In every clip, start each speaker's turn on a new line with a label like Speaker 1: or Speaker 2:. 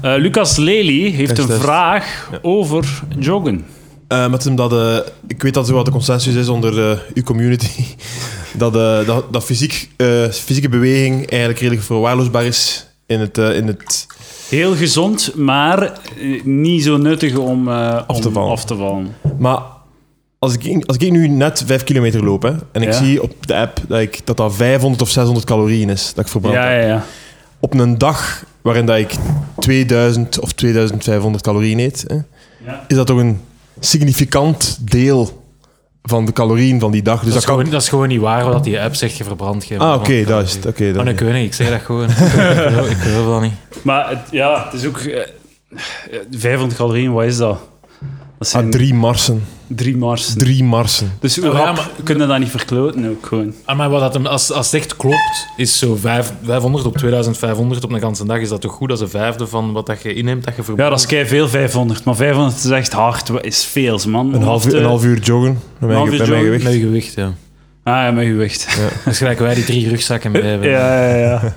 Speaker 1: Eh, Lucas Lely heeft
Speaker 2: Test,
Speaker 1: een
Speaker 2: test.
Speaker 1: vraag over joggen.
Speaker 2: Eh, met hem dat, eh, ik weet dat zo wat de consensus is onder eh, uw community. dat, eh, dat, dat fysiek, eh, fysieke beweging eigenlijk redelijk verwaarloosbaar is in het, eh, in het
Speaker 1: Heel gezond, maar eh, niet zo nuttig om, eh,
Speaker 2: Af te
Speaker 1: om
Speaker 2: vallen.
Speaker 1: af te vallen.
Speaker 2: Maar als ik, als ik nu net 5 kilometer loop hè, en ik
Speaker 1: Ja.
Speaker 2: zie op de app dat, ik, dat dat 500 of 600 calorieën is dat ik verbrand
Speaker 1: Ja,
Speaker 2: heb.
Speaker 1: ja, ja.
Speaker 2: Op een dag waarin dat ik 2000 of 2500 calorieën eet, hè,
Speaker 1: Ja.
Speaker 2: is dat toch een significant deel van de calorieën van die dag. Dus
Speaker 3: dat,
Speaker 2: dat,
Speaker 3: is
Speaker 2: kan.
Speaker 3: gewoon, dat is gewoon niet waar wat die app zegt, je verbrandt geen
Speaker 2: Ah, oké, dat is het. Oké, dat-
Speaker 3: Maar ik weet niet, ik zeg dat gewoon. ik, geloof, ik geloof dat niet.
Speaker 1: Maar het, ja, het is ook... eh, eh, 500 calorieën, wat is dat? Dat zijn
Speaker 2: Ah, drie marsen.
Speaker 1: drie marsen.
Speaker 2: Drie marsen.
Speaker 1: Dus we
Speaker 3: Ah, ja, maar-
Speaker 1: kunnen dat niet verkloten ook gewoon.
Speaker 3: Ah, maar wat dat hem, als, als het echt klopt, is zo vijf- 500 op 2500 op een ganse dag, is dat toch goed? Dat is een vijfde van wat dat je inneemt, dat je verbrandt.
Speaker 1: Ja, dat is kei veel 500. Maar 500 is echt hard, wat is veel, man. eh,
Speaker 2: Een half,
Speaker 1: Om
Speaker 2: uur,
Speaker 1: te-
Speaker 3: eh,
Speaker 2: een half uur joggen. Bij mijn,
Speaker 1: half uur
Speaker 2: bij mijn
Speaker 1: joggen.
Speaker 2: gewicht.
Speaker 3: Met je gewicht, ja.
Speaker 1: Ah, ja, met gewicht.
Speaker 3: Dat is gelijk wij die drie rugzakken mee hebben.
Speaker 1: Ja, ja, ja.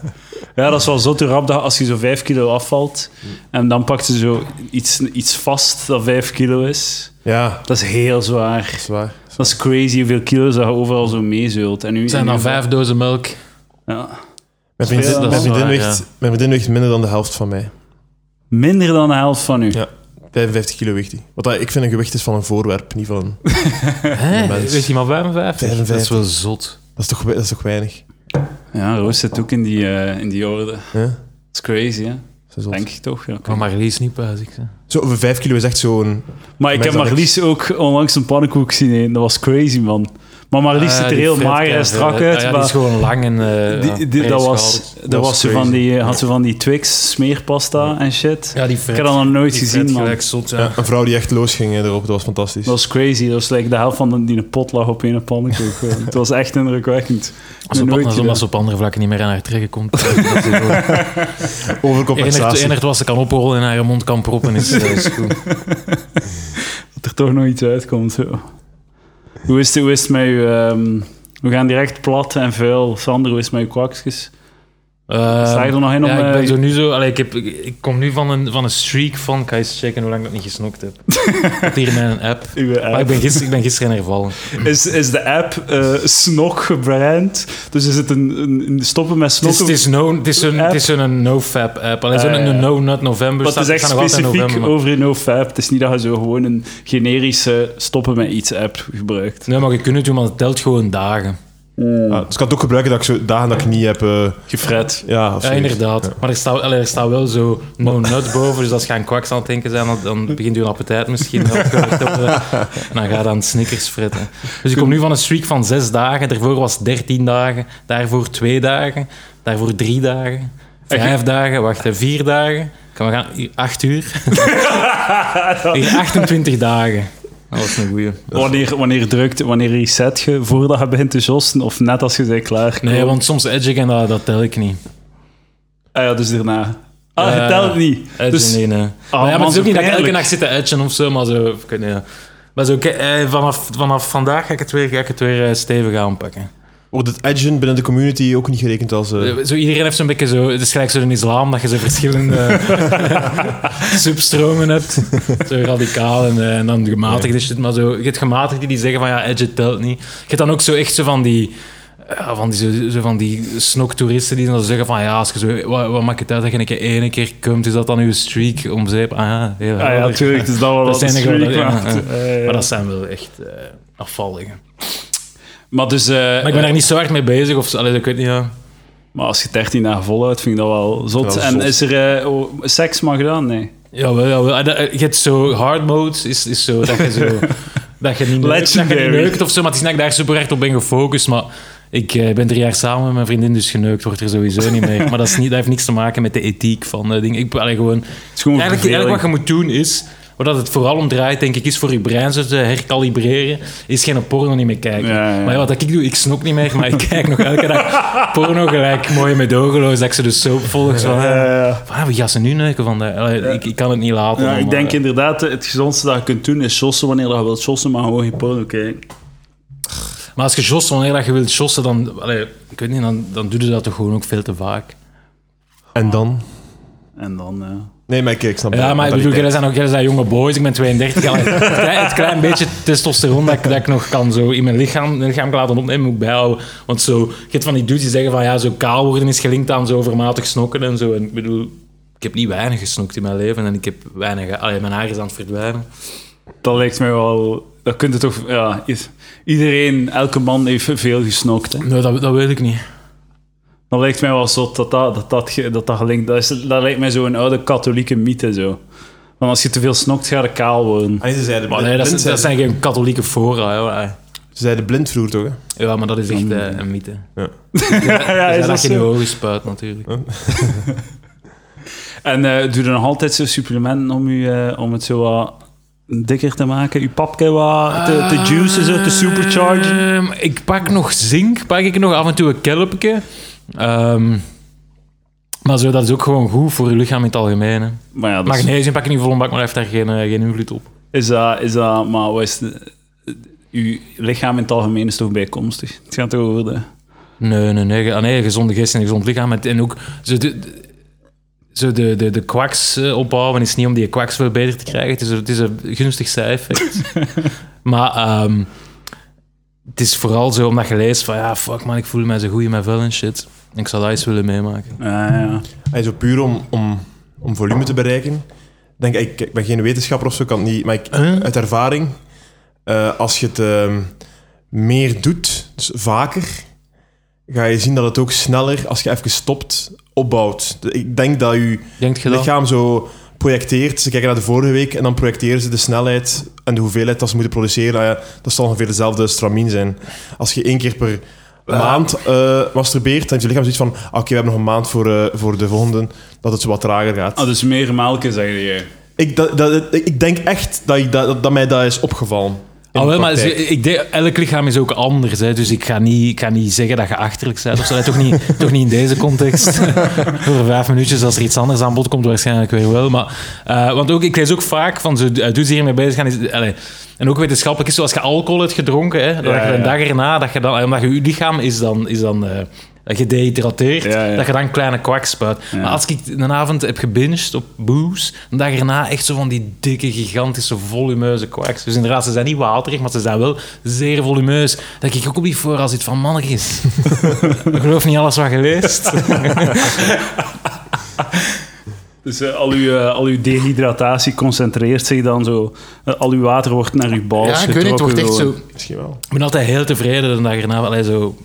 Speaker 1: Ja, dat is wel zo te rap dat als je zo 5 kilo afvalt en dan pakt je zo iets, iets vast dat 5 kilo is.
Speaker 2: Ja, dat
Speaker 1: Dat is heel zwaar.
Speaker 2: is waar.
Speaker 1: Dat is crazy hoeveel kilo's dat je overal zo meezeult. En nu
Speaker 3: Het zijn
Speaker 1: en
Speaker 3: dan
Speaker 1: nu-
Speaker 3: vijf dozen melk.
Speaker 1: Ja.
Speaker 2: Mijn
Speaker 1: Veel,
Speaker 2: vriendin,
Speaker 1: man.
Speaker 2: mijn vriendin
Speaker 3: Dat is waar,
Speaker 2: weegt,
Speaker 3: ja.
Speaker 2: mijn vriendin weegt minder dan de helft van mij.
Speaker 1: Minder dan de helft van u.
Speaker 2: Ja. 55 kilo weegt hij. Wat dat, ik vind een gewicht is van een voorwerp, niet van een...
Speaker 3: Hè?
Speaker 2: mens.
Speaker 3: Weet je maar 55? Dat is
Speaker 2: 55.
Speaker 3: wel zot.
Speaker 2: Dat is toch, we- dat is toch weinig?
Speaker 1: Ja, Roos zit ook in die, eh, in die orde.
Speaker 2: Hè? Dat
Speaker 1: Dat is crazy, hè?
Speaker 2: is zot.
Speaker 1: Denk ik toch? Ja, ik weet
Speaker 3: Maar Marlies niet buizig. hè.
Speaker 2: Zo, over 5 kilo is echt zo'n...
Speaker 1: Maar ik
Speaker 2: Mensen
Speaker 1: heb
Speaker 2: dat
Speaker 1: Marlies ook onlangs een pannenkoek zien eten. Dat was crazy, man. Maar Marlies
Speaker 3: Ah,
Speaker 1: ziet er
Speaker 3: die
Speaker 1: heel
Speaker 3: vet
Speaker 1: mager en
Speaker 3: keiveel,
Speaker 1: strak
Speaker 3: hè.
Speaker 1: uit.
Speaker 3: Ah ja,
Speaker 1: maar
Speaker 3: die is gewoon lang en... eh,
Speaker 1: die-
Speaker 3: ja,
Speaker 1: die- dat
Speaker 3: breed
Speaker 1: was,
Speaker 3: schouderd.
Speaker 1: dat was ze van
Speaker 2: crazy.
Speaker 1: die, had ze van die Twix smeerpasta en shit.
Speaker 3: Ja, die
Speaker 1: ik heb dat nog nooit gezien, man.
Speaker 3: gelijk zot, ja.
Speaker 2: Ja, een vrouw die echt losging hè, erop, dat was fantastisch.
Speaker 1: Dat was crazy. Dat was like de helft van de, die een pot lag op een pannenkoek. gewoon. Het was echt indrukwekkend.
Speaker 3: Als, op,
Speaker 1: Nooit
Speaker 3: als,
Speaker 1: gedaan.
Speaker 3: als ze op andere vlakken niet meer aan haar trekken komt. dat is
Speaker 2: Overcompensatie.
Speaker 3: enigd wat ze kan oprollen en haar mond kan proppen is, eh, is goed.
Speaker 1: Dat er toch nog iets uitkomt. Zo. Hoe is het, hoe is het met je... ehm, we gaan direct plat en vuil. Sander, hoe is het met je kwakjes?
Speaker 3: Eh,
Speaker 1: Sta je er nog in om...
Speaker 3: ja, ik
Speaker 1: eh,
Speaker 3: ben zo nu zo... allee, ik, heb, ik, ik kom nu van een, van een streak van... Ik ga eens checken hoe lang ik dat niet gesnokt heb. Ik heb hier mijn app.
Speaker 1: uw
Speaker 3: Maar ik ben gisteren, ik ben gisteren hervallen.
Speaker 1: Is, is de app eh, snok gebrand? Dus is het een, een, een stoppen met
Speaker 3: Het is,
Speaker 1: snokken?
Speaker 3: het is, no, het is, een, het is een no-fab app. Alleen zo'n
Speaker 1: Ah, ja.
Speaker 3: een no-nut november
Speaker 1: maar het is
Speaker 3: staat-
Speaker 1: echt
Speaker 3: ik ga nog altijd
Speaker 1: specifiek
Speaker 3: november, maar-
Speaker 1: over een OFAP. Het is niet dat je zo gewoon een generische stoppen met iets app gebruikt.
Speaker 3: Nee, maar je kunt het doen, want het telt gewoon dagen.
Speaker 2: Ah, dus ik kan het ook gebruiken dat ik zo dagen dat ik niet heb... eh,
Speaker 1: Gefret.
Speaker 2: ja, of
Speaker 3: Ja,
Speaker 2: zoiets.
Speaker 3: inderdaad. Maar er staat, allee, er staat wel zo no-nut boven. Dus als je aan kwaks aan het denken zijn, dan, dan begint je appetijt misschien wel te worden. En dan ga je aan snickers fretten. Dus ik kom nu van een streak van zes dagen. Daarvoor was 13 dagen. Daarvoor twee dagen. Daarvoor drie dagen. Vijf dagen. Wacht, hè, vier dagen. Kan we gaan... hier, Acht uur. Hier, 28 dagen. Dat was een goeie.
Speaker 1: Wanneer, wanneer drukt, wanneer reset je voordat je begint te josten of net als je bent klaar?
Speaker 3: Nee, want soms edge ik en dat, dat tel ik niet.
Speaker 1: Ah ja, dus daarna. Ah,
Speaker 3: Eh,
Speaker 1: het telt niet.
Speaker 3: Edgen,
Speaker 1: Dus-
Speaker 3: nee, nee. eh. maar ja,
Speaker 1: man,
Speaker 3: maar het is
Speaker 1: zo
Speaker 3: ook niet dat ik elke
Speaker 1: pijnlijk.
Speaker 3: nacht zit te edgen of zo, maar zo... ik weet niet, ja. Maar zo, oké, eh, vanaf, vanaf vandaag ga ik het weer, ga ik het weer eh, stevig aanpakken.
Speaker 2: Wordt het edgen binnen de community ook niet gerekend als... eh,
Speaker 3: Zo, iedereen heeft zo'n beetje zo... Het is gelijk zo'n islam, dat je zo verschillende substromen hebt. Zo radicaal en, eh, en dan gematigd is het. Maar zo, je hebt gematigden die zeggen van ja, edge telt niet. Je hebt dan ook zo echt zo van die... eh, ja, van die, zo, zo van die snoktoeristen die dan zeggen van ja, als je zo, wat, wat maakt het uit dat je een keer één keer komt, is dat dan uw streak om zeep? Ah ja, heel
Speaker 1: Ah ja,
Speaker 3: helder.
Speaker 1: natuurlijk. Dus dat wel
Speaker 3: Dat
Speaker 1: wat
Speaker 3: zijn
Speaker 1: een
Speaker 3: er gewoon-
Speaker 1: streak
Speaker 3: ja,
Speaker 1: maakt.
Speaker 3: ja.
Speaker 1: Eh,
Speaker 3: Maar dat zijn wel echt eh, afvalligen.
Speaker 1: Maar dus... eh,
Speaker 3: Maar ik ben daar niet zo hard mee bezig. Of, zo. allee, ik weet niet, ja.
Speaker 1: maar als je 13 dagen voluit, vind ik dat wel zot.
Speaker 2: Dat is
Speaker 1: en
Speaker 2: zot.
Speaker 1: is er eh, oh, seks maar gedaan? Nee.
Speaker 3: Jawel, jawel. Ah, dat- eh, Je hebt zo hard mode, is, is zo dat je zo... dat je niet neukt, dat je niet
Speaker 1: Legendary.
Speaker 3: neukt of zo. Maar het is niet dat ik daar super hard op ben gefocust. Maar ik eh, ben drie jaar samen met mijn vriendin, dus geneukt wordt er sowieso niet meer. Maar dat, is niet, dat heeft niks te maken met de ethiek van eh, dingen. Ik, allee, gewoon...
Speaker 1: Het is gewoon
Speaker 3: Eigenlijk, eigenlijk wat je moet doen is... Waar dat het vooral om draait, denk ik, is voor je brein zo te herkalibreren, is geen porno niet meer kijken.
Speaker 1: Ja, ja.
Speaker 3: Maar wat ik doe, ik snok niet meer, maar ik kijk nog elke dag porno gelijk mooi met ogenloos, dat ik ze de soap volg. Zo,
Speaker 1: Ja, ja, ja.
Speaker 3: van, ah, we gaan ze nu neuken vandaag. Allee, Ik, ik kan het niet laten.
Speaker 1: Ja, ik
Speaker 3: maar-
Speaker 1: denk inderdaad, eh, het gezondste dat je kunt doen is jossen wanneer dat je wilt jossen, maar gewoon geen porno kijken.
Speaker 3: Maar als je jost wanneer dat je wilt jossen, dan, allee, ik weet niet, dan, dan doe je dat toch gewoon ook veel te vaak.
Speaker 2: En dan?
Speaker 1: En dan... eh,
Speaker 2: Nee, maar ik, ik snap
Speaker 3: Ja,
Speaker 2: dat-
Speaker 3: maar ik
Speaker 2: dat
Speaker 3: bedoel,
Speaker 2: niet.
Speaker 3: jullie zijn ook jullie zijn jonge boys. Ik ben 32. al het, klein, het klein beetje testosteron dat ik, dat ik nog kan zo in mijn lichaam, mijn lichaam laten opnemen, moet ik bijhouden. Want zo, je hebt van die dudes die zeggen van ja, zo kaal worden is gelinkt aan zo overmatig snokken en zo. En ik bedoel, ik heb niet weinig gesnokt in mijn leven en ik heb weinig... Allee, mijn haar is aan het verdwijnen.
Speaker 1: dat lijkt mij wel... Dat kunt het toch... Ja, i- iedereen, elke man heeft veel gesnokt. Hè.
Speaker 3: Nee, dat, dat weet ik niet.
Speaker 1: Dat lijkt mij wel zot dat dat, dat, dat, ge- dat, dat gelinkt... Dat, is, dat lijkt mij zo'n oude katholieke mythe, zo. Want als je te veel snokt, ga je kaal worden.
Speaker 2: Ah, nee, ze zeiden
Speaker 3: Maar
Speaker 2: blind-
Speaker 3: nee, dat, zijn-
Speaker 2: blind
Speaker 3: dat
Speaker 2: zeiden-
Speaker 3: zijn geen katholieke fora. hè, maar-
Speaker 2: Ze zeiden blind vroeger toch? Hè?
Speaker 3: Ja, maar dat is echt eh, een mythe. Dus
Speaker 2: Ja.
Speaker 1: ja, is
Speaker 3: Ja,
Speaker 1: dat
Speaker 3: dat je in
Speaker 1: zo?
Speaker 3: je ogen spuit natuurlijk.
Speaker 1: En eh, doe dan nog altijd zo'n supplementen om, u, eh, om het zo wat dikker te maken? Uw papke wat te, te juicen, zo, te superchargen?
Speaker 3: Ehm, ik pak nog zink, pak ik nog af en toe een kelpje. Ehm, maar zo, dat is ook gewoon goed voor je lichaam in het algemeen. hè.
Speaker 1: Maar ja, dat is,
Speaker 3: Magnesium pak ik niet vol een bak, maar heeft daar geen, eh, geen invloed op.
Speaker 1: is dat... Is dat maar wat is... de- Uw lichaam in het algemeen is toch bijkomstig? Het gaat toch over de...
Speaker 3: Nee, nee, nee. ge- ah, nee gezonde geest en een gezond lichaam. En- En ook zo de, de- zo de, de, de kwaks eh, opbouwen is niet om die kwaks veel beter te krijgen. Het is, een- het is een gunstig zij-effect. maar ehm, het is vooral zo omdat je leest van ja, fuck man, ik voel mij zo goed in mijn vel en shit. Ik zou dat eens willen meemaken.
Speaker 1: Ja, ja.
Speaker 2: Hij zo puur om, om, om volume te bereiken. Denk, ik, ik ben geen wetenschapper of zo, kan het niet. Maar ik,
Speaker 3: Huh?
Speaker 2: uit ervaring, eh, als je het ehm, meer doet, dus vaker, ga je zien dat het ook sneller, als je even stopt, opbouwt. De- Ik denk dat je
Speaker 3: Denkt je dat?
Speaker 2: lichaam zo projecteert. Ze kijken naar de vorige week en dan projecteren ze de snelheid en de hoeveelheid dat ze moeten produceren. Nou ja, dat zal ongeveer dezelfde stramien zijn. Als je één keer per maand eh masturbeert, dan heeft je lichaam zoiets van: oké, we hebben nog een maand voor, eh, voor de volgende, dat het zo wat trager gaat.
Speaker 1: Ah, dus meer melken, zeg je.
Speaker 2: Ik, dat, dat, ik denk echt dat, ik, dat, dat mij dat is opgevallen. in
Speaker 3: Ah,
Speaker 2: de
Speaker 3: wel, maar
Speaker 2: praktijk.
Speaker 3: ze- ik denk, elk lichaam is ook anders. Hè, dus ik ga, niet, ik ga niet zeggen dat je achterlijk bent. Of zo, hè, toch, niet, toch niet in deze context. Voor vijf minuutjes, als er iets anders aan bod komt, waarschijnlijk weer wel. Maar, eh, want ook, ik lees ook vaak van zo, eh, dudes die hiermee bezig gaan. Is, allee, en ook wetenschappelijk is zoals je alcohol hebt gedronken. Hè, dat
Speaker 1: Ja,
Speaker 3: je een
Speaker 1: ja.
Speaker 3: dag erna, dat je dan, omdat je, je lichaam is dan. Is dan eh, gedehydrateerd,
Speaker 1: Ja, ja.
Speaker 3: dat je dan kleine kwak spuit.
Speaker 1: Ja.
Speaker 3: Maar als ik een avond heb gebinged op booze, een dag erna echt zo van die dikke, gigantische, volumeuze kwaks. Dus inderdaad, ze zijn niet waterig, maar ze zijn wel zeer volumeus. Dat ik ook op die voorraad zit van mannetjes. ik geloof niet alles wat je leest.
Speaker 1: Dus eh, al, uw, eh, al uw dehydratatie concentreert zich dan zo... eh, al uw water wordt naar uw bals
Speaker 3: Ja, ik weet niet, het wordt echt
Speaker 1: getrokken
Speaker 3: zo...
Speaker 1: gewoon.
Speaker 2: Misschien wel.
Speaker 3: Ik ben altijd heel tevreden de dag erna. Allee, zo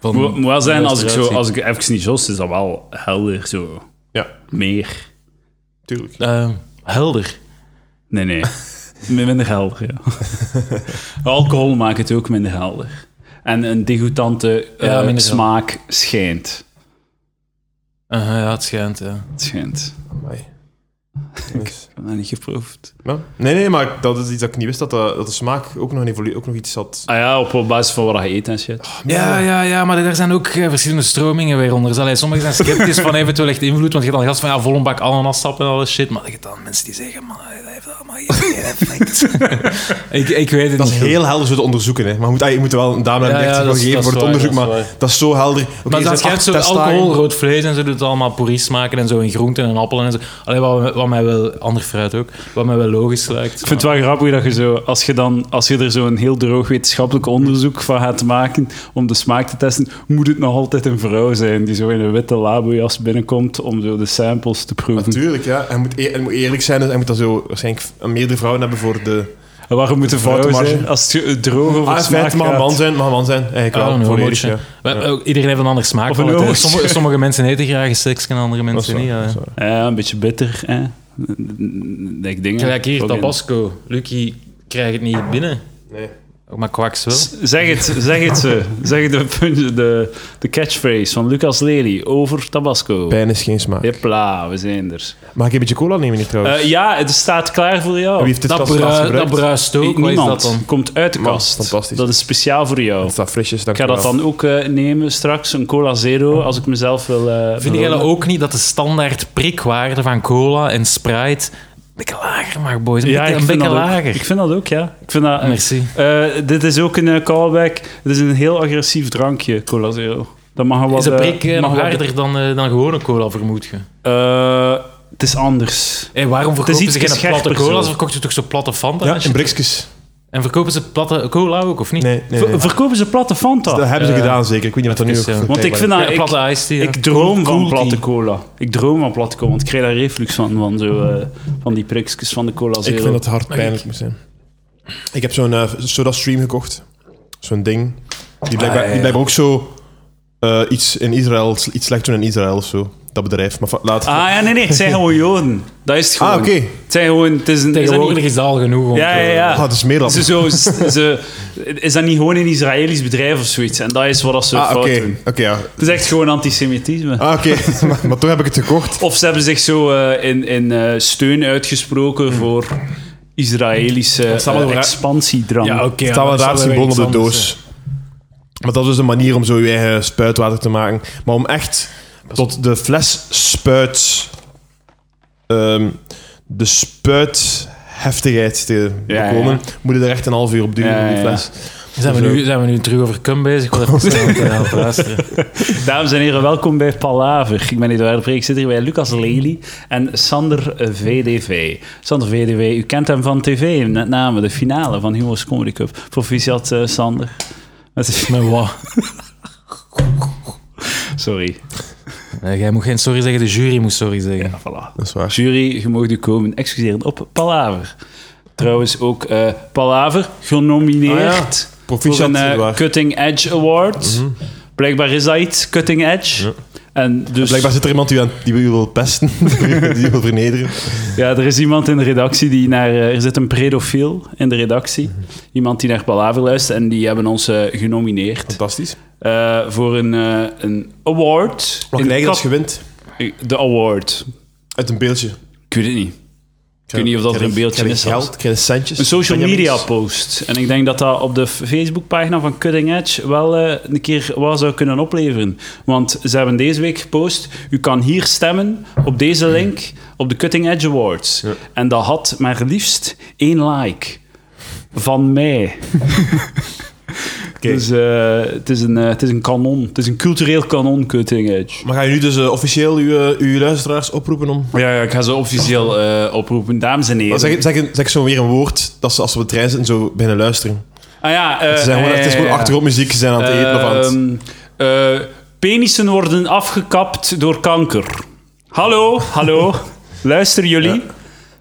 Speaker 3: van,
Speaker 1: Moet- Moet wel zijn, als ik, zo,
Speaker 3: eruit ziet.
Speaker 1: als ik even niet jost, is dat wel helder, zo.
Speaker 2: Ja,
Speaker 1: Meer.
Speaker 2: tuurlijk.
Speaker 3: Eh, helder.
Speaker 1: Nee, nee. M- minder helder, ja. Alcohol maakt het ook minder helder. En een degoutante eh,
Speaker 3: Ja, minder
Speaker 1: smaak schijnt.
Speaker 3: Eh, ja, het schijnt, ja.
Speaker 1: Het schijnt.
Speaker 2: Amai.
Speaker 1: Ik heb dat niet geproefd.
Speaker 2: Ja. Nee, nee, maar dat is iets dat ik niet wist, dat de, dat de smaak ook nog, een evolu- ook nog iets had.
Speaker 1: Ah ja, op- op basis van wat je eet en shit.
Speaker 3: Ja, ja, ja, maar er zijn ook eh, verschillende stromingen weer onder. Dus, allee, sommigen zijn sceptisch van eventueel echt invloed, want je hebt dan gast van ja, vol een bak ananasap en alles shit. Maar je hebt dan mensen die zeggen, man, dat heeft allemaal geen effect. ik, ik weet het
Speaker 2: Dat is
Speaker 3: niet.
Speaker 2: heel helder zo te onderzoeken, hè. Maar moet, ah, je moet wel een dame naar
Speaker 3: Ja,
Speaker 2: de
Speaker 3: ja,
Speaker 2: ja,
Speaker 3: dat is-
Speaker 2: geven
Speaker 3: dat
Speaker 2: voor
Speaker 3: is
Speaker 2: het
Speaker 3: waar,
Speaker 2: onderzoek,
Speaker 3: dat is
Speaker 2: maar
Speaker 3: waar.
Speaker 2: dat is zo helder. Oké,
Speaker 3: Maar
Speaker 2: er
Speaker 3: dan
Speaker 2: zijn
Speaker 3: schijnt
Speaker 2: acht
Speaker 3: zo
Speaker 2: testdagen.
Speaker 3: alcohol, rood vlees en zo doet het allemaal pourri smaken en zo in groenten en appelen en zo. Allee, wat, wat mij wel, ander fruit ook, wat mij wel logisch lijkt.
Speaker 1: Ik vind het wel grappig dat je zo, als je, dan, als je er zo'n heel droog wetenschappelijk onderzoek van gaat maken om de smaak te testen, moet het nog altijd een vrouw zijn die zo in een witte labojas binnenkomt om zo de samples te proeven.
Speaker 2: Natuurlijk, ja. Hij moet, eer- hij moet eerlijk zijn, dus hij moet dan zo waarschijnlijk meerdere vrouwen hebben voor de...
Speaker 1: En waarom moet een vrouw
Speaker 2: Foute marge.
Speaker 1: zijn als het ge- droog over
Speaker 2: Ah,
Speaker 1: de
Speaker 2: in
Speaker 1: smaak
Speaker 2: feite mag een
Speaker 1: gaat?
Speaker 2: man zijn, mag een man zijn. Eigenlijk
Speaker 3: I don't
Speaker 2: wel,
Speaker 3: know,
Speaker 2: volledig,
Speaker 3: homootje.
Speaker 2: ja.
Speaker 3: ah, Maar ook Iedereen heeft een ander smaak.
Speaker 1: Of een homootje.
Speaker 3: sommige, sommige mensen eten graag seks en andere
Speaker 2: Dat is
Speaker 3: mensen
Speaker 2: waar,
Speaker 3: niet. ja.
Speaker 2: dat is waar.
Speaker 1: Ja, een beetje bitter, hè. Ik denk,
Speaker 3: Gelijk hier, Tabasco. Lucky krijgt het niet binnen.
Speaker 2: Nee.
Speaker 3: Maar kwaks wel.
Speaker 1: Zeg het, zeg het ze. Zeg de, puntje- de, de catchphrase van Lucas Lely over Tabasco.
Speaker 2: Pijn is geen smaak.
Speaker 1: Hopla, we zijn er.
Speaker 2: Mag ik een beetje cola nemen hier trouwens?
Speaker 1: Eh, ja, het staat klaar voor jou.
Speaker 2: Oh. Wie heeft dit
Speaker 3: Dat,
Speaker 2: als laatste
Speaker 3: brui, dat
Speaker 2: gebruikt?
Speaker 3: bruist ook. Wat is
Speaker 1: Niemand
Speaker 3: dat dan?
Speaker 1: komt uit de
Speaker 2: Man,
Speaker 1: kast.
Speaker 2: fantastisch.
Speaker 1: Dat is speciaal voor jou.
Speaker 2: Het staat frisjes,
Speaker 1: Ik ga
Speaker 2: dankjewel.
Speaker 1: dat dan ook eh, nemen straks, een Cola Zero, als ik mezelf wil... eh,
Speaker 3: Vinden jullie
Speaker 1: belonen.
Speaker 3: ook niet dat de standaard prikwaarde van cola en Sprite een beetje lager mag, boys? Een beetje,
Speaker 1: ik
Speaker 3: een
Speaker 1: vind
Speaker 3: beetje
Speaker 1: dat ook.
Speaker 3: lager.
Speaker 1: Ik vind dat ook, ja. Ik vind dat, eh,
Speaker 3: Merci.
Speaker 1: eh, dit is ook een eh, callback. Dit is een heel agressief drankje, Cola Zero. Dat mag wel wat...
Speaker 3: Is een
Speaker 1: eh,
Speaker 3: prik eh,
Speaker 1: mag
Speaker 3: nog
Speaker 1: wel-
Speaker 3: harder dan, eh, dan gewone cola, vermoed je?
Speaker 1: Eh, Het is anders.
Speaker 3: Hey, waarom
Speaker 1: is
Speaker 3: verkopen
Speaker 1: iets
Speaker 3: ze geen
Speaker 1: scherper
Speaker 3: platte cola?
Speaker 1: zo.
Speaker 3: Ze verkochten toch zo platte Fanta?
Speaker 2: Ja,
Speaker 3: en
Speaker 2: in
Speaker 3: shit?
Speaker 2: Brikskes.
Speaker 3: En verkopen ze platte cola ook, of niet?
Speaker 2: Nee, nee,
Speaker 1: Ver-
Speaker 2: nee.
Speaker 1: Verkopen ze platte Fanta?
Speaker 2: Dat hebben ze
Speaker 3: eh,
Speaker 2: gedaan, zeker. Ik weet niet wat dat nu
Speaker 3: even,
Speaker 2: ook
Speaker 3: eh,
Speaker 1: Want ik vind
Speaker 3: Ja,
Speaker 1: dat... Nou, Ik,
Speaker 3: platte iced tea, ja.
Speaker 1: ik droom van
Speaker 3: Cool
Speaker 1: platte
Speaker 3: tea.
Speaker 1: cola. Ik droom van platte cola, want ik krijg daar reflux van, van, zo, eh, van die prikjes van de cola
Speaker 2: Ik
Speaker 1: Zero.
Speaker 2: vind dat het hard pijnlijk moet zijn. Ik heb zo'n eh, soda stream gekocht. Zo'n ding. Die blijkbaar, die blijkbaar ook zo eh, iets in Israël, iets slecht doen in Israël of zo. Dat bedrijf. Maar va- laat.
Speaker 1: Ah ja, nee, nee, het zijn gewoon Joden. Dat is het gewoon.
Speaker 2: Ah, oké.
Speaker 1: Het zijn gewoon... Het is een, is dat
Speaker 3: Tegenwoordig
Speaker 1: niet-
Speaker 3: is dat al genoeg. om
Speaker 1: Ja,
Speaker 3: te-
Speaker 1: ja, ja.
Speaker 2: Ah, het is meer dan.
Speaker 1: Ze zo, ze- ze- is dat niet gewoon een Israëlisch bedrijf of zoiets? En dat is wat dat ze
Speaker 2: Ah,
Speaker 1: fout
Speaker 2: oké.
Speaker 1: doen.
Speaker 2: Oké, ja.
Speaker 1: Het is echt gewoon antisemitisme.
Speaker 2: Ah, oké. maar, maar toch heb ik het gekocht.
Speaker 1: Of ze hebben zich zo eh, in, in eh, steun uitgesproken voor Israëlische
Speaker 2: staat wel
Speaker 1: eh,
Speaker 2: raar-
Speaker 1: expansiedrang.
Speaker 3: Ja, oké.
Speaker 2: Er staat wel een
Speaker 3: dat
Speaker 2: raar
Speaker 3: zal wel
Speaker 2: symbool op de
Speaker 3: weer iets anders
Speaker 2: doos. Maar dat is dus een manier om zo je eigen spuitwater te maken. Maar om echt tot de fles spuit... ehm, de spuitheftigheid te
Speaker 1: Ja,
Speaker 2: bekomen,
Speaker 1: ja.
Speaker 2: moet je er echt een half uur op duwen
Speaker 1: Ja,
Speaker 2: in die
Speaker 1: ja,
Speaker 2: fles.
Speaker 3: zijn. Zijn we, nu, zijn we nu terug over cum bezig? Ik wil even snel aan het luisteren.
Speaker 1: Dames en heren, welkom bij Palaver. Ik ben Eduard Breek, ik zit hier bij Lucas Lely en Sander eh, VDV. Sander VDV, u kent hem van tv, met name de finale van Humor's Comedy Cup. Proficiat, eh, Sander. Met de-
Speaker 3: Maar wat?
Speaker 1: Sorry.
Speaker 3: Nee, Eh, jij moet geen sorry zeggen, de jury moet sorry zeggen.
Speaker 1: Ja, voilà.
Speaker 2: Dat is waar.
Speaker 1: Jury, je mag u komen excuseren op Palaver. Trouwens ook eh Palaver, genomineerd voor
Speaker 2: Oh Proficiat,
Speaker 1: een eh,
Speaker 2: Eduard. Mhm.
Speaker 1: Cutting Edge Award. Blijkbaar is dat iets, Cutting Edge. En dus,
Speaker 2: Blijkbaar zit er iemand die, aan, die u wil pesten, die u wil vernederen.
Speaker 1: Ja, er is iemand in de redactie die naar... eh, Er zit een predofiel in de redactie. Iemand die naar Palaver luistert en die hebben ons eh, genomineerd
Speaker 2: Fantastisch.
Speaker 1: eh, voor een, eh, een award.
Speaker 2: Wat
Speaker 1: In
Speaker 2: krijg je als
Speaker 1: kat-
Speaker 2: je wint?
Speaker 1: De award.
Speaker 2: Uit een beeldje.
Speaker 1: Ik weet het niet. Ik weet niet of dat er een beeldje
Speaker 2: Krijg
Speaker 1: is,
Speaker 2: je geld?
Speaker 1: Hans.
Speaker 2: Krijg je centjes?
Speaker 1: Een social
Speaker 2: Benjamins?
Speaker 1: media post. En ik denk dat dat op de Facebookpagina van Cutting Edge wel eh, een keer wat zou kunnen opleveren. Want ze hebben deze week gepost, u kan hier stemmen op deze link op de Cutting Edge Awards. En dat had maar liefst één like. Van mij.
Speaker 2: Oké.
Speaker 1: Dus eh, het, is een, eh, het is een kanon. Het is een cultureel kanon, Cutting Edge.
Speaker 2: Maar ga je nu dus eh, officieel uw, eh, uw luisteraars oproepen om...
Speaker 1: Ja, ja, ik ga ze officieel eh, oproepen. Dames en heren.
Speaker 2: Zeg, zeg, zeg zo weer een woord dat ze als ze op de trein zitten zo beginnen luisteren.
Speaker 1: Ah ja, eh,
Speaker 2: Ze zijn gewoon,
Speaker 1: ja,
Speaker 2: het is
Speaker 1: ja,
Speaker 2: gewoon
Speaker 1: ja.
Speaker 2: achtergrondmuziek, ze zijn aan het eten of aan het...
Speaker 1: Ehm, eh, penissen worden afgekapt door kanker. Hallo, hallo. Luisteren jullie?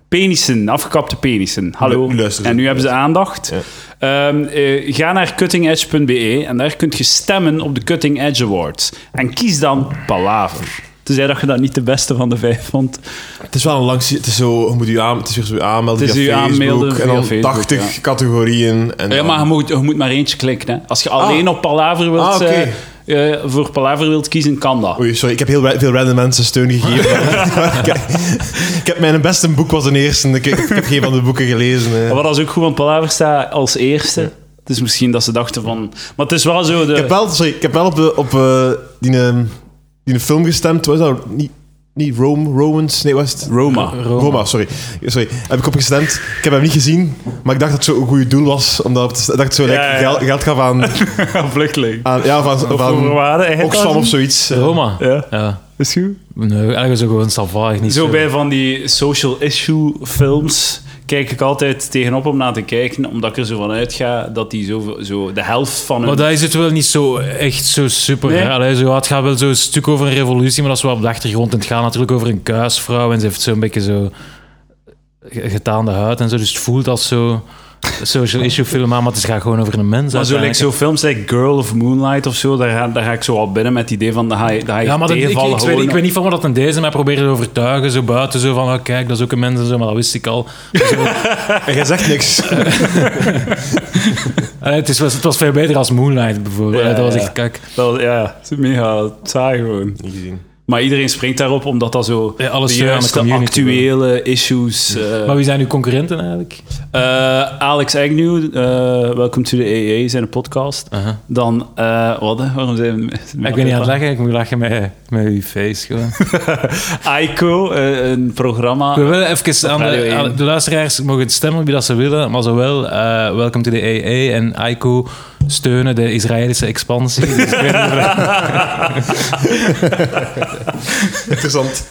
Speaker 1: Penissen, afgekapte penissen. Hallo.
Speaker 2: Nu luisteren ze.
Speaker 1: en nu hebben ze aandacht. Ehm, eh, ga naar cuttingedge.be en daar kun je stemmen op de Cutting Edge Awards. En kies dan Palaver. Tenzij dat je dat niet de beste van de vijf vond.
Speaker 2: Het is wel een lang... si- Het is zo... Je moet je aan, het is weer zo aanmelden
Speaker 1: Het is
Speaker 2: via
Speaker 1: u
Speaker 2: Facebook.
Speaker 1: aanmelden
Speaker 2: en dan
Speaker 1: via Facebook,
Speaker 2: 80 categorieën. En
Speaker 1: Ja,
Speaker 2: dan-
Speaker 1: maar je moet, je moet maar eentje klikken. Hè. Als je alleen op Palaver wilt,
Speaker 2: Ah, oké.
Speaker 1: eh, eh, voor Palaver wilt kiezen, kan dat.
Speaker 2: Oei, sorry, ik heb heel ra- veel random mensen steun gegeven. ik, heb- ik heb mijn beste boek was een eerste. Ik, ik heb geen van de boeken gelezen. eh.
Speaker 1: Maar dat is ook goed, want Palaver staat als eerste. Dus misschien dat ze dachten van... Maar het is wel zo... De...
Speaker 2: Ik heb wel, sorry, ik heb wel op, de, op eh, die, eh, die film gestemd. Was dat niet, niet Rome, Romans? Nee, was het?
Speaker 1: Roma.
Speaker 2: Roma. sorry. sorry. Heb ik op gestemd. Ik heb hem niet gezien, maar ik dacht dat het zo'n goed doel was. Omdat het, ik dacht zo like,
Speaker 1: Ja, ja.
Speaker 2: Geld, geld gaf aan,
Speaker 1: Vluchteling.
Speaker 2: aan, ja, van,
Speaker 1: Of
Speaker 3: Ehm,
Speaker 2: van
Speaker 1: overwaarde, eigenlijk
Speaker 2: Oxfam
Speaker 1: wel.
Speaker 2: of zoiets. eh.
Speaker 3: Roma?
Speaker 1: Ja.
Speaker 3: Ja.
Speaker 1: Is goed.
Speaker 3: Nee, eigenlijk zo gewoon salvaag. Niet
Speaker 1: Zo bij van die social issue films kijk ik altijd tegenop om naar te kijken, omdat ik er zo van uitga dat die zo, zo de helft van hun...
Speaker 3: Maar dat is het wel niet zo echt zo super.
Speaker 1: Nee.
Speaker 3: hè. Allee, zo, het gaat wel zo'n stuk over een revolutie, maar dat is wel op de achtergrond. En het gaat natuurlijk over een kuisvrouw en ze heeft zo'n beetje zo ge- getaande huid en zo. Dus het voelt als zo een social issue film aan, maar het gaat gewoon over een mens.
Speaker 1: Maar zo, like,
Speaker 3: uiteindelijk.
Speaker 1: zo films like Girl of Moonlight of zo, daar ga, daar ga ik zo al binnen met het idee van, daar ga je, daar ga je
Speaker 3: Ja, maar dat, ik, ik,
Speaker 1: tegenvallen.
Speaker 3: ik weet,
Speaker 1: gewoon
Speaker 3: ik weet niet van wat dat in deze mij probeerde te overtuigen. Zo buiten, zo van, oh, kijk, dat is ook een mens en zo, maar dat wist ik al.
Speaker 2: En jij zegt niks.
Speaker 3: Allee, het, is, was- het was veel beter als Moonlight
Speaker 1: Ja,
Speaker 3: bijvoorbeeld. Allee, dat was
Speaker 1: ja.
Speaker 3: echt kak.
Speaker 1: Dat, ja, het is mega saai gewoon.
Speaker 2: Niet gezien.
Speaker 1: Maar iedereen springt daarop omdat dat zo
Speaker 3: Ja, alles
Speaker 1: de
Speaker 3: steun aan de
Speaker 1: juiste
Speaker 3: community
Speaker 1: actuele issues. eh,
Speaker 3: Maar wie zijn uw concurrenten eigenlijk?
Speaker 1: eh, Alex Agnew, eh Welcome to the AA, zijn podcast.
Speaker 3: Aha.
Speaker 1: Dan, eh, wat? hè? Waarom zijn
Speaker 3: Ik ben niet aan het lachen, ik moet lachen met, met uw face gewoon.
Speaker 1: Aiko, eh, een programma.
Speaker 3: We willen even aan
Speaker 1: Radio
Speaker 3: de,
Speaker 1: 1.
Speaker 3: aan de luisteraars mogen stemmen wie dat ze willen, maar zowel eh Welcome to the AA en Aiko steunen de Israëlische expansie. Dus ik weet niet of-
Speaker 2: Interessant.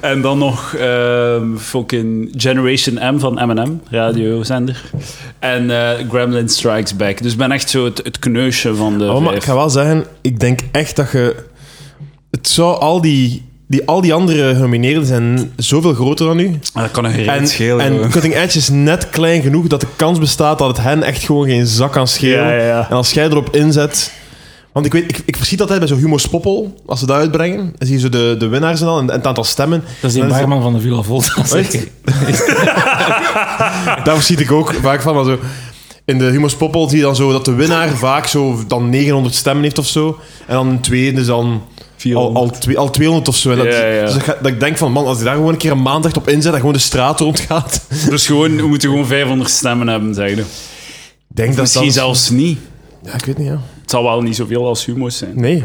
Speaker 1: En dan nog ehm, fucking Generation M van M&M, radiozender. En eh, Gremlin Strikes Back. Dus ik ben echt zo het, het kneusje van de
Speaker 2: Oh, maar ik
Speaker 1: vijf.
Speaker 2: ga wel zeggen, ik denk echt dat je... Het zou al die... die al die andere genomineerden zijn zoveel groter dan u.
Speaker 1: Maar dat kan een gereed
Speaker 2: En,
Speaker 1: schelen.
Speaker 2: en
Speaker 1: gewoon.
Speaker 2: Cutting Edge is net klein genoeg dat de kans bestaat dat het hen echt gewoon geen zak kan schelen.
Speaker 1: Ja, ja, ja.
Speaker 2: En als jij erop inzet... Want ik weet, ik, ik zie dat altijd bij zo'n Humo's Poppel, als ze dat uitbrengen. Dan zie je zo de, de winnaars en al, en, en het aantal stemmen.
Speaker 3: Dat is die
Speaker 2: Dan is het-
Speaker 3: barman van de Villa Volta, zeker.
Speaker 2: Daar zie ik ook vaak van. Maar zo, in de Humo's Poppel zie je dan zo dat de winnaar vaak zo dan 900 stemmen heeft of zo. En dan een tweede is dan al, al, twee- al 200 of zo. En dat,
Speaker 1: Ja, ja.
Speaker 2: Dus dat, ga- dat ik denk van, man, als je daar gewoon een keer een maand echt op inzet en gewoon de straat rondgaat.
Speaker 1: Dus gewoon, we moeten gewoon 500 stemmen hebben, zeg je.
Speaker 2: Ik denk dat
Speaker 1: Misschien
Speaker 2: dat-
Speaker 1: zelfs niet.
Speaker 2: Ja, ik weet niet, ja.
Speaker 1: Het zal wel niet zoveel als humo's zijn.
Speaker 2: Nee.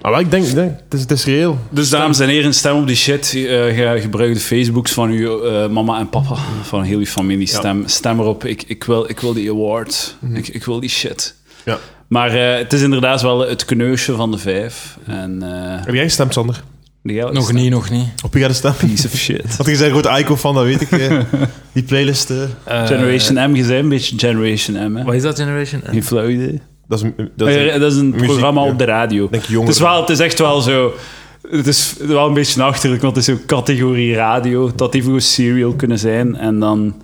Speaker 2: Maar wel, ik denk, ik denk het, is, het is reëel.
Speaker 1: Dus dames en heren, stem op die shit. Eh, ge- gebruik de Facebooks van uw eh, mama en papa, van heel uw familie. Stem, stem erop. Ik, ik, wil, ik wil die award. Ik, ik wil die shit.
Speaker 2: Ja.
Speaker 1: Maar eh, het is inderdaad wel het kneusje van de vijf. En eh,
Speaker 2: Heb jij gestemd, Sander?
Speaker 1: die geld is
Speaker 3: Nog
Speaker 1: een
Speaker 3: niet, nog niet.
Speaker 2: Op wie gaat de stem?
Speaker 1: Piece of shit.
Speaker 2: Want je bent een groot ico van, dat weet ik. eh. Die playlist, eh,
Speaker 3: Eh,
Speaker 1: Generation M, je zei een beetje Generation M, hè?
Speaker 3: Wat is dat, Generation?
Speaker 1: Geen flauw idee.
Speaker 2: dat is, een- dat
Speaker 1: Dat
Speaker 2: is
Speaker 1: is
Speaker 2: een-
Speaker 1: een, Oh, dat is een
Speaker 2: muziek,
Speaker 1: programma
Speaker 2: ja.
Speaker 1: op de radio.
Speaker 2: denk jongeren.
Speaker 1: Het is, wel, het is echt wel zo. Het is wel een beetje achterlijk, want het is zo'n categorie radio. Het had even goed serial kunnen zijn. En dan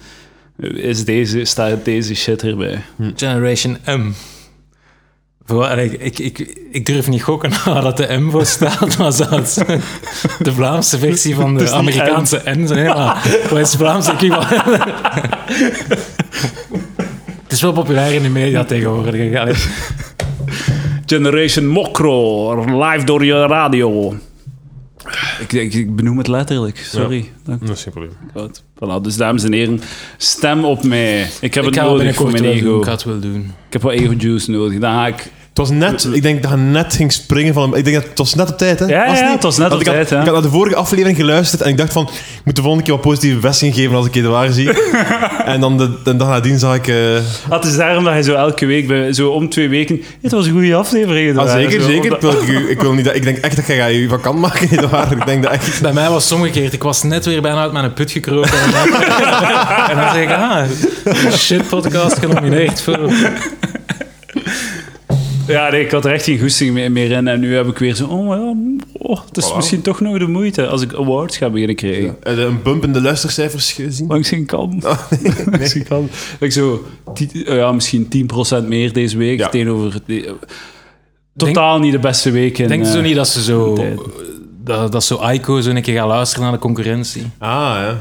Speaker 1: is deze, staat deze shit erbij.
Speaker 3: Generation M. Voor, allee, ik, ik, ik, ik durf niet gokken waar dat de M voor staat, maar zou het de Vlaamse versie van de
Speaker 1: is niet
Speaker 3: Amerikaanse N zijn. hè, maar Wat is het Vlaamse equivalent? Het is wel populair in de media tegenwoordig. Allee,
Speaker 1: Generation Mokro, live door je radio. Ik, ik, ik benoem het letterlijk, sorry. Dank
Speaker 2: Dat is geen probleem.
Speaker 1: u wel. Voilà, dus dames en heren, stem op mij. Ik heb
Speaker 3: ik
Speaker 1: het
Speaker 3: ga wel
Speaker 1: nodig voor
Speaker 3: binnenkort
Speaker 1: mijn
Speaker 3: wel doen.
Speaker 1: ego.
Speaker 3: Ik ga het wel doen.
Speaker 1: Ik heb wel ego-juice nodig. Dan ga ik...
Speaker 2: Het was net, ik denk dat hij net ging springen van... Ik denk dat het was net op tijd, hè?
Speaker 1: Ja,
Speaker 2: Was
Speaker 1: ja,
Speaker 2: niet?
Speaker 1: het was net
Speaker 2: Want
Speaker 1: op
Speaker 2: ik had-
Speaker 1: tijd, hè.
Speaker 2: Ik had naar de vorige aflevering geluisterd en ik dacht van... Ik moet de volgende keer wat positieve vesting geven als ik je de waar zie. en dan de, de dag nadien zag ik... eh
Speaker 1: Ah, het is daarom dat je zo elke week, bij- zo om twee weken... Het was een goede aflevering.
Speaker 2: ah,
Speaker 1: dat waren
Speaker 2: zeker,
Speaker 1: zo,
Speaker 2: zeker.
Speaker 1: omdat-
Speaker 2: Ik wil, ik, u- ik wil niet dat, ik denk echt dat jij gaat je vakant maken, niet waar? Ik denk dat echt...
Speaker 3: Bij mij was het omgekeerd. Ik was net weer bijna uit mijn put gekropen. En dan, en dan zeg ik, ah, shit podcast genomineerd voor...
Speaker 1: Ja, nee, ik had er echt geen goesting mee- meer in. En nu heb ik weer zo... Oh, ja, mm, oh het is
Speaker 2: Voilà.
Speaker 1: misschien toch nog de moeite als ik awards ga beginnen krijgen.
Speaker 2: Eh, Een bump in de luistercijfers gezien.
Speaker 1: Langs geen kant. Langs geen kant. Ik zo, ti- eh, ja, misschien 10% meer deze week.
Speaker 2: Ja.
Speaker 1: Tegenover... het- eh, totaal niet de beste week. In,
Speaker 3: Denk je zo
Speaker 1: eh,
Speaker 3: niet dat ze zo...
Speaker 1: tijd.
Speaker 3: Dat, dat zo Aiko zo een keer gaat luisteren naar de concurrentie.
Speaker 2: Ah, ja.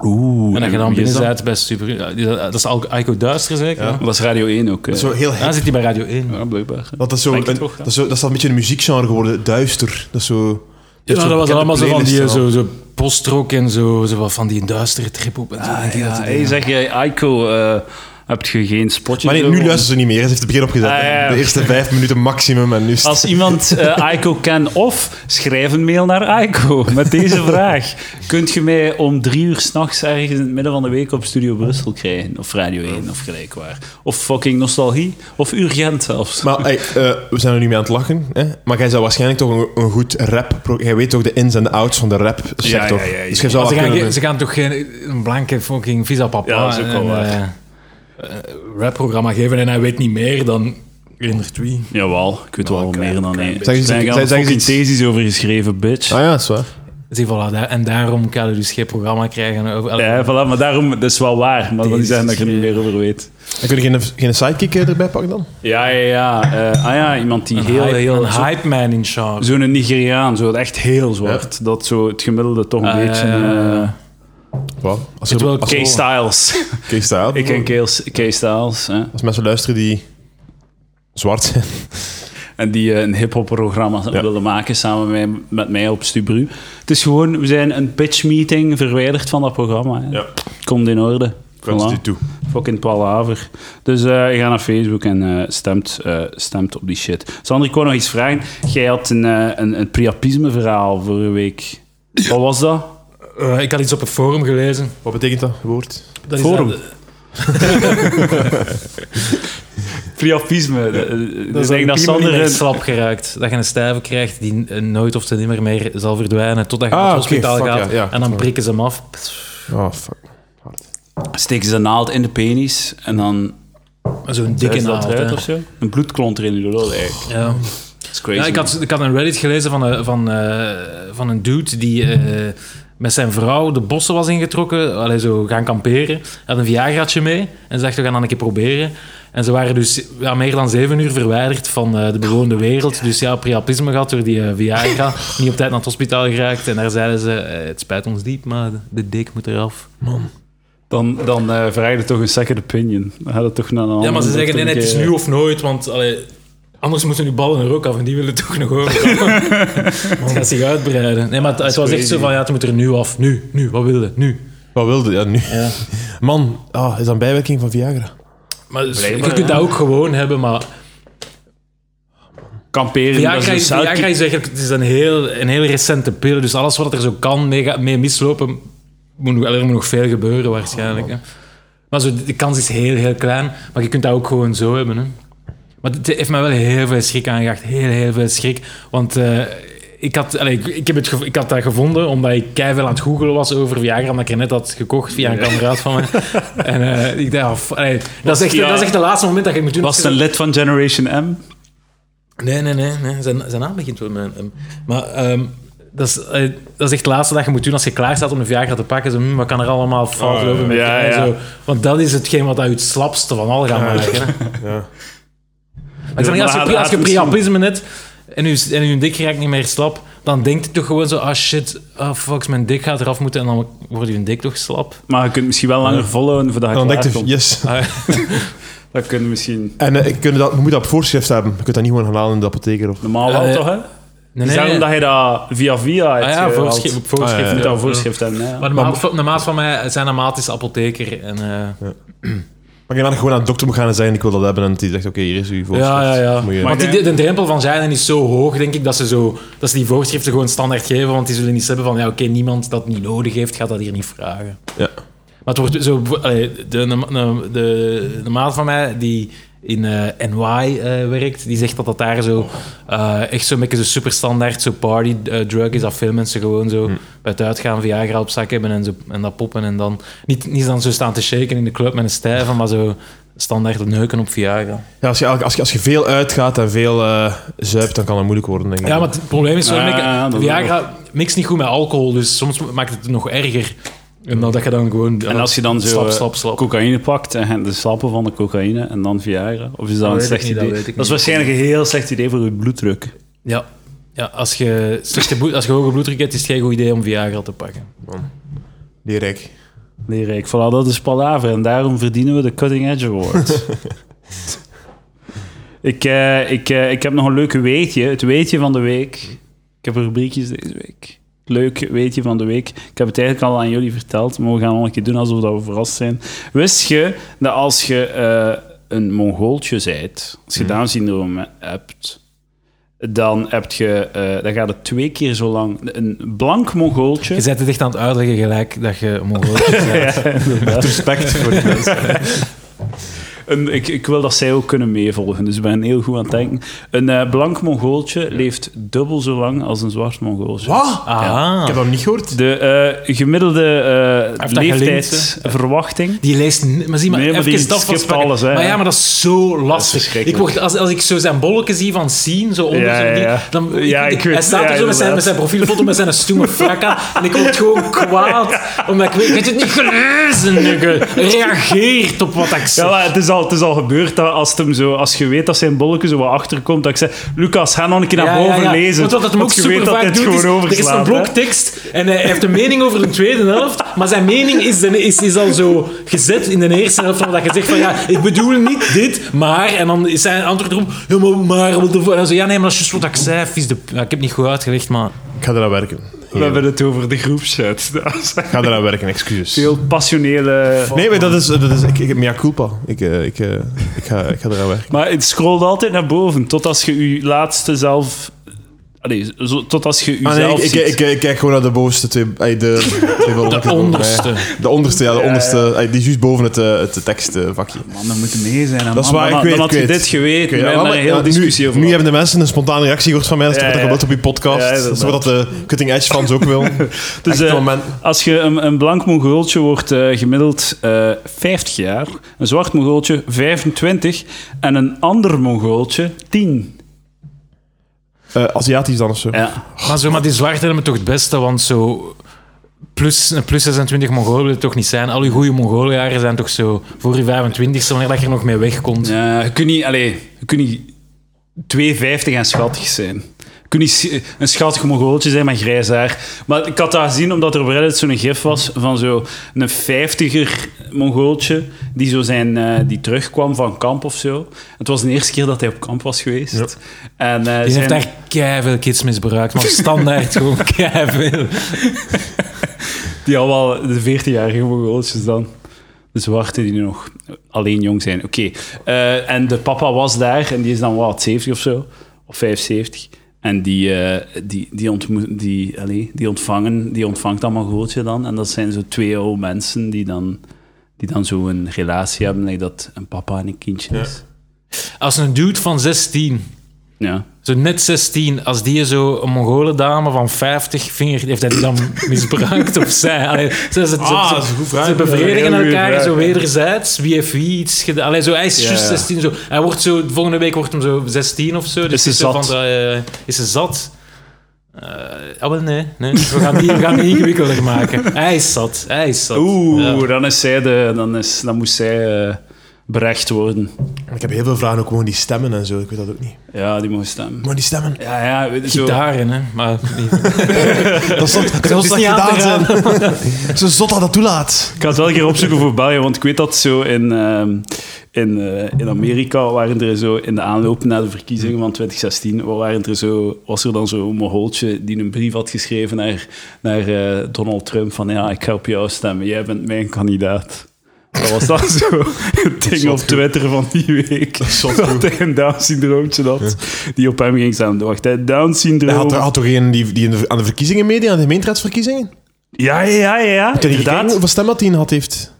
Speaker 1: Oeh.
Speaker 3: en dat je
Speaker 1: wie
Speaker 3: dan
Speaker 1: is
Speaker 3: binnen
Speaker 1: dat?
Speaker 3: bent bij Super... ja, die- Dat is al Aiko Duister, zeker?
Speaker 2: Ja.
Speaker 3: Ja.
Speaker 1: Dat is Radio 1 ook.
Speaker 2: Zo heel hip.
Speaker 3: Dan zit hij bij Radio 1.
Speaker 1: Ja, blijkbaar.
Speaker 2: Want dat is, zo
Speaker 1: Denk
Speaker 2: een,
Speaker 1: het toch, ja.
Speaker 2: dat, is zo, dat is al een beetje een muziekgenre geworden, duister. Dat is zo...
Speaker 3: Ja, dat was allemaal zo van die
Speaker 1: eh,
Speaker 2: playlists
Speaker 3: zo, zo postrock en zo, zo wat van die duistere trip op en zo. denk ik dat
Speaker 1: Ah, Ja,
Speaker 3: het
Speaker 1: hey,
Speaker 3: is.
Speaker 1: zeg jij, Aiko, eh heb je geen spotje?
Speaker 2: Maar nee,
Speaker 1: zo
Speaker 2: nu
Speaker 1: om-
Speaker 2: luisteren ze niet meer. Ze heeft het begin opgezet.
Speaker 1: Ah, ja, ja.
Speaker 2: De eerste vijf minuten maximum en nu... is het-
Speaker 1: Als iemand eh Aiko kan of, schrijf een mail naar Aiko met deze vraag. Kunt je mij om drie uur s'nachts ergens in het midden van de week op Studio Brussel krijgen? Of Radio 1 of gelijk waar. Of fucking Nostalgie. Of Urgent zelfs.
Speaker 2: Maar hey, eh, we zijn er nu mee aan het lachen. Hè? Maar jij zou waarschijnlijk toch een, een goed rap... pro- Jij weet toch de ins en de outs van de rap sector.
Speaker 1: Ja, ja, ja, ja.
Speaker 2: Dus jij zou
Speaker 3: Maar
Speaker 2: wel
Speaker 3: ze, gaan,
Speaker 2: kunnen...
Speaker 3: geen- ze gaan toch geen een blanke fucking visa papa
Speaker 1: Ja, dat is ook wel
Speaker 3: een,
Speaker 1: waar.
Speaker 3: eh, eh, rapprogramma geven en hij weet niet meer dan herinnert wie.
Speaker 1: Jawel, ik weet wel
Speaker 3: klein-
Speaker 1: meer dan
Speaker 3: klein
Speaker 1: één.
Speaker 2: beetje.
Speaker 1: Daar
Speaker 2: Zeg-
Speaker 1: gaan
Speaker 2: zeg- zeg eens
Speaker 1: fucking
Speaker 2: iets.
Speaker 1: thesis over geschreven, bitch.
Speaker 2: Ah ja, dat is waar.
Speaker 3: Zie, voilà, daar- en daarom kan je dus geen programma krijgen. Over,
Speaker 1: Ja, voilà, maar daarom, dat is wel waar. Maar die
Speaker 3: Thesis
Speaker 1: zeggen dat je er niet meer over weet.
Speaker 2: En kun je geen, geen sidekick eh, erbij pakken dan?
Speaker 1: Ja, ja, ja. eh, ah ja, iemand die
Speaker 3: een
Speaker 1: heel,
Speaker 3: hype,
Speaker 1: heel...
Speaker 3: een
Speaker 1: zo-
Speaker 3: hype man in charge.
Speaker 1: Zo'n Nigeriaan, zo, echt heel zwart. Dat zo het gemiddelde toch een
Speaker 3: Ah, ja,
Speaker 1: beetje...
Speaker 3: ja, ja.
Speaker 1: eh,
Speaker 2: Wow. Als
Speaker 3: Het wel
Speaker 2: als,
Speaker 3: Kees-
Speaker 1: K-Styles.
Speaker 2: Kees Stijl.
Speaker 1: Ik ken Kees, Kees Styles. Hè?
Speaker 2: Als mensen luisteren die zwart zijn.
Speaker 1: En die eh, een hip-hop programma
Speaker 2: Ja.
Speaker 1: willen maken samen met, met mij op Stubru. Het is gewoon, we zijn een pitch meeting verwijderd van dat programma. Hè?
Speaker 2: Ja.
Speaker 1: Komt in orde.
Speaker 2: Wens die
Speaker 1: Voilà.
Speaker 2: toe.
Speaker 1: Fucking palaver. Dus eh, je gaat naar Facebook en eh, stemt, eh, stemt op die shit. Sander, ik wou nog iets vragen. Jij had een, eh, een, een priapisme-verhaal vorige week. Wat was dat?
Speaker 3: Eh, ik had iets op het forum gelezen.
Speaker 2: Wat betekent dat woord?
Speaker 3: Dat
Speaker 1: Forum.
Speaker 3: Is dat,
Speaker 1: Priapisme.
Speaker 3: Dat
Speaker 1: Eh, Ik
Speaker 3: is
Speaker 1: denk
Speaker 3: dat
Speaker 1: dat
Speaker 3: Sander
Speaker 1: Sander...
Speaker 3: echt
Speaker 1: een-
Speaker 3: slap geraakt. Dat je een stijve krijgt die eh, nooit of te nimmer meer zal verdwijnen. Totdat je
Speaker 2: Ah,
Speaker 3: naar het
Speaker 2: oké,
Speaker 3: hospitaal
Speaker 2: fuck,
Speaker 3: gaat.
Speaker 2: ja, ja.
Speaker 3: en dan prikken ze hem af.
Speaker 2: Oh, fuck.
Speaker 1: Steken ze een naald in de penis en dan...
Speaker 3: Zo'n dikke
Speaker 1: Is dat
Speaker 3: naald.
Speaker 1: eruit
Speaker 3: hè.
Speaker 1: of zo? Een bloedklont erin in de lul, eigenlijk.
Speaker 3: Ja.
Speaker 1: Dat is crazy.
Speaker 3: Ja, ik, had, ik had een Reddit gelezen van, eh, van, eh, van een dude die eh, met zijn vrouw de bossen was ingetrokken. Allee, zo gaan kamperen. Hij had een Viagraatje mee en ze dacht, we gaan dat een keer proberen. En ze waren dus ja, meer dan zeven uur verwijderd van eh, de bewoonde wereld. Dus ja, priapisme gehad door die eh, Viagra. Niet op tijd naar het hospitaal geraakt. En daar zeiden ze, eh, het spijt ons diep, maar de, de dik moet eraf.
Speaker 1: Dan, dan eh, vraag je toch een second opinion. Dan gaat het toch naar een
Speaker 3: Ja, maar ze
Speaker 1: andere
Speaker 3: zeggen, nee, nee, het is
Speaker 1: dokter,
Speaker 3: nu
Speaker 1: eh,
Speaker 3: of nooit, want allee, anders moeten nu ballen er ook af en die willen toch nog over. het gaat zich uitbreiden. Nee, maar het, het was echt
Speaker 1: crazy.
Speaker 3: zo van, ja, het moet er nu af. Nu, nu, wat wilde, nu.
Speaker 2: Wat wilde je nu?
Speaker 3: Ja.
Speaker 2: Man, ah, is dat een bijwerking van Viagra?
Speaker 3: Maar, dus, je
Speaker 1: Blijkbaar,
Speaker 3: kunt
Speaker 1: ja.
Speaker 3: dat ook gewoon hebben, maar
Speaker 1: Kamperen, dat is
Speaker 3: Viagra
Speaker 1: een
Speaker 3: is,
Speaker 1: suiker-
Speaker 3: Viagra is eigenlijk het is een, heel, een heel recente pil, dus alles wat er zo kan mee, ga- mee mislopen, moet, nog- er moet nog veel gebeuren waarschijnlijk. Hè. Maar zo, de kans is heel, heel klein, maar je kunt dat ook gewoon zo hebben. Hè. Maar het heeft mij wel heel veel schrik aangejaagd. Heel, heel veel schrik. Want eh, ik, had, allee, ik, ik heb het gev- ik had dat gevonden omdat ik keihard aan het googelen was over Viagra, omdat ik er net had gekocht via een kameraad van mij. En eh, ik dacht, af- allee, dat, is echt,
Speaker 1: ja.
Speaker 3: dat is echt het laatste moment dat je moet doen.
Speaker 1: Was het een lid van Generation M?
Speaker 3: Nee, nee, nee. nee. Zijn, zijn naam begint wel met een M. Maar ehm, dat, is, eh, dat is echt het laatste dat je moet doen als je klaar staat om een Viagra te pakken. Zo, hm, wat kan er allemaal fout
Speaker 2: Ah,
Speaker 3: lopen met
Speaker 1: Oh, ja,
Speaker 3: en
Speaker 1: ja.
Speaker 3: Zo. Want dat is hetgeen wat uit het slapste van al gaat maken. hè.
Speaker 2: Ja.
Speaker 3: Maar ik zeg, als, je,
Speaker 1: Maar
Speaker 3: pri- als je
Speaker 1: laat het
Speaker 3: priapisme net en je, en je dik raakt niet meer slap, dan denkt je toch gewoon zo, ah shit, ah fuck, mijn dik gaat eraf moeten en dan wordt je dik toch slap.
Speaker 1: Maar je kunt misschien wel langer volhouden voordat je
Speaker 2: Dan denk
Speaker 1: klaar
Speaker 2: je,
Speaker 1: komt.
Speaker 2: yes.
Speaker 1: Dat kunnen misschien...
Speaker 2: En eh, ik kunnen dat, je moet dat op voorschrift hebben. Je kunt dat niet gewoon gaan halen in de apotheker. Of...
Speaker 1: Normaal wel,
Speaker 3: Eh,
Speaker 1: toch, hè?
Speaker 3: Nee,
Speaker 1: Ze zeggen dat je dat Oh, via via hebt
Speaker 3: Ah ja,
Speaker 1: gehaald.
Speaker 3: voorschrift. voorschrift
Speaker 2: Ah, ja,
Speaker 1: Je moet
Speaker 3: ja.
Speaker 1: dat voorschrift hebben, hè.
Speaker 3: Maar de maat, van- de maat van mij, zijn maat is apotheker en... eh,
Speaker 2: Maar je dan gewoon naar de dokter moet gaan en zeggen, ik wil dat hebben. En die zegt, oké, hier is uw voorschrift.
Speaker 3: Ja, ja, ja.
Speaker 2: Moet je-
Speaker 1: Maar
Speaker 3: Want die,
Speaker 1: ik denk-
Speaker 3: de drempel van zijn is zo hoog, denk ik, dat ze, zo, dat ze die voorschriften gewoon standaard geven. Want die zullen niet hebben van, ja, oké, niemand dat niet nodig heeft, gaat dat hier niet vragen.
Speaker 2: Ja.
Speaker 3: Maar het wordt zo... allee, de, de, de, de, de maat van mij, die in eh, NY eh, werkt, die zegt dat dat daar zo eh, echt zo'n beetje zo superstandaard, zo party eh, drug is, dat veel mensen gewoon
Speaker 2: Hm.
Speaker 3: zo bij het uitgaan Viagra op zak hebben en, zo, en dat poppen en dan... Niet, niet dan zo staan te shaken in de club met een stijve, maar zo standaard neuken op Viagra.
Speaker 2: Ja, als, je, als, je, als je veel uitgaat en veel eh, zuipt, dan kan dat moeilijk worden, denk ik.
Speaker 3: Ja, maar het probleem is zo,
Speaker 1: Ah,
Speaker 3: Nick,
Speaker 1: ja, dat
Speaker 3: Viagra mixt niet goed met alcohol, dus soms maakt het het nog erger. En dat je dan gewoon...
Speaker 1: En als je dan zo
Speaker 3: Slap,
Speaker 1: eh,
Speaker 3: slap, slap.
Speaker 1: cocaïne pakt en je de slappen van de cocaïne en dan Viagra, of is dat een
Speaker 3: weet ik
Speaker 1: slecht
Speaker 3: niet, dat
Speaker 1: idee?
Speaker 3: weet ik
Speaker 1: Dat,
Speaker 3: niet.
Speaker 1: is waarschijnlijk een heel slecht idee voor je bloeddruk.
Speaker 3: Ja. ja als, je slechte bloed, als je hoge bloeddruk hebt, is het geen goed idee om Viagra te pakken.
Speaker 2: Die rek.
Speaker 1: Nee, Rijk, voilà, dat is palaver en daarom verdienen we de Cutting Edge Award. ik, eh, ik, eh, ik heb nog een leuke weetje, het weetje van de week. Ik heb rubriekjes deze week. Leuk weetje van de week. Ik heb het eigenlijk al aan jullie verteld, maar we gaan nog een keer doen alsof dat we verrast zijn. Wist je dat als je eh, een Mongooltje zijt, als je Down-syndroom hebt, dan, heb je, eh, dan gaat het twee keer zo lang. Een blank Mongooltje.
Speaker 3: Je bent het echt aan het uitleggen gelijk dat je Mongooltje bent.
Speaker 2: Respect voor die mensen.
Speaker 1: Een, ik, ik wil dat zij ook kunnen meevolgen, dus ik ben heel goed aan het denken. Een eh, blank Mongooltje leeft dubbel zo lang als een zwart Mongooltje.
Speaker 2: Wat?
Speaker 3: Ah,
Speaker 2: Ik heb dat niet gehoord.
Speaker 1: De eh, gemiddelde eh
Speaker 3: heeft dat
Speaker 1: leeftijdsverwachting.
Speaker 3: Die lijst... niet- Maar zie maar,
Speaker 1: Nee, maar
Speaker 3: even
Speaker 1: die
Speaker 3: dat
Speaker 1: skipt
Speaker 3: vastpakken.
Speaker 1: alles, hè.
Speaker 3: Maar ja, maar dat is zo lastig. ik
Speaker 1: verschrikkelijk.
Speaker 3: word, als, als ik zo zijn bolletje zie van zien, zo onder
Speaker 1: Ja,
Speaker 3: zijn ding,
Speaker 1: ja, ja.
Speaker 3: dan...
Speaker 1: Ja, ik
Speaker 3: hij
Speaker 1: weet-
Speaker 3: staat er
Speaker 1: ja,
Speaker 3: zo met zijn, met zijn profielfoto, met zijn stoeme frak aan. En ik word gewoon kwaad. Omdat ik weet, je hebt het niet gelezen, nugge. Reageert op wat ik zeg.
Speaker 1: Ja, maar het is al, het is al gebeurd dat als, het hem zo, als je weet dat zijn bolletje zo wat achterkomt, dat ik zeg, Lucas, ga nog een keer naar
Speaker 3: Ja, ja,
Speaker 1: boven
Speaker 3: ja.
Speaker 1: lezen.
Speaker 3: Want wat dat hem ook
Speaker 1: je weet
Speaker 3: super
Speaker 1: dat dit
Speaker 3: vaak doet,
Speaker 1: gewoon
Speaker 3: is, er is
Speaker 1: overslaat,
Speaker 3: een
Speaker 1: hè.
Speaker 3: blok tekst en hij heeft een mening over de tweede helft, maar zijn mening is, de, is, is al zo gezet in de eerste helft, van dat je zegt van ja, ik bedoel niet dit, maar, en dan is zijn antwoord erop, ja, maar, maar, wat de vo-" en dan zo, ja nee, maar dat is juist wat ik zei, vies de... Ja, ik heb het niet goed uitgelegd, maar...
Speaker 2: Ik ga eraan werken.
Speaker 1: We hebben het over de groepschat. Dat is
Speaker 2: Ik ga eraan werken, excuses.
Speaker 1: Heel passionele...
Speaker 2: Nee, maar dat is... Dat is ik, ik, mea culpa. Ik, eh, ik, eh, ik, ga, ik ga eraan werken.
Speaker 1: Maar het scrolt altijd naar boven, tot als je je laatste zelf... Allee, zo, tot als je
Speaker 2: Ah,
Speaker 1: jezelf
Speaker 2: nee, ik, ik,
Speaker 1: ziet.
Speaker 2: ik- ik kijk gewoon naar de bovenste twee... ey, de, twee bolletjes
Speaker 3: De
Speaker 2: boven
Speaker 3: onderste.
Speaker 2: mij. De onderste, ja. De onderste, ey, die is juist boven het, eh, het tekstvakje.
Speaker 1: Man, dat moet mee zijn. hè,
Speaker 2: Dat is
Speaker 1: man.
Speaker 2: waar,
Speaker 1: Dan-
Speaker 2: ik weet,
Speaker 1: Dan had
Speaker 2: ik
Speaker 1: je
Speaker 2: weet.
Speaker 1: dit geweten.
Speaker 2: Ik weet-
Speaker 1: we
Speaker 2: ja,
Speaker 1: hebben
Speaker 2: maar-
Speaker 1: daar een hele
Speaker 2: ja, nu-
Speaker 1: discussie over
Speaker 2: Nu
Speaker 1: gehad.
Speaker 2: hebben de mensen een spontane reactie gehoord van mij. Dat is
Speaker 1: Ja,
Speaker 2: toch wat
Speaker 1: ja.
Speaker 2: ik op je
Speaker 1: Ja,
Speaker 2: podcast. dat is toch wat de cutting edge fans ook wil.
Speaker 1: Dus,
Speaker 2: Echt het
Speaker 1: eh,
Speaker 2: moment.
Speaker 1: Als je een, een blank mongooltje wordt eh, gemiddeld eh, 50 jaar, een zwart mongooltje 25 en een ander mongooltje 10.
Speaker 2: Eh, Aziatisch dan of zo.
Speaker 1: Ja.
Speaker 3: Maar, zo, maar die zwarten hebben het toch het beste, want zo... Plus, een plus 26 Mongolen wil het toch niet zijn. Al uw goede Mongooljaren zijn toch zo voor je 25ste, wanneer dat je er nog mee wegkomt.
Speaker 1: Ja, je kunt niet, allee, je kunt niet 250 en schattig zijn. Je kunt niet s- een schattig mongooltje zijn met grijs haar. Maar ik had dat gezien omdat er op Reddit zo'n gif was van zo'n 50er mongooltje die, zo zijn, eh, die terugkwam van kamp of zo. Het was de eerste keer dat hij op kamp was geweest. En, eh, zijn-
Speaker 3: Die heeft daar keiveel kids misbruikt, maar standaard gewoon keiveel.
Speaker 1: Die allemaal de 14-jarige Mongooltjes dan. De zwarte die nog alleen jong zijn. Oké. Eh, en de papa was daar en die is dan wat, 70 of zo? Of 75. En die, eh, die, die, ontmoet, die, allee, die, ontvangen, die ontvangt dat Mongooltje dan. En dat zijn zo twee oude mensen die dan, die dan zo een relatie hebben. like dat een papa en een kindje is.
Speaker 3: Als een dude van 16
Speaker 1: Ja.
Speaker 3: Zo net 16, als die zo een Mongole dame van 50 vinger... Heeft hij die dan misbruikt of zij? Allee, ze, ze, ze,
Speaker 2: Ah, dat is een goed vraag.
Speaker 3: ze bevredigen
Speaker 1: Heel goede
Speaker 3: elkaar
Speaker 1: vraag,
Speaker 3: zo
Speaker 1: ja.
Speaker 3: wederzijds. Wie heeft wie iets gedaan? Allee, zo, hij is
Speaker 1: Ja,
Speaker 3: juist
Speaker 1: ja.
Speaker 3: 16. Zo. Hij wordt zo, volgende week wordt hem zo 16 of zo. Dus
Speaker 1: Is ze
Speaker 3: het zo
Speaker 1: zat?
Speaker 3: Van, eh, is ze zat? Eh, ah, wel, nee. nee. We gaan die, we gaan die ingewikkelder maken. Hij is zat. Hij is zat.
Speaker 1: Oeh,
Speaker 3: Ja.
Speaker 1: dan, is zij de, dan, is, dan moest zij eh, berecht worden.
Speaker 2: Ik heb heel veel vragen ook gewoon die stemmen en zo. Ik weet dat ook niet.
Speaker 1: Ja, die moest stemmen.
Speaker 2: Maar die stemmen.
Speaker 1: Ja, ja. weet je, zo-
Speaker 3: Gitaren, hè. Maar niet-
Speaker 2: Dat is toch dat is
Speaker 3: is
Speaker 2: toch
Speaker 3: niet aan
Speaker 2: gedaan
Speaker 3: te
Speaker 2: zijn. Zo zot dat dat toelaat.
Speaker 1: Ik ga het wel een keer opzoeken voor België, want ik weet dat zo in, ehm, in, eh, in Amerika waren er zo in de aanloop naar de verkiezingen van 2016 waren er zo, was er dan zo'n mogoltje die een brief had geschreven naar, naar eh, Donald Trump van ja, ik ga op jou stemmen, jij bent mijn kandidaat. Dat was dan zo het ding op Twitter van die week. Dat hij een Down-syndroompje had, die op hem ging staan. Wacht, hè,
Speaker 2: Hij
Speaker 1: Down-syndroom.
Speaker 2: had, er- had toch een die, die in de- aan de verkiezingen meedeed, aan de gemeenteraadsverkiezingen?
Speaker 1: Ja, ja, ja, ja,
Speaker 2: Ken je gekeken
Speaker 1: inderdaad.
Speaker 2: hoeveel stem dat hij in had heeft?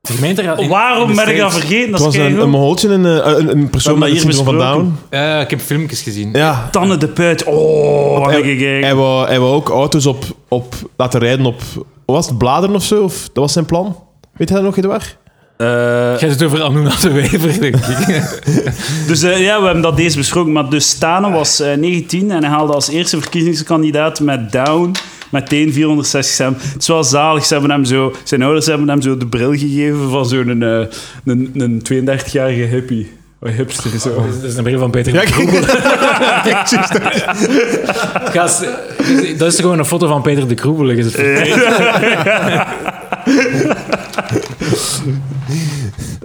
Speaker 3: de gemeenteraad... in- in
Speaker 1: Waarom
Speaker 3: de
Speaker 1: ben ik dat
Speaker 3: States.
Speaker 1: vergeten? Dat
Speaker 2: Het was
Speaker 1: is
Speaker 2: een,
Speaker 1: keigoed.
Speaker 2: een Mongooltje, en een, eh, een, een persoon
Speaker 1: We
Speaker 2: met
Speaker 1: hebben
Speaker 2: het
Speaker 1: dat hier
Speaker 2: syndroom van
Speaker 1: besproken.
Speaker 2: Down.
Speaker 3: Ja, ik heb filmpjes gezien.
Speaker 2: Ja.
Speaker 1: Tanne de Puit. Oh, wat heb ik gekeken.
Speaker 2: Hij wou, hij wou ook auto's op, op laten rijden op... wat Was het bladeren of zo? Of, dat was zijn plan? Weet hij dat nog, Edouard?
Speaker 1: Eh,
Speaker 3: Jij zit over Anuna de Wever, denk ik.
Speaker 1: dus eh, ja, we hebben dat deze besproken. Maar dus Stane was eh, 19 en hij haalde als eerste verkiezingskandidaat met Down meteen 460 stemmen. Het is wel zalig. Ze hebben hem zo, zijn ouders hebben hem zo de bril gegeven van zo'n eh, een, een 32-jarige hippie. Oh, hipster zo.
Speaker 3: Dat is een bril van Peter.
Speaker 2: Ja, kijk.
Speaker 3: Gast, dat is gewoon een foto van Peter de Kroebel. Is het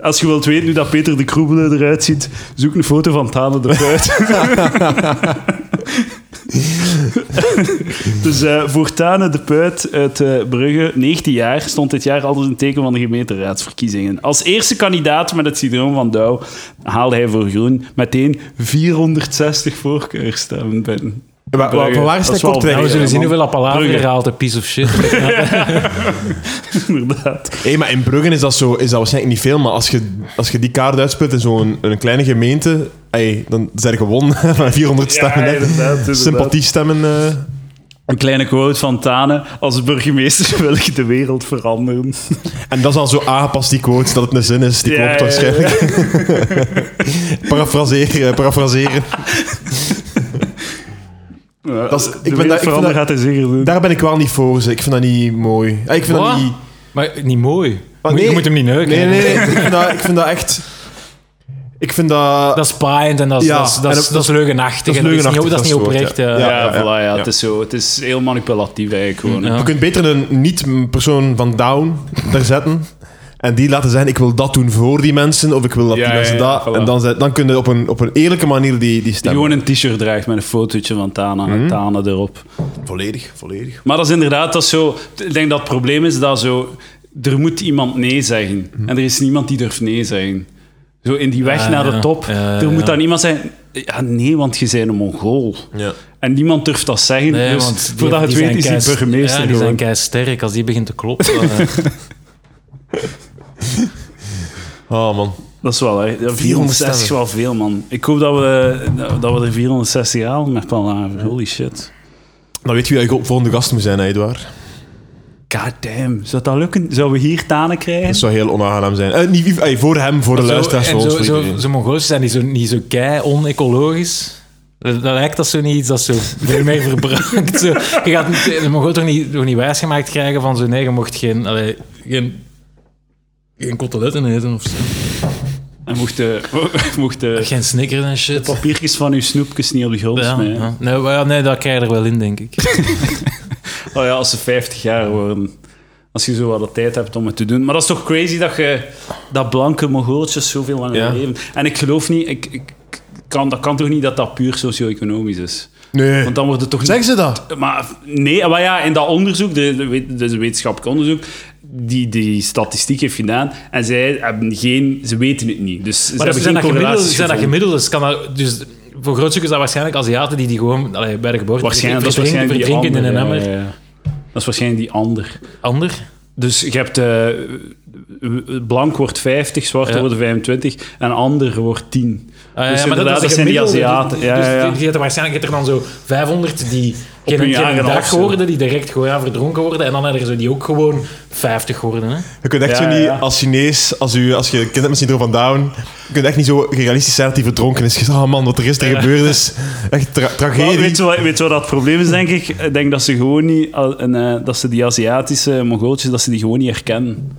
Speaker 1: Als je wilt weten hoe dat Peter de Kroebelen eruit ziet, zoek een foto van Tane de Puit. dus eh, voor Tane de Puit uit eh, Brugge, 19 jaar, stond dit jaar altijd een teken van de gemeenteraadsverkiezingen. Als eerste kandidaat met het syndroom van Douw haalde hij voor Groen meteen 460 voorkeurstemmen binnen.
Speaker 2: Wa- wa- Van waar
Speaker 1: Dat
Speaker 2: is hij
Speaker 1: is wel
Speaker 2: kort weg?
Speaker 3: nou, we zullen zien hoeveel appalaten
Speaker 1: Brugge.
Speaker 3: je haalt, de piece of shit.
Speaker 1: Inderdaad.
Speaker 2: Hé, maar in Bruggen is dat, zo, is dat waarschijnlijk niet veel, maar als je, als je die kaart uitspit in zo'n een kleine gemeente, ey, dan zijn er gewonnen van 400 stemmen. hè. Sympathie stemmen. eh.
Speaker 1: Een kleine quote van Tane. Als burgemeester wil ik de wereld veranderen.
Speaker 2: En dat is al zo aangepast, die quote, dat het een zin is. Die
Speaker 1: Ja,
Speaker 2: klopt
Speaker 1: ja, ja.
Speaker 2: waarschijnlijk. parafraseren, eh, parafraseren.
Speaker 1: Ja,
Speaker 2: Dat is-
Speaker 1: de
Speaker 2: ik ben
Speaker 1: wereld
Speaker 2: daar- ik vind
Speaker 1: veranderen
Speaker 2: dat-
Speaker 1: gaat hij zeker doen.
Speaker 2: Daar ben ik wel niet voor. ze. Ik vind dat niet mooi. Eh, Ik vind dat
Speaker 3: Wat?
Speaker 2: niet...
Speaker 3: Maar niet mooi.
Speaker 2: Maar
Speaker 3: Moet-
Speaker 2: nee.
Speaker 3: Je moet hem niet neuken.
Speaker 2: Nee, nee, nee. ik, vind dat, ik vind dat echt... Ik vind dat...
Speaker 3: Dat is paaiend en dat is,
Speaker 2: Ja,
Speaker 3: dat is, dat
Speaker 2: en
Speaker 3: is,
Speaker 2: dat-
Speaker 3: dat is leugenachtig. en
Speaker 2: dat
Speaker 3: Dat
Speaker 2: is
Speaker 3: is niet, dat is niet
Speaker 2: leugenachtig,
Speaker 3: oprecht.
Speaker 2: dat is het woord,
Speaker 3: ja.
Speaker 1: Ja,
Speaker 2: ja, ja,
Speaker 1: voilà, ja,
Speaker 2: ja.
Speaker 1: Het, is zo, het is heel manipulatief eigenlijk gewoon. hè.
Speaker 3: Ja.
Speaker 2: Je kunt beter een niet-persoon van down daar zetten. En die laten zeggen, ik wil dat doen voor die mensen. Of ik wil dat
Speaker 1: Ja,
Speaker 2: die mensen
Speaker 1: ja, ja,
Speaker 2: dat.
Speaker 1: voilà.
Speaker 2: En dan, zet- dan kun je op een, op een eerlijke manier die, die
Speaker 1: Die
Speaker 2: stemmen.
Speaker 1: gewoon een t-shirt draagt met een fotootje van Tana, Tana erop.
Speaker 2: Mhm. Volledig, volledig.
Speaker 1: Maar dat is inderdaad dat is zo. Ik denk dat het probleem is dat zo. Er moet iemand nee zeggen. En er is niemand die durft nee zeggen. Zo in die weg
Speaker 3: Ah,
Speaker 1: naar de
Speaker 3: Mhm. ja.
Speaker 1: top.
Speaker 3: Ja,
Speaker 1: er moet
Speaker 3: ja.
Speaker 1: dan iemand zijn... Ja, nee, want je bent een Mongool.
Speaker 2: Ja.
Speaker 1: En niemand durft dat zeggen.
Speaker 3: Nee,
Speaker 1: dus
Speaker 3: want die-
Speaker 1: voordat je
Speaker 3: die
Speaker 1: het weet
Speaker 3: zijn
Speaker 1: is die
Speaker 3: keis-
Speaker 1: burgemeester
Speaker 3: Ja, die
Speaker 1: gewoon.
Speaker 3: zijn kei sterk. Als die begint te kloppen... dan, eh,
Speaker 2: Oh man.
Speaker 1: Dat is wel, hè. Ja, 460 is
Speaker 2: stemmen.
Speaker 1: wel veel, man. Ik hoop dat we, eh, dat we er 460 halen met Palaver. Holy shit.
Speaker 2: Dan weet je wie je volgende gast moet zijn, hè, Edouard.
Speaker 1: God damn. Zou dat lukken? Zouden we hier Tanen krijgen?
Speaker 2: Dat zou heel onaangenaam zijn. Eh, niet, eh, voor hem, voor de
Speaker 3: Zo-
Speaker 2: luisteraars,
Speaker 3: en
Speaker 2: voor ons.
Speaker 3: zo,
Speaker 2: voor
Speaker 3: zo,
Speaker 2: iedereen.
Speaker 3: zo Mongoolse zijn die zo, niet zo kei onecologisch. Dat dat lijkt als zo niet iets dat zo veel meer verbruikt. Zo, je gaat niet- de Mongool toch niet, toch niet wijsgemaakt krijgen van zo nee, je mocht geen, allee, geen, geen koteletten eten of zo.
Speaker 1: En mocht de, mocht de
Speaker 3: Geen snickers en shit.
Speaker 1: papiertjes van uw snoepjes niet op de grond
Speaker 3: Ja,
Speaker 1: smijten.
Speaker 3: ja. Nee, maar ja, nee, dat krijg je er wel in, denk ik.
Speaker 1: Oh ja, als ze 50 jaar worden. Als je zo wat de tijd hebt om het te doen. Maar dat is toch crazy dat je dat blanke Mongooltjes zoveel langer
Speaker 2: Ja.
Speaker 1: leven. En ik geloof niet, ik, ik kan, dat kan toch niet dat dat puur socio-economisch is?
Speaker 2: Nee.
Speaker 1: Want dan wordt het toch niet...
Speaker 2: Zeggen ze dat?
Speaker 1: Maar nee, maar ja, in dat onderzoek, de, de, wet- dus een wetenschappelijk onderzoek, die die statistiek heeft gedaan, en zij hebben geen, ze weten het niet. Dus ze
Speaker 3: Maar
Speaker 1: hebben
Speaker 3: dat zijn,
Speaker 1: geen
Speaker 3: dat
Speaker 1: correlaties
Speaker 3: gemiddelde, zijn dat
Speaker 1: gevonden.
Speaker 3: gemiddeldes? Kan dat, dus voor groot stuk is dat waarschijnlijk Aziaten die die gewoon allee, bij de geboorte
Speaker 1: Waarschijnlijk, dat is
Speaker 3: verdrinken,
Speaker 1: waarschijnlijk die
Speaker 3: verdrinken in
Speaker 1: ander.
Speaker 3: een emmer.
Speaker 1: ja, ja, ja. Dat is waarschijnlijk die ander.
Speaker 3: Ander?
Speaker 1: Dus je hebt... eh, blank wordt 50, zwart
Speaker 3: Ja.
Speaker 1: wordt 25 en ander wordt 10.
Speaker 3: Ah, ja,
Speaker 1: dus
Speaker 3: maar
Speaker 1: inderdaad,
Speaker 3: is de
Speaker 1: dat zijn die
Speaker 3: gemiddelde.
Speaker 1: Aziaten.
Speaker 3: Dus,
Speaker 1: Ja, ja, ja.
Speaker 3: je hebt er waarschijnlijk je hebt er dan zo 500 die geen,
Speaker 1: een
Speaker 3: geen
Speaker 1: jaar en een half
Speaker 3: dag
Speaker 1: zo.
Speaker 3: worden, die direct gewoon ja, verdronken worden. En dan hebben er zo die ook gewoon 50 worden. Hè?
Speaker 2: Je kunt echt
Speaker 1: Ja,
Speaker 2: zo niet,
Speaker 1: ja, ja.
Speaker 2: als Chinees, als, u, als je kind hebt met syndroom van Down, je kunt echt niet zo realistisch zijn dat hij verdronken is. Je zegt, oh man, wat er gisteren gebeurd is. Echt tra-
Speaker 1: Maar
Speaker 2: tragedie.
Speaker 1: weet, je wat, weet je wat dat het probleem is, denk ik? Ik denk dat ze gewoon niet... al- en, eh, dat ze die Aziatische Mongooltjes, dat ze die gewoon niet herkennen.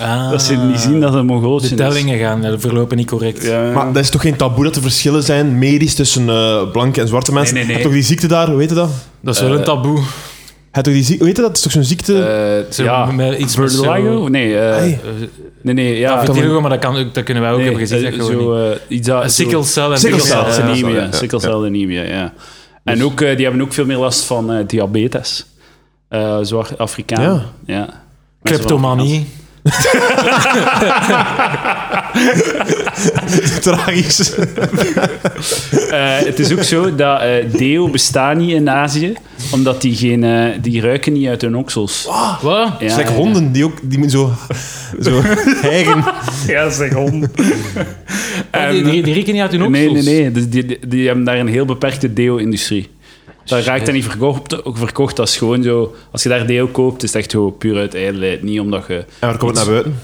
Speaker 1: Ah. Dat ze niet zien dat het een Mongooltje
Speaker 3: Ah. De
Speaker 1: is.
Speaker 3: tellingen gaan eh, verlopen niet correct.
Speaker 1: Ja.
Speaker 2: Maar dat is toch geen taboe dat er verschillen zijn, medisch, tussen eh, blanke en zwarte mensen?
Speaker 1: nee, nee.
Speaker 2: Heb toch die ziekte daar, weet je dat?
Speaker 3: Dat is wel
Speaker 1: Eh,
Speaker 3: een taboe.
Speaker 2: Heb toch die ziekte, weet je dat? Dat is toch zo'n ziekte?
Speaker 3: Zo,
Speaker 1: ja,
Speaker 3: met iets met zo-
Speaker 1: Verlago? Nee, eh,
Speaker 2: Hey.
Speaker 1: nee, nee, ja.
Speaker 3: Vitiligo, maar dat, kan, ook- dat kunnen wij ook
Speaker 1: Nee,
Speaker 3: hebben gezien.
Speaker 1: eh,
Speaker 3: Dat gewoon niet.
Speaker 1: zo, eh, iets dat-
Speaker 3: Eh,
Speaker 1: zo-
Speaker 3: Sickle cell en eh,
Speaker 2: Sickle
Speaker 1: sickle
Speaker 2: cell,
Speaker 1: cell
Speaker 2: ja, ja,
Speaker 1: anemia.
Speaker 2: ja.
Speaker 1: Sickle cell anemia, ja. En ook, eh, die hebben ook veel meer last van eh, diabetes. Eh zwart Afrikaan.
Speaker 2: Ja.
Speaker 1: Ja. Mensen van
Speaker 3: Kleptomanie.
Speaker 2: Tragisch.
Speaker 1: Eh, het is ook zo dat eh, deo bestaat niet in Azië, omdat die, geen, eh, die ruiken niet uit hun oksels.
Speaker 3: Wat?
Speaker 1: Ja,
Speaker 2: Het is like
Speaker 1: ja.
Speaker 2: honden, die ook die moeten zo, zo hijgen.
Speaker 1: Ja, zeg hond.
Speaker 3: Ah, die, die, die rieken niet uit hun oksels.
Speaker 1: Ehm, Nee, nee, nee. Dus die, die, die hebben daar een heel beperkte deo-industrie. Dat raakt dan niet verkocht, verkocht. Dat is gewoon zo... Als je daar deo koopt, is het echt zo puur uit ijdelheid. Niet omdat je...
Speaker 2: En waar komt het naar buiten?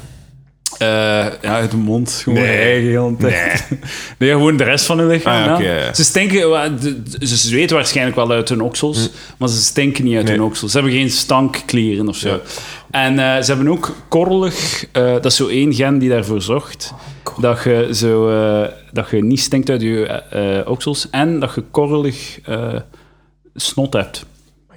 Speaker 1: eh, ja, uit de mond. Gewoon
Speaker 2: Nee.
Speaker 1: eigen heel de tijd. Nee, gewoon de rest van hun lichaam.
Speaker 2: Ah, ja,
Speaker 1: ja.
Speaker 2: oké, ja, ja.
Speaker 1: Ze stinken... wa- de- de- Ze zweten waarschijnlijk wel uit hun oksels, maar ze stinken niet uit
Speaker 2: Hm. Nee.
Speaker 1: hun oksels. Ze hebben geen stankklieren of zo.
Speaker 2: Ja.
Speaker 1: En eh, ze hebben ook korrelig... eh, dat is zo één gen die daarvoor zorgt.
Speaker 2: Oh,
Speaker 1: Dat je, zo, eh, dat je niet stinkt uit je eh, eh, oksels en dat je korrelig eh, snot hebt.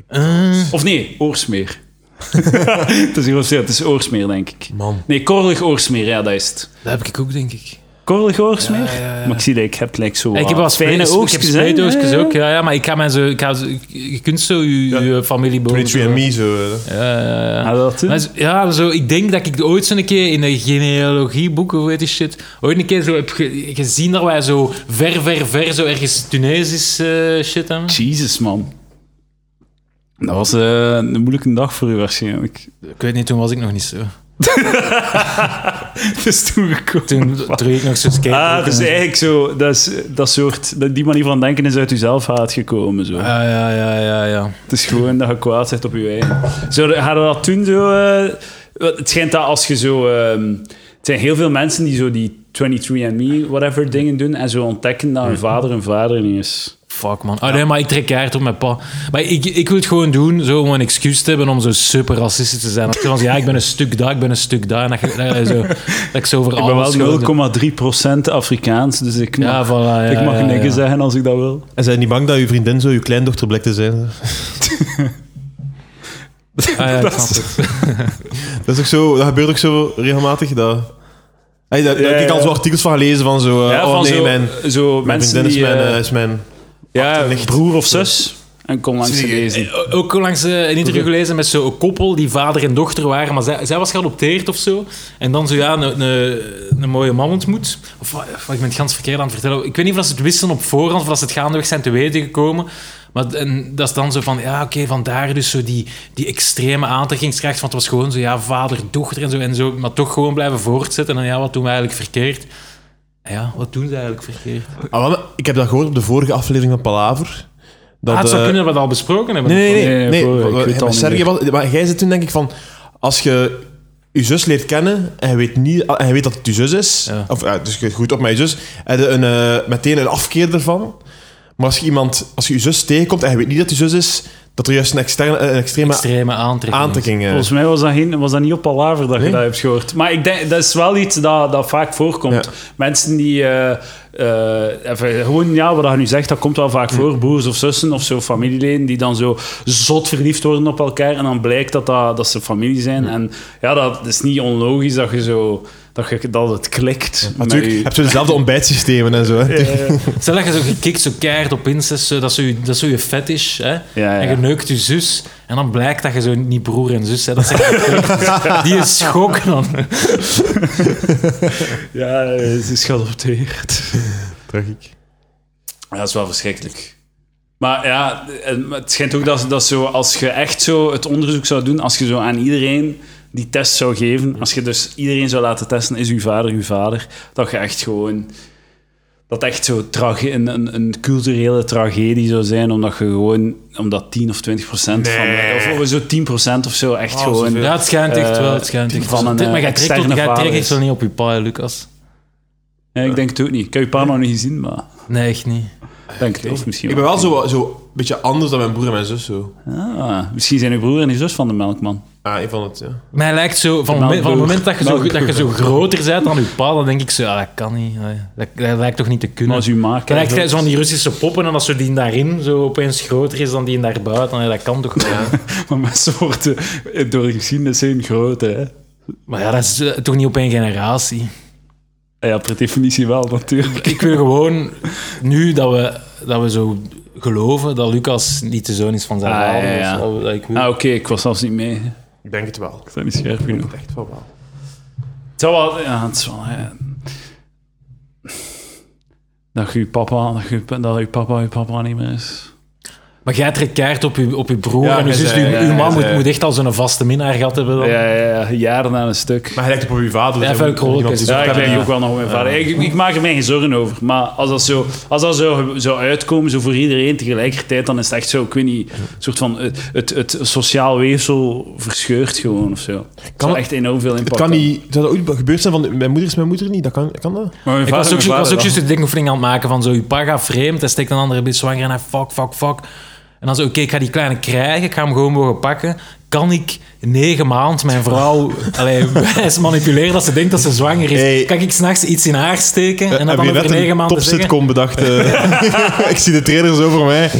Speaker 3: Eh,
Speaker 1: Of nee, oorsmeer. het, is hier officieel, het is oorsmeer, denk ik.
Speaker 2: Man.
Speaker 1: Nee, korrelig oorsmeer, ja, dat is het.
Speaker 3: dat heb ik ook, denk ik.
Speaker 1: Korrelig oorsmeer? Maar ik zie dat ik heb gelijk zo
Speaker 3: Ik heb wel
Speaker 1: wat fijne
Speaker 3: spijt- Ik heb
Speaker 1: oogstjes. hè?
Speaker 3: spijtoogstjes
Speaker 1: Ja, ja.
Speaker 3: ook, ja, ja, maar ik ga mijn zo... Ik ga zo- je kunt zo je, je familieboom...
Speaker 2: 23andMe, zo. eh.
Speaker 3: Ja,
Speaker 1: Ah, dat doen.
Speaker 3: Maar zo- ja, zo, ik denk dat ik ooit zo'n keer in een genealogieboek, hoe heet die shit, ooit een keer zo heb ge- gezien dat wij zo ver, ver, ver, zo ergens Tunesisch eh, shit hebben.
Speaker 1: Jezus, man. Dat was eh, een moeilijke dag voor u waarschijnlijk.
Speaker 3: Ik weet niet, toen was ik nog niet zo.
Speaker 1: Het is toegekomen.
Speaker 3: Toen droeg ik nog zo'n skate.
Speaker 1: Ah, dus eigenlijk zo, dat, is, dat soort, dat- die manier van denken is uit jezelf haat gekomen. Zo.
Speaker 3: Ah, ja, ja, ja, ja, ja.
Speaker 1: Het is gewoon dat je kwaad bent op je eigen. Zo, hadden we dat toen zo... eh, wel, het schijnt dat als je zo... ehm, het zijn heel veel mensen die zo die 23andMe, whatever, dingen doen en zo ontdekken dat hun vader een vader niet is.
Speaker 3: Fuck man. Ah, nee, maar ik trek keihard op mijn pa. Maar ik, ik wil het gewoon doen, zo, om een excuus te hebben om zo super racistisch te zijn. Als je dan zegt, ja, ik ben een stuk daar, ik ben een stuk daar. En dat, je- dat je zo, dat ik zo over
Speaker 1: Ik ben wel 0,3% Afrikaans, dus ik mag,
Speaker 3: Ja, voilà, ja,
Speaker 1: ik mag
Speaker 3: ja,
Speaker 1: niks
Speaker 3: ja.
Speaker 1: zeggen als ik dat wil.
Speaker 2: En zijn niet bang dat uw vriendin zo uw kleindochter blijkt te zijn?
Speaker 3: Ah, ja, ik snap het.
Speaker 2: Dat, is ook zo, dat gebeurt ook zo regelmatig. Dat, hey, daar, daar
Speaker 1: Ja,
Speaker 2: heb ik al
Speaker 1: ja.
Speaker 2: zo artikels van gelezen van zo... eh,
Speaker 1: Ja,
Speaker 2: oh
Speaker 1: van
Speaker 2: nee,
Speaker 1: zo,
Speaker 2: mijn,
Speaker 1: zo
Speaker 2: mijn
Speaker 1: mensen
Speaker 2: vriendin
Speaker 1: die...
Speaker 2: is mijn,
Speaker 1: eh,
Speaker 2: eh, is mijn...
Speaker 1: ja,
Speaker 2: achternicht.
Speaker 1: broer of zus. en kom langs
Speaker 2: Zie je,
Speaker 1: lezen.
Speaker 3: Ook langs eh, een interview gelezen met zo'n koppel die vader en dochter waren, maar zij, zij was geadopteerd of zo. En dan zo ja, een, een, een mooie man ontmoet. Of wa- of, ik ben het gans verkeerd aan het vertellen. Ik weet niet of dat ze het wisten op voorhand of dat ze het gaandeweg zijn te weten gekomen. Maar d- en dat is dan zo van, ja, oké, vandaar dus zo die, die extreme aantrekkingskracht. Want het was gewoon zo, ja, vader, dochter en zo en zo. Maar toch gewoon blijven voortzetten. En ja, wat doen we eigenlijk verkeerd? Ja, wat doen ze eigenlijk verkeerd?
Speaker 2: Ah, wel, ik heb dat gehoord op de vorige aflevering van Palaver. Dat,
Speaker 3: Ah, het zou
Speaker 2: eh,
Speaker 3: kunnen dat we dat al besproken hebben.
Speaker 2: Nee, nee, nee. nee,
Speaker 1: Nee, voor- ik
Speaker 2: wa-
Speaker 1: weet
Speaker 2: wa-
Speaker 1: het al
Speaker 2: maar
Speaker 1: niet
Speaker 2: Sergej
Speaker 1: meer.
Speaker 2: was- maar jij zit toen denk ik van... Als je je zus leert kennen en je weet, niet, ah, en je weet dat het je zus is...
Speaker 3: Ja.
Speaker 2: Of, eh, dus je hebt goed op met je zus. Heb je een, eh, meteen een afkeer ervan. Maar als je, iemand, als je je zus tegenkomt en je weet niet dat je zus is... Dat er juist een, externe, een extreme
Speaker 3: Extreme aantrekking.
Speaker 2: aantrekking... eh,
Speaker 1: Volgens mij was dat, geen, was dat niet op palaver dat je
Speaker 2: Nee.
Speaker 1: dat hebt gehoord. Maar ik denk, dat is wel iets dat, dat vaak voorkomt.
Speaker 2: Ja.
Speaker 1: Mensen die... eh, eh, even, gewoon, ja, wat je nu zegt, dat komt wel vaak voor. Broers of zussen of zo, familieleden die dan zo zot verliefd worden op elkaar. En dan blijkt dat, dat, dat ze familie zijn. En ja, dat is niet onlogisch dat je zo... Dat, je, dat het klikt. met
Speaker 2: natuurlijk
Speaker 1: je-
Speaker 2: heb je dezelfde ontbijtsystemen en zo. hè.
Speaker 3: Stel dat je zo gekikt, zo keihard op incest, zo, dat is zo je- dat is zo je fetish. Hè?
Speaker 1: ja.
Speaker 3: En je neukt je zus. En dan blijkt dat je zo niet broer en zus bent. Dat zijn gekikt. Die is schok dan.
Speaker 1: Ja, het is geadopteerd.
Speaker 2: Tragiek.
Speaker 1: Ja, dat is wel verschrikkelijk. Maar ja, en het schijnt ook dat, dat zo, als je echt zo het onderzoek zou doen, als je zo aan iedereen die test zou geven, als je dus iedereen zou laten testen, is uw vader uw vader, dat je echt gewoon... Dat echt zo trage- een, een, een culturele tragedie zou zijn, omdat je gewoon... Omdat 10 of 20 procent van... de- Of, of zo 10 procent of zo, echt gewoon...
Speaker 3: Ja, het schijnt echt wel. Het schijnt
Speaker 1: Eh,
Speaker 3: echt
Speaker 1: van
Speaker 3: wel.
Speaker 1: een,
Speaker 3: Dit- maar
Speaker 1: eh,
Speaker 3: jij trekt toch-
Speaker 1: externe
Speaker 3: jij trekt
Speaker 1: vader
Speaker 3: echt
Speaker 1: is.
Speaker 3: wel niet op je pa, hè, Lucas?
Speaker 1: Ja, ik denk het ook niet. Ik heb je paar nog niet gezien, maar...
Speaker 3: Nee, echt niet.
Speaker 1: ik Denk het, of misschien
Speaker 2: Ik ben wel zo, zo een beetje anders dan mijn broer en mijn zus. Zo.
Speaker 1: Ah, misschien zijn uw broer en uw zus van de melkman.
Speaker 2: Ah, ik vond het, ja.
Speaker 3: Maar hij lijkt zo, van, het moment- van het moment dat je, zo, dat je zo groter bent dan je pa, dan denk ik zo, ah, dat kan niet. Ah, Dat, dat lijkt toch niet te
Speaker 1: Maar
Speaker 3: kunnen.
Speaker 1: als u maakt...
Speaker 3: Dan krijg je zo'n die Russische poppen en als zo die daarin zo opeens groter is dan die daarbuiten, dan- dat kan toch wel.
Speaker 1: Maar mensen worden door de geschiedenis heen groter, hè?
Speaker 3: Maar ja, dat is eh, toch niet op één generatie.
Speaker 1: Ja, per definitie wel, natuurlijk.
Speaker 3: Ik wil gewoon nu dat we, dat we zo geloven dat Lucas niet de zoon is van zijn
Speaker 1: Ah,
Speaker 3: vader. Dus
Speaker 1: ja, ja.
Speaker 3: Dat is wel- dat ik wil.
Speaker 1: Ah, oké, ik was zelfs niet mee. Ik
Speaker 2: Ik denk het wel.
Speaker 1: was niet scherp
Speaker 2: Ik denk
Speaker 1: genoeg.
Speaker 2: het echt wel wel.
Speaker 1: Het zou wel... Ja, het is wel... ja. Dat je uw papa, dat je, dat uw papa, uw papa niet meer is.
Speaker 3: Maar jij trekt keihard op je, op je broer
Speaker 2: Ja,
Speaker 3: en je
Speaker 2: hij
Speaker 3: zus.
Speaker 2: zei-
Speaker 3: uw-
Speaker 2: ja,
Speaker 3: uw
Speaker 2: hij
Speaker 3: man moet,
Speaker 2: zei-
Speaker 3: moet echt al zo'n vaste minnaar gehad hebben. Dan.
Speaker 1: Ja, ja, ja, jaren aan een stuk.
Speaker 2: Maar hij lijkt op uw vader. dus
Speaker 3: Ja,
Speaker 2: hij
Speaker 3: veel
Speaker 2: moet-
Speaker 3: krolletjes.
Speaker 2: iemand die zo-
Speaker 1: Ja, ik
Speaker 3: hebben
Speaker 1: lijk
Speaker 3: die-
Speaker 1: ook wel nog op mijn vader. Ik, ik maak er mij geen zorgen over. Maar als dat zo, als dat zo zou uitkomen, zo voor iedereen tegelijkertijd, dan is het echt zo, ik weet niet, een soort van het, het, het sociaal weefsel verscheurt gewoon of zo. Het kan
Speaker 2: het-
Speaker 1: echt enorm veel
Speaker 2: Het
Speaker 1: impact
Speaker 2: kan
Speaker 1: hebben.
Speaker 2: niet... Zou dat ooit gebeurd zijn van... Mijn moeder is mijn moeder niet? Dat kan, kan dat?
Speaker 1: Maar mijn
Speaker 3: Ik was
Speaker 1: vader-
Speaker 3: ook, ik
Speaker 1: mijn
Speaker 3: was ook
Speaker 1: vader
Speaker 3: juist de denkoefening aan het maken van zo, je pa gaat vreemd, hij steekt een andere bij zwanger en hij fuck, fuck, fuck. En dan zo, oké, ik ga die kleine krijgen, ik ga hem gewoon mogen pakken. Kan ik negen maanden mijn vrouw allee, wijs manipuleren dat ze denkt dat ze zwanger is?
Speaker 2: Hey.
Speaker 3: Kan ik s'nachts iets in haar steken en dat dan
Speaker 2: Hebben
Speaker 3: over
Speaker 2: jullie net
Speaker 3: negen
Speaker 2: een
Speaker 3: maanden zeggen?
Speaker 2: topsitcom bedacht? eh? ik zie de trailer zo voor mij.
Speaker 1: wel.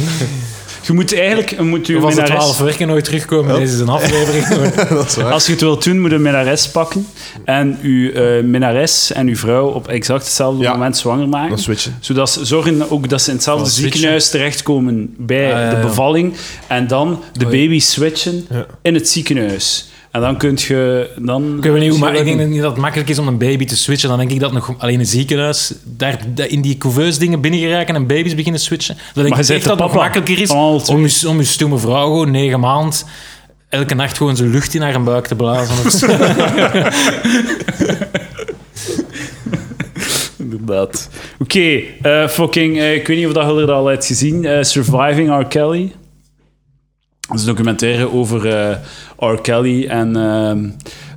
Speaker 1: Je moet eigenlijk, je moet je
Speaker 3: Of als de
Speaker 1: minnares-
Speaker 3: twaalf werken nooit terugkomen, deze is een aflevering.
Speaker 2: dat is waar.
Speaker 1: Als je het wilt doen, moet je een minnares pakken en uw eh minnares en uw vrouw op exact hetzelfde
Speaker 2: Ja.
Speaker 1: moment zwanger maken.
Speaker 2: Dan switchen.
Speaker 1: Zodat ze zorgen ook dat ze in hetzelfde
Speaker 3: Oh, switchen.
Speaker 1: ziekenhuis terechtkomen bij
Speaker 3: Ah, ja,
Speaker 1: de
Speaker 3: ja.
Speaker 1: bevalling. En dan de
Speaker 3: Oei.
Speaker 1: baby switchen
Speaker 2: Ja.
Speaker 1: in het ziekenhuis. En dan kun je... Dan
Speaker 3: Ik weet niet hoe, maar ik denk dat niet dat het makkelijk is om een baby te switchen. Dan denk ik dat nog alleen een ziekenhuis daar, daar in die couveuse dingen binnen geraken en baby's beginnen switchen. Dan denk
Speaker 1: Maar
Speaker 3: ik
Speaker 1: je
Speaker 3: echt
Speaker 1: bent
Speaker 3: dat
Speaker 1: de
Speaker 3: het nog
Speaker 1: papa.
Speaker 3: makkelijker is
Speaker 1: Van alle twee.
Speaker 3: om je, om je stomme vrouw gewoon negen maanden elke nacht gewoon zijn lucht in haar een buik te blazen. of zo.
Speaker 1: Inderdaad. Oké, eh, fucking... eh, ik weet niet of dat jullie dat al hebt gezien. eh, Surviving R. Kelly. Dat is een documentaire over eh R. Kelly en ehm,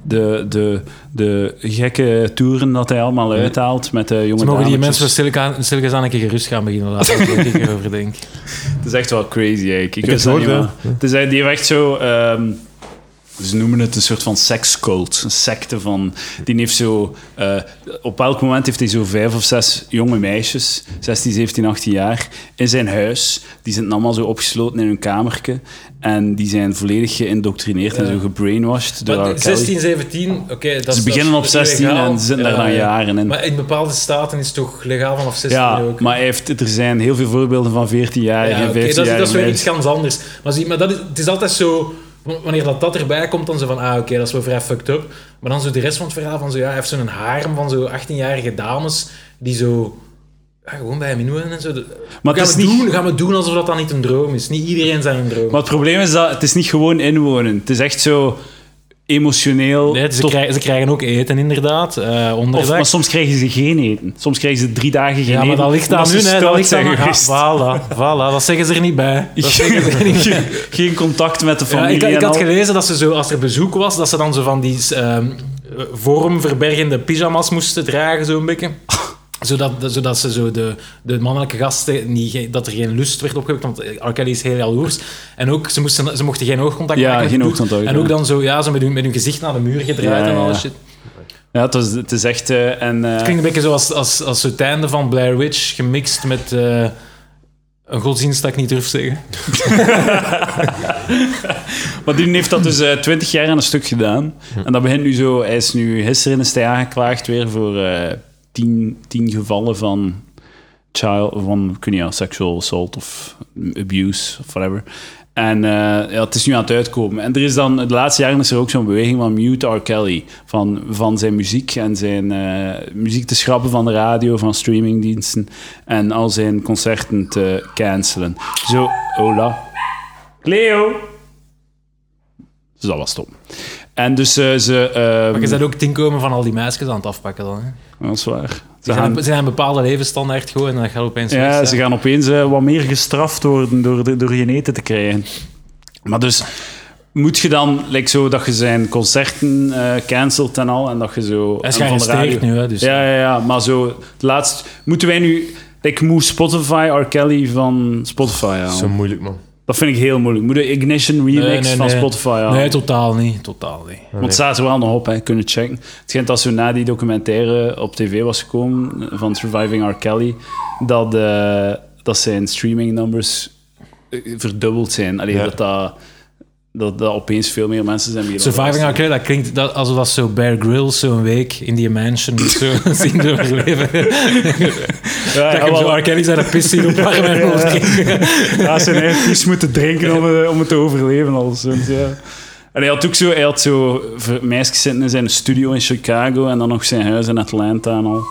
Speaker 1: de, de, de gekke toeren dat hij allemaal uithaalt met de jonge
Speaker 3: Dan mogen die mensen
Speaker 1: dametjes.
Speaker 3: van Silicon- Silicon aan een keer gerust gaan beginnen laten. Dat ik erover denk.
Speaker 1: Het is echt wel crazy, eigenlijk. Ik,
Speaker 2: heb
Speaker 1: wist
Speaker 2: het
Speaker 1: dat
Speaker 2: gehoord,
Speaker 1: niet, man. Het is echt, die heeft echt zo... ehm, Ze noemen het een soort van sekscult. Een secte van... Die heeft zo... eh, op elk moment heeft hij zo vijf of zes jonge meisjes, 16, 17, 18 jaar, in zijn huis. Die zijn allemaal zo opgesloten in hun kamertje. En die zijn volledig geïndoctrineerd en zo gebrainwashed door R.
Speaker 4: Maar
Speaker 1: Kelly.
Speaker 4: 16, 17, oké. dat is-
Speaker 1: Ze beginnen
Speaker 4: dat
Speaker 1: op
Speaker 4: is
Speaker 1: 16
Speaker 4: illegaal.
Speaker 1: en ze zitten daar
Speaker 4: Ja,
Speaker 1: dan
Speaker 4: ja.
Speaker 1: jaren in.
Speaker 4: Maar in bepaalde staten is het toch legaal vanaf 16
Speaker 1: Ja,
Speaker 4: ook.
Speaker 1: maar hij heeft, er zijn heel veel voorbeelden van 14-jarigen,
Speaker 4: Ja,
Speaker 1: en
Speaker 4: oké, dat, is,
Speaker 1: 15-jarigen.
Speaker 4: dat is weer
Speaker 1: meisjes.
Speaker 4: iets ganz anders. Maar, zie, maar dat is, het is altijd zo... w- Wanneer dat, dat erbij komt, dan zo van... Ah, oké, dat is wel vrij fucked up. Maar dan zo de rest van het verhaal van zo... Ja, hij heeft zo'n harem van zo 18-jarige dames die zo... ja, gewoon bij hem inwonen en zo. De-
Speaker 1: Maar
Speaker 4: gaan,
Speaker 1: het is
Speaker 4: we
Speaker 1: niet-
Speaker 4: doen, gaan we doen alsof dat dan niet een droom is. Niet iedereen zijn een droom.
Speaker 1: Maar het probleem is dat het is niet gewoon inwonen. Het is echt zo emotioneel.
Speaker 3: Nee, ze,
Speaker 1: tot-
Speaker 3: krijgen, ze krijgen ook eten, inderdaad. eh
Speaker 1: of,
Speaker 3: onderdak.
Speaker 1: maar soms krijgen ze geen eten. Soms krijgen ze drie dagen geen
Speaker 3: ja,
Speaker 1: eten.
Speaker 3: maar dat ligt
Speaker 1: omdat
Speaker 3: aan
Speaker 1: ze
Speaker 3: hun, hè. Dat
Speaker 1: stout
Speaker 3: ligt
Speaker 1: zijn
Speaker 3: aan hun. Ja,
Speaker 1: geweest.
Speaker 3: voilà, voilà, dat zeggen ze er niet bij. Dat zeggen ze er niet
Speaker 1: Geen-
Speaker 3: bij.
Speaker 1: Geen contact met de
Speaker 3: Ja,
Speaker 1: familie.
Speaker 3: ik, ik
Speaker 1: en
Speaker 3: had
Speaker 1: al.
Speaker 3: gelezen dat ze zo, als er bezoek was, dat ze dan zo van die ehm vormverbergende pyjama's moesten dragen, zo'n beetje. Zodat, zodat ze zo de, de mannelijke gasten, niet, dat er geen lust werd opgewekt, want eh, R. Kelly is heel jaloers. En ook, ze, moesten, ze mochten geen oogcontact
Speaker 1: Ja,
Speaker 3: maken. met
Speaker 1: geen
Speaker 3: de-
Speaker 1: oogcontact,
Speaker 3: En
Speaker 1: ja.
Speaker 3: ook dan zo, ja, zo met, hun, met hun gezicht naar de muur gedraaid
Speaker 1: Ja,
Speaker 3: en
Speaker 1: ja,
Speaker 3: alles
Speaker 1: ja.
Speaker 3: shit.
Speaker 1: Ja, het, was, het is echt... eh, en, eh,
Speaker 3: Het klinkt een beetje zoals als, als het einde van Blair Witch, gemixt met eh, een godsdienst dat ik niet durf zeggen.
Speaker 1: Maar die heeft dat dus twintig jaar aan een stuk gedaan. En dat begint nu zo... Hij is nu... Gisteren is hij aangeklaagd weer voor eh tien, tien gevallen van... Child... Van, ik weet niet, ja, sexual assault of abuse of whatever. En eh, ja, het is nu aan het uitkomen. En er is dan... De laatste jaren is er ook zo'n beweging van Mute R. Kelly. Van, van zijn muziek en zijn eh, muziek te schrappen van de radio, van streamingdiensten. En al zijn concerten te cancelen. Zo... Hola. Leo! Dus dat was stom. En dus eh, ze... ehm,
Speaker 3: Maar je bent ook het inkomen van al die meisjes aan het afpakken dan. Hè?
Speaker 1: Dat is waar. Ze
Speaker 3: Ze zijn,
Speaker 1: gaan,
Speaker 3: een, ze zijn een bepaalde levensstandaard gewoon en dat gaat opeens
Speaker 1: ja,
Speaker 3: weg,
Speaker 1: ze
Speaker 3: hè.
Speaker 1: gaan opeens eh, wat meer gestraft worden door, de- door geen eten te krijgen. Maar dus... Moet je dan, like zo, dat je zijn concerten eh cancelt en al, en dat je zo...
Speaker 3: Hij is
Speaker 1: en van de
Speaker 3: gearresteerd
Speaker 1: radio-
Speaker 3: nu, hè, dus.
Speaker 1: Ja, ja, ja, maar zo, het laatst... Moeten wij nu... Ik moet Spotify R. Kelly van Spotify halen.
Speaker 2: Zo moeilijk, man.
Speaker 1: Dat vind ik heel moeilijk. Moet de Ignition Remix
Speaker 3: Nee, nee,
Speaker 1: van
Speaker 3: nee.
Speaker 1: Spotify halen.
Speaker 3: Nee, totaal niet. Totaal niet.
Speaker 1: Want het staat er wel nog op, hè, kunnen checken. Het schijnt dat zo na die documentaire op tv was gekomen van Surviving R. Kelly, dat, eh, dat zijn streaming numbers eh, verdubbeld zijn. Alleen
Speaker 2: Ja.
Speaker 1: dat, dat, dat dat opeens veel meer mensen zijn die
Speaker 3: Surviving R. Kelly, dat klinkt dat, alsof dat zo Bear Grylls zo'n week in die mansion zo zien doorleven.
Speaker 1: Ja,
Speaker 3: dat ik hem
Speaker 1: wel,
Speaker 3: zo R. Kelly zijn pis zien opwarmen en rondkijken.
Speaker 1: ja, ze hebben echt iets moeten drinken om, het- om het te overleven. Al sinds, ja. En hij had ook zo, hij had zo ver- meisjes zitten in zijn studio in Chicago en dan nog zijn huis in Atlanta en al.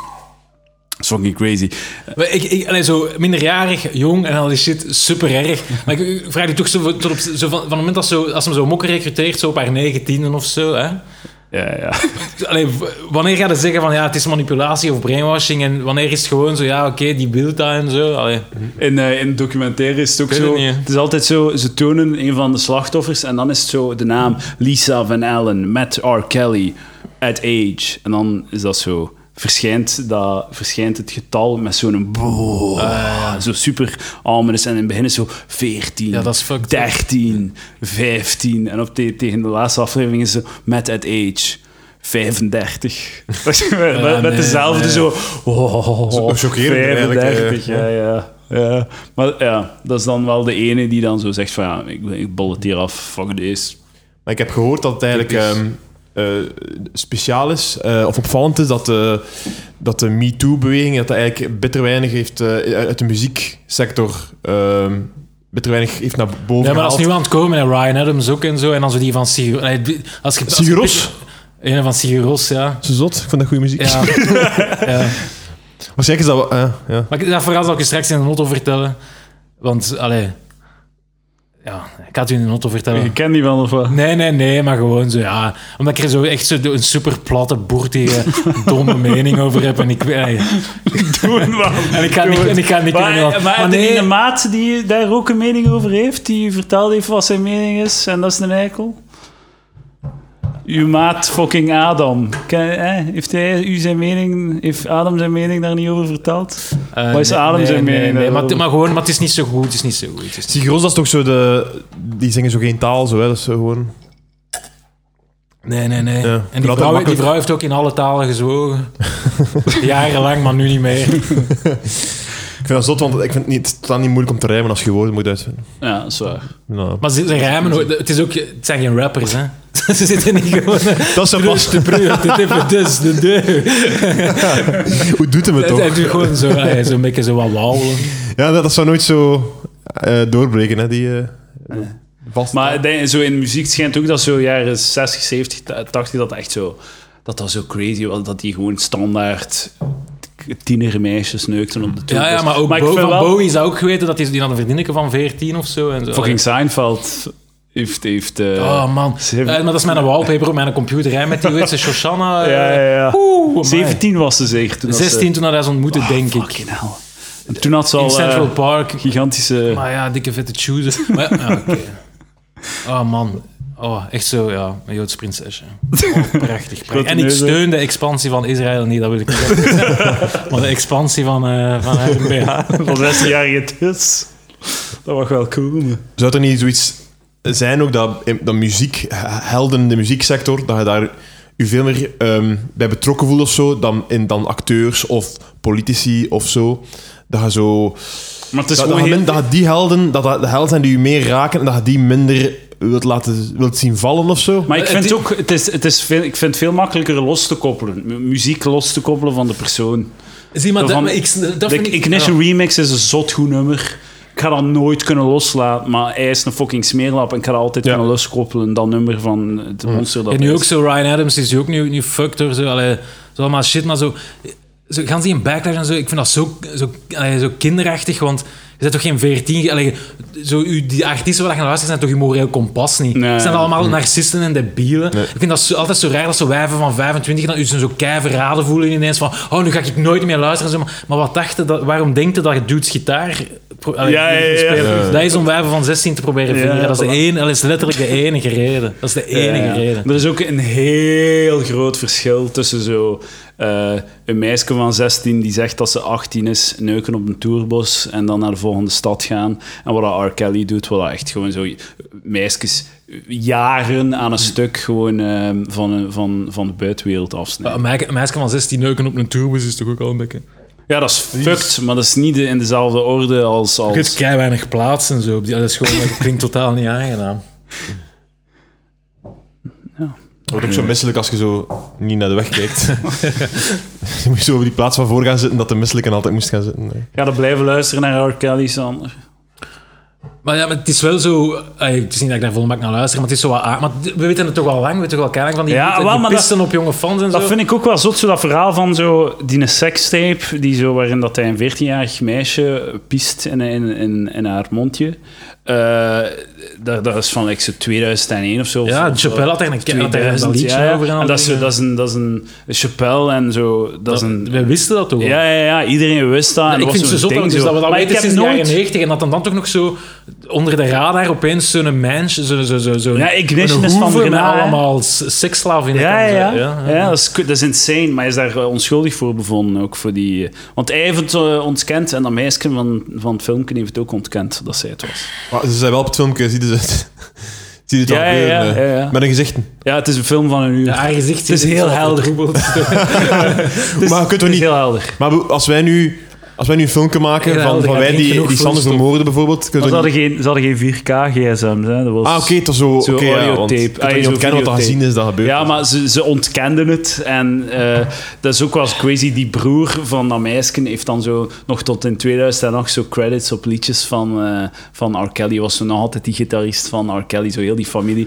Speaker 1: Dat is fucking crazy.
Speaker 3: Maar Ik, ik, allee, zo minderjarig, jong en al die shit, super erg. Maar ik, ik vraag je toch zo, van- tot op, zo van, van het moment dat, zo, als ze hem zo mokken recruteert, zo op haar negentienden of zo. Hè?
Speaker 1: Ja, ja.
Speaker 3: Allee, w- wanneer ga je zeggen van ja, het is manipulatie of brainwashing en wanneer is het gewoon zo ja, oké, die wil dat en zo. Allee.
Speaker 1: In, eh in documentaire is het ook
Speaker 3: Ik weet
Speaker 1: zo.
Speaker 3: het niet, hè.
Speaker 1: het is altijd zo, ze tonen een van de slachtoffers en dan is het zo de naam Lisa Van Allen met R. Kelly at age. En dan is dat zo. Verschijnt, dat, verschijnt het getal met zo'n
Speaker 3: Ah,
Speaker 1: boah, zo super ominous. En in het begin is zo 14,
Speaker 3: Ja, dat is fucked up.
Speaker 1: 13, 15. En op te- tegen de laatste aflevering is ze met at age 35. met, met
Speaker 3: nee,
Speaker 1: dezelfde
Speaker 3: nee.
Speaker 1: zo. oh,
Speaker 2: Zo chockerend eigenlijk,
Speaker 1: 35, ja, ja. ja. Maar ja, dat is dan wel de ene die dan zo zegt van ja, ik, ik bol het hier af, fuck this.
Speaker 2: Maar ik heb gehoord dat het eigenlijk ehm, eh, speciaal is, eh, of opvallend is, dat de, dat de MeToo-beweging dat dat eigenlijk bitter weinig heeft eh, uit de muzieksector... ehm, bitter weinig heeft naar boven
Speaker 3: Ja, maar dat
Speaker 2: gehaald.
Speaker 3: is nu aan het komen en Ryan Adams ook en zo. En dan zo die van Sigur... allee, die- Als je, als je-
Speaker 2: Sigaros?
Speaker 3: Ja, van Siguros, ja.
Speaker 2: Zo zot, ik vind dat goede muziek.
Speaker 3: ja. ja.
Speaker 2: Waarschijnlijk is dat... wel- eh, ja.
Speaker 3: Maar ik- dat verhaal zal ik je straks in de auto vertellen. Want, allee... Ja, ik ga het u in de auto vertellen.
Speaker 1: Je kent die wel of wat?
Speaker 3: Nee, nee, nee, maar gewoon zo, ja. Omdat ik er zo echt zo een super platte, boertige, domme mening over heb. En ik, allee, en ik ga niet... En ik ga niet
Speaker 1: maar,
Speaker 3: kunnen-
Speaker 1: maar,
Speaker 3: nee.
Speaker 1: de maat die daar ook een mening over heeft, die verteld heeft wat zijn mening is, en dat is een eikel. Uw maat fucking Adam. Ken- hè, Heeft, hij, u zijn mening, heeft Adam zijn mening daar niet over verteld?
Speaker 3: Eh,
Speaker 1: Wat is
Speaker 3: nee,
Speaker 1: Adam
Speaker 3: nee,
Speaker 1: zijn
Speaker 3: nee,
Speaker 1: mening
Speaker 3: nee, maar,
Speaker 1: daarover?
Speaker 3: het- maar gewoon, maar het is niet zo goed, het is niet zo goed. Het is niet-
Speaker 2: Sigur Ros, dat is toch zo de... Die zingen zo geen taal, zo, hè. Dat is zo gewoon...
Speaker 3: Nee, nee, nee.
Speaker 2: Ja.
Speaker 3: En die
Speaker 2: Laat
Speaker 3: vrouw,
Speaker 2: makkelijk-
Speaker 3: die vrouw heeft ook in alle talen gezwogen. Jarenlang, maar nu niet meer.
Speaker 2: Ik vind dat zot, want ik vind het, niet, het is dan niet moeilijk om te rijmen als je woorden moet uitvinden.
Speaker 1: Ja, dat is waar.
Speaker 2: Nou,
Speaker 3: Maar ze, ze rijmen ook. Het, is ook, het zijn geen rappers, hè. Ze zitten niet gewoon...
Speaker 2: dat is
Speaker 3: Dus,
Speaker 2: pas.
Speaker 3: de brug, de tippen, dus, de deur.
Speaker 2: Hoe doet hem het
Speaker 3: Hij doet
Speaker 2: toch?
Speaker 3: gewoon zo, eh, zo'n beetje zo wat wauwelen.
Speaker 2: Ja, dat, dat zou nooit zo eh, doorbreken, hè, die... eh, vast-
Speaker 1: Maar ik denk, zo in muziek schijnt ook dat zo jaren 60, 70, ta- 80 dat echt zo... Dat dat zo crazy was, dat die gewoon standaard tienermeisjes neukten op de
Speaker 3: Ja, ja,
Speaker 1: tourbus.
Speaker 3: maar ook
Speaker 1: ik
Speaker 3: Bo
Speaker 1: vind
Speaker 3: van
Speaker 1: wel-
Speaker 3: Bowie is ook geweten dat die, die had een vriendinnetje van 14 of zo. En zo.
Speaker 1: Fucking Seinfeld heeft... heeft eh,
Speaker 3: Oh man,
Speaker 1: ze heeft-
Speaker 3: Eh, maar dat is mijn wallpaper op mijn computer. Hè, met die hoe heet ze, Shoshana. eh,
Speaker 1: ja, ja, ja.
Speaker 3: oeh, amai.
Speaker 1: 17 was ze zeker toen dat eh, ze-
Speaker 3: 16 toen hij ze ontmoette, denk ik.
Speaker 1: Fucking hell. En toen had ze al
Speaker 3: In Central
Speaker 1: eh,
Speaker 3: Park.
Speaker 1: gigantische...
Speaker 3: Maar ja, dikke vette chooses. Maar ja,
Speaker 1: ah,
Speaker 3: ja, oké. Oh man. Oh, echt zo, ja. Een Joods prinsesje. Oh, prachtig, prachtig.
Speaker 1: Grote
Speaker 3: En ik
Speaker 1: neuzen.
Speaker 3: steun de expansie van Israël niet, dat wil ik niet zeggen. Maar de expansie van, eh van RMBH.
Speaker 1: Van 16-jarige dus. Dat was wel cool. maar-
Speaker 2: Zou er niet zoiets zijn ook dat, eh, dat muziek, helden in de muzieksector, dat je daar je veel meer ehm, bij betrokken voelt of zo, dan, in, dan acteurs of politici of zo? Dat je zo...
Speaker 1: Maar het is
Speaker 2: dat, dat,
Speaker 1: gewoon
Speaker 2: je
Speaker 1: heel-
Speaker 2: min- dat je die helden, dat dat de helden zijn die je meer raken en dat je die minder wilt, laten, wilt zien vallen of zo?
Speaker 1: Maar ik
Speaker 3: Het
Speaker 1: vind het ook, het is, het is veel, ik vind het veel makkelijker los te koppelen. Mu- Muziek los te koppelen van de persoon.
Speaker 4: Zie, maar
Speaker 1: Zo
Speaker 4: dat,
Speaker 1: van-
Speaker 4: maar ik, dat
Speaker 1: De
Speaker 4: vind ik...
Speaker 1: Ignition
Speaker 4: ja.
Speaker 1: Remix is een zot goed nummer. Ik ga dat nooit kunnen loslaten, maar hij is een fucking smeerlap en ik ga dat altijd
Speaker 2: Ja.
Speaker 1: kunnen loskoppelen, dat nummer van het monster dat
Speaker 3: En nu
Speaker 1: is.
Speaker 3: ook zo, Ryan Adams is nu ook nu, nu fucked door zo, allee, zo allemaal shit, maar zo, zo gaan ze in backlash en zo, ik vind dat zo, zo, allee, zo kinderachtig, want je bent toch geen 14, allee, zo, u- die artiesten waar je naar luistert zijn toch je moreel kompas niet.
Speaker 1: Nee. Hm.
Speaker 3: Ze zijn allemaal narcisten en debielen. Ik vind dat zo, altijd zo raar dat zo wijven van 25 dan u zo kei verraden voelen en ineens van, oh nu ga ik nooit meer luisteren. en Zo, maar, maar wat dacht je dat, waarom denkt je dat je dudes gitaar pro- allee,
Speaker 1: Ja, ja, ja, ja.
Speaker 3: spelen?
Speaker 1: Ja.
Speaker 3: Dat is om wijven van 16 te proberen
Speaker 1: Ja,
Speaker 3: vingeren. dat, is de
Speaker 1: voilà.
Speaker 3: een, dat is letterlijk de enige reden. Dat is de enige
Speaker 1: Ja, ja.
Speaker 3: reden.
Speaker 1: Er is ook een heel groot verschil tussen zo, eh, een meisje van 16 die zegt dat ze 18 is, neuken op een tourbos en dan naar de volgende stad gaan. En wat dat R. Kelly doet, wat dat echt gewoon zo meisjes jaren aan een stuk gewoon eh, van, een- van, van de buitenwereld afsnijden.
Speaker 3: Een meisje, een meisje van 16 neuken op een tourbus is toch ook al een beetje...
Speaker 1: Ja, dat is fucked, maar dat is niet de- in dezelfde orde als...
Speaker 3: Je hebt
Speaker 1: als...
Speaker 3: kei weinig plaats en zo. op die- Dat, is gewoon, dat klinkt totaal niet aangenaam.
Speaker 2: Het wordt ook zo misselijk als je zo niet naar de weg kijkt. je moet zo op die plaats van voor gaan zitten dat de misselijken altijd moest gaan zitten. Nee.
Speaker 1: Ga dan blijven luisteren naar R. Kelly, Sander.
Speaker 3: Maar ja, maar het is wel zo... ey, het is niet dat ik daar volmaakt naar luister, maar het is zo wat... aan- Maar d- we weten het toch al lang, we weten toch al kei lang van die,
Speaker 1: Ja,
Speaker 3: die- die,
Speaker 1: wel, maar dat-
Speaker 3: pisten op jonge fans en zo.
Speaker 1: Dat vind ik ook wel zot, zo dat verhaal van zo die een sekstape, die zo, waarin dat hij een 14-jarig meisje piest in, in, in, in haar mondje. Eh, dat, dat is van like, zo 2001 of zo.
Speaker 3: ja,
Speaker 1: Of zo.
Speaker 3: Chappelle had daar een, keer- had daar een
Speaker 1: 2000,
Speaker 3: liedje
Speaker 1: ja, ja.
Speaker 3: over.
Speaker 1: En dat is, zo- dat is een, dat is een Chappelle en zo. Dat, is een,
Speaker 3: We wisten dat toch al.
Speaker 1: ja, ja, ja, iedereen wist dat. en
Speaker 3: En ik
Speaker 1: dat
Speaker 3: vind het
Speaker 1: was
Speaker 3: zo
Speaker 1: zo'n
Speaker 3: zot dat,
Speaker 1: ding
Speaker 3: dus
Speaker 1: zo.
Speaker 3: dat we dat
Speaker 1: Maar ik
Speaker 3: weten
Speaker 1: heb
Speaker 3: sinds de jaren
Speaker 1: nooit...
Speaker 3: 90 en dat dan, dan toch nog zo onder de radar opeens zo'n mens, zo'n zo, zo, zo,
Speaker 1: Ja, Ignition is van
Speaker 3: hoeve met
Speaker 1: Gena, hè.
Speaker 3: allemaal s- seksslaven in
Speaker 1: Ja,
Speaker 3: de
Speaker 1: ja, ja. ja dat, is, ku- dat is insane. Maar hij is daar eh, onschuldig voor bevonden. Ook voor die, eh, want hij heeft het eh, ontkend. En dat meisje van, van het filmpje heeft het ook ontkend dat zij het was.
Speaker 2: Maar ze zijn wel op het filmpje, zie je het, zie je het
Speaker 1: Ja,
Speaker 2: al
Speaker 1: ja,
Speaker 2: gebeuren,
Speaker 1: ja,
Speaker 2: eh.
Speaker 1: ja, ja.
Speaker 2: Met een gezichten.
Speaker 1: Ja, het is een film van een uur.
Speaker 3: Ja, haar gezicht
Speaker 1: is
Speaker 3: zit
Speaker 1: heel
Speaker 3: zo
Speaker 1: helder.
Speaker 3: vertroebeld.
Speaker 1: het is,
Speaker 2: maar je kunt
Speaker 1: het is
Speaker 2: toch niet-
Speaker 1: heel helder.
Speaker 2: Maar bedoel, als wij nu, als wij nu een filmpje maken
Speaker 3: Ja,
Speaker 2: van,
Speaker 3: dat
Speaker 2: van
Speaker 3: gaat
Speaker 2: wij
Speaker 3: niet
Speaker 2: die,
Speaker 3: genoeg
Speaker 2: die Sander
Speaker 3: voelstof.
Speaker 2: vermoorden bijvoorbeeld... kun
Speaker 1: Maar
Speaker 2: je
Speaker 1: ze
Speaker 2: toch
Speaker 1: hadden
Speaker 2: niet-
Speaker 1: geen, ze hadden geen 4K gsm's. Hè. Dat was,
Speaker 2: Ah, oké, het was zo...
Speaker 1: Zo
Speaker 2: oké, ja, want
Speaker 1: audiotape.
Speaker 2: je kunt
Speaker 1: Ah, zo
Speaker 2: toch niet ontkennen wat er
Speaker 1: videotape.
Speaker 2: gezien is dat gebeurt.
Speaker 1: Ja, maar ze, ze ontkenden het. En eh, dat is ook wel eens crazy. Die broer van dat meisje heeft dan zo nog tot in 2008 zo credits op liedjes van, eh, van R. Kelly. Was zo nog altijd die gitarist van R. Kelly, zo heel die familie.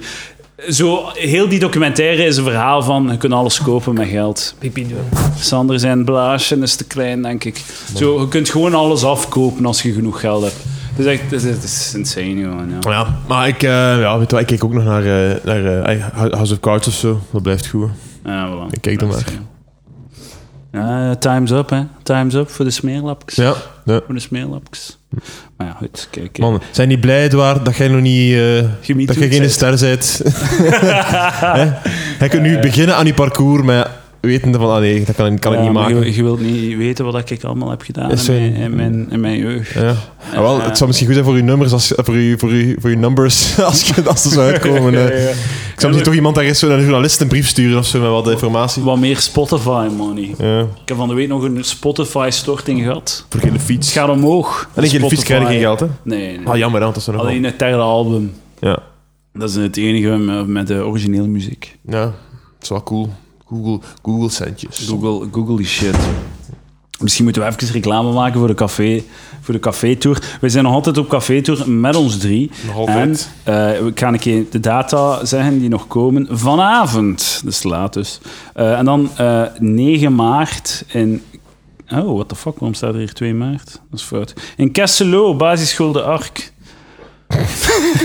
Speaker 1: Zo, heel die documentaire is een verhaal van je kunt alles kopen met geld.
Speaker 3: Pipi doen.
Speaker 1: Sander zijn blaasje is te klein, denk ik. Zo, je kunt gewoon alles afkopen als je genoeg geld hebt. Het is echt, het is, het is insane gewoon, ja.
Speaker 2: Ja, maar ik, eh, ja, weet je, wel, ik kijk ook nog naar, eh, naar eh, House of Cards of zo. Dat blijft goed.
Speaker 1: Ja, voilà.
Speaker 2: Ik kijk er maar.
Speaker 1: Nou, Ja, time's up, hè. Time's up voor de smeerlapjes.
Speaker 2: Ja, ja.
Speaker 1: Voor de smeerlapjes. Maar ja, goed, kijk. hè.
Speaker 2: Man, zijn die blij, Edouard, dat jij nog niet... eh,
Speaker 1: Je
Speaker 2: dat
Speaker 1: MeToo'd
Speaker 2: jij geen
Speaker 1: bent. Eh.
Speaker 2: ster bent. Hè? Jij kunt nu beginnen aan je parcours met wetende van, ah nee, dat kan, kan ik
Speaker 1: Ja,
Speaker 2: niet
Speaker 1: maar
Speaker 2: maken.
Speaker 1: Je, je wilt niet weten wat ik allemaal heb gedaan in
Speaker 2: Is
Speaker 1: mijn,
Speaker 2: zo'n-
Speaker 1: in, mijn, in mijn jeugd.
Speaker 2: Ja. Ah, wel, het zou misschien goed zijn voor uw nummers als, voor uw, voor uw, voor uw numbers als, je, als ze zou uitkomen.
Speaker 1: Ja,
Speaker 2: hè.
Speaker 1: ja, ja.
Speaker 2: Ik zou misschien toch iemand daar eens zo naar een journalist een brief sturen of zo met wat informatie.
Speaker 1: Wat meer Spotify money.
Speaker 2: Ja.
Speaker 1: Ik heb van de week nog een Spotify-storting gehad.
Speaker 2: Voor geen
Speaker 1: Het
Speaker 2: fiets.
Speaker 1: gaat omhoog.
Speaker 2: En ik geen
Speaker 1: Spotify.
Speaker 2: fiets krijg je geen geld, hè?
Speaker 1: Nee, nee.
Speaker 2: Ah, jammer, hè, want dat is er nog
Speaker 1: alleen het derde album.
Speaker 2: wel. Ja.
Speaker 1: Dat is het enige met, met de originele muziek.
Speaker 2: ja, dat is wel cool. Google, Google centjes.
Speaker 1: Google, Google die shit. Misschien moeten we even reclame maken voor de café, voor de café-tour. We zijn nog altijd op café-tour met ons drie.
Speaker 2: Nog altijd.
Speaker 1: En eh, ik ga een keer de data zeggen die nog komen. Vanavond, dus laat dus. Eh, en dan eh, 9 maart in... Oh, what the fuck, waarom staat er hier 2 maart? Dat is fout. In Kesselo, basisschool De Ark.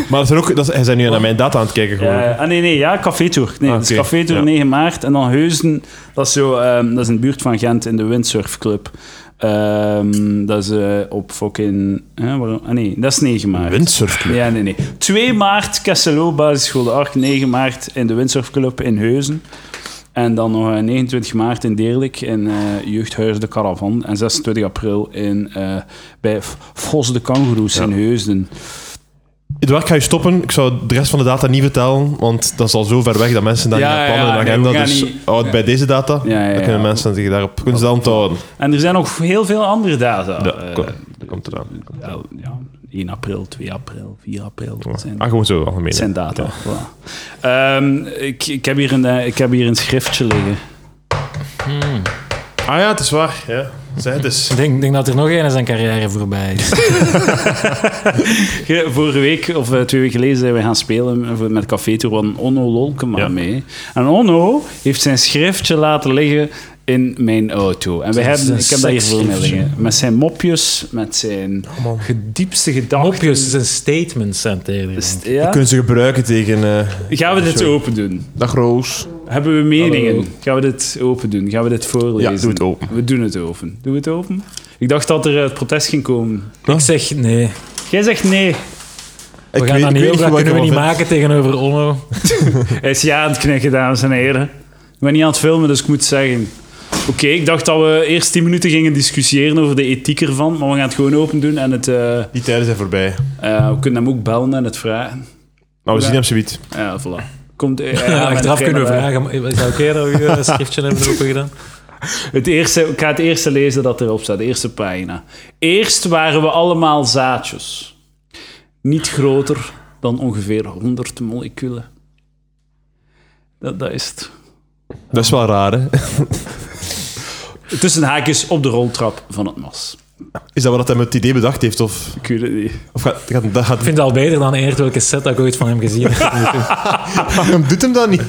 Speaker 2: Maar dat zijn ook, dat, hij zijn nu naar mijn data aan het kijken gewoon.
Speaker 1: Ja, ah, nee, nee, ja, Café Tour. Nee,
Speaker 2: Ah,
Speaker 1: dat is
Speaker 2: oké,
Speaker 1: Café Tour
Speaker 2: ja.
Speaker 1: 9 maart. En dan Heusden, dat is, zo, ehm, dat is in de buurt van Gent in de Windsurfclub. Ehm, dat is eh, op fucking... hè, waarom- ah, nee, dat is 9 maart.
Speaker 2: Windsurfclub.
Speaker 1: Ja, nee, nee. 2 maart, Kesselo, basisschool De Ark. 9 maart in de Windsurfclub in Heuzen. En dan nog eh, 29 maart in Deerlijk in eh, Jeugdhuis De Caravan. En 26 april in, eh, bij F- Vos de Kangoeroes in Heusden.
Speaker 2: Eduard, ik ga je stoppen. Ik zou de rest van de data niet vertellen, want dat is al zo ver weg dat mensen dat
Speaker 1: Ja,
Speaker 2: niet
Speaker 1: ja,
Speaker 2: hebben plannen
Speaker 1: ja,
Speaker 2: en
Speaker 1: nee,
Speaker 2: agenda.
Speaker 1: we gaan
Speaker 2: dus
Speaker 1: niet-
Speaker 2: houd bij deze data.
Speaker 1: Ja, ja,
Speaker 2: Dan
Speaker 1: ja.
Speaker 2: kunnen mensen zich daarop kunnen ze dat onthouden.
Speaker 1: En er zijn nog heel veel andere data.
Speaker 2: Ja,
Speaker 1: eh,
Speaker 2: kom, dat komt eraan.
Speaker 1: Ja, ja, 1 april, 2 april, 4 april. Dat zijn,
Speaker 2: Ah, gewoon zo algemeen.
Speaker 1: dat zijn data. voilà. Ehm, ik, ik, heb hier een, eh, ik heb hier een schriftje liggen.
Speaker 2: Ah ja, het is waar. Ja. Zeg het eens.
Speaker 3: Ik denk, denk dat er nog één zijn carrière voorbij is.
Speaker 1: Ge- Vorige week of eh, twee weken geleden zijn we gaan spelen voor- met Café Tour. We hadden Onno Lolkema
Speaker 2: Ja.
Speaker 1: mee. En Onno heeft zijn schriftje laten liggen in mijn auto. En we
Speaker 3: Zijn-
Speaker 1: hebben,
Speaker 3: zijn
Speaker 1: ik heb dat hier voor mij
Speaker 3: seksschriftje.
Speaker 1: liggen. Met zijn mopjes, met zijn gediepste gedachten.
Speaker 3: Mopjes zijn statements zijn het eerder, denk ik.
Speaker 1: Ja?
Speaker 2: Kunnen ze gebruiken tegen... eh
Speaker 1: Gaan we dit
Speaker 2: Sorry.
Speaker 1: open doen?
Speaker 2: Dag Roos.
Speaker 1: Hebben we meningen?
Speaker 3: Hallo.
Speaker 1: Gaan we dit open doen? Gaan we dit voorlezen?
Speaker 2: Ja, doe het open.
Speaker 1: We doen het open. Doen we het open? Ik dacht dat er eh, het protest ging komen.
Speaker 3: Ik zeg nee.
Speaker 1: Jij zegt nee.
Speaker 3: We gaan dat niet heel kunnen we niet maken tegenover Onno.
Speaker 1: Hij is ja aan het knikken, dames en heren. Ik ben niet aan het filmen, dus ik moet zeggen. Oké, ik dacht dat we eerst 10 minuten gingen discussiëren over de ethiek ervan, maar we gaan het gewoon open doen en het, eh, eh,
Speaker 2: Die tijden zijn voorbij.
Speaker 1: we kunnen hem ook bellen en het vragen.
Speaker 2: Nou, we
Speaker 1: Ja.
Speaker 2: zien hem zoiets.
Speaker 1: Ja, voilà. Komt, eh, ja,
Speaker 3: Ja,
Speaker 1: met
Speaker 3: achteraf
Speaker 1: hetgeen
Speaker 3: kunnen we
Speaker 1: dat wij-
Speaker 3: vragen. maar Zou ik eerder ook een schriftje hebben opengedaan?
Speaker 1: Het eerste, ik ga het eerste lezen dat erop staat, de eerste pagina. Eerst waren we allemaal zaadjes. Niet groter dan ongeveer 100 moleculen. Dat, dat is het.
Speaker 2: Dat is wel raar, hè?
Speaker 1: Tussen haakjes op de roltrap van het mas.
Speaker 2: Is dat wat hij met het idee bedacht heeft? Of,
Speaker 1: Ik weet het niet.
Speaker 2: of gaat, gaat, dat gaat,
Speaker 3: Ik vind het al beter dan eerd welke set dat ik ooit van hem gezien heb.
Speaker 2: waarom doet hem dat niet?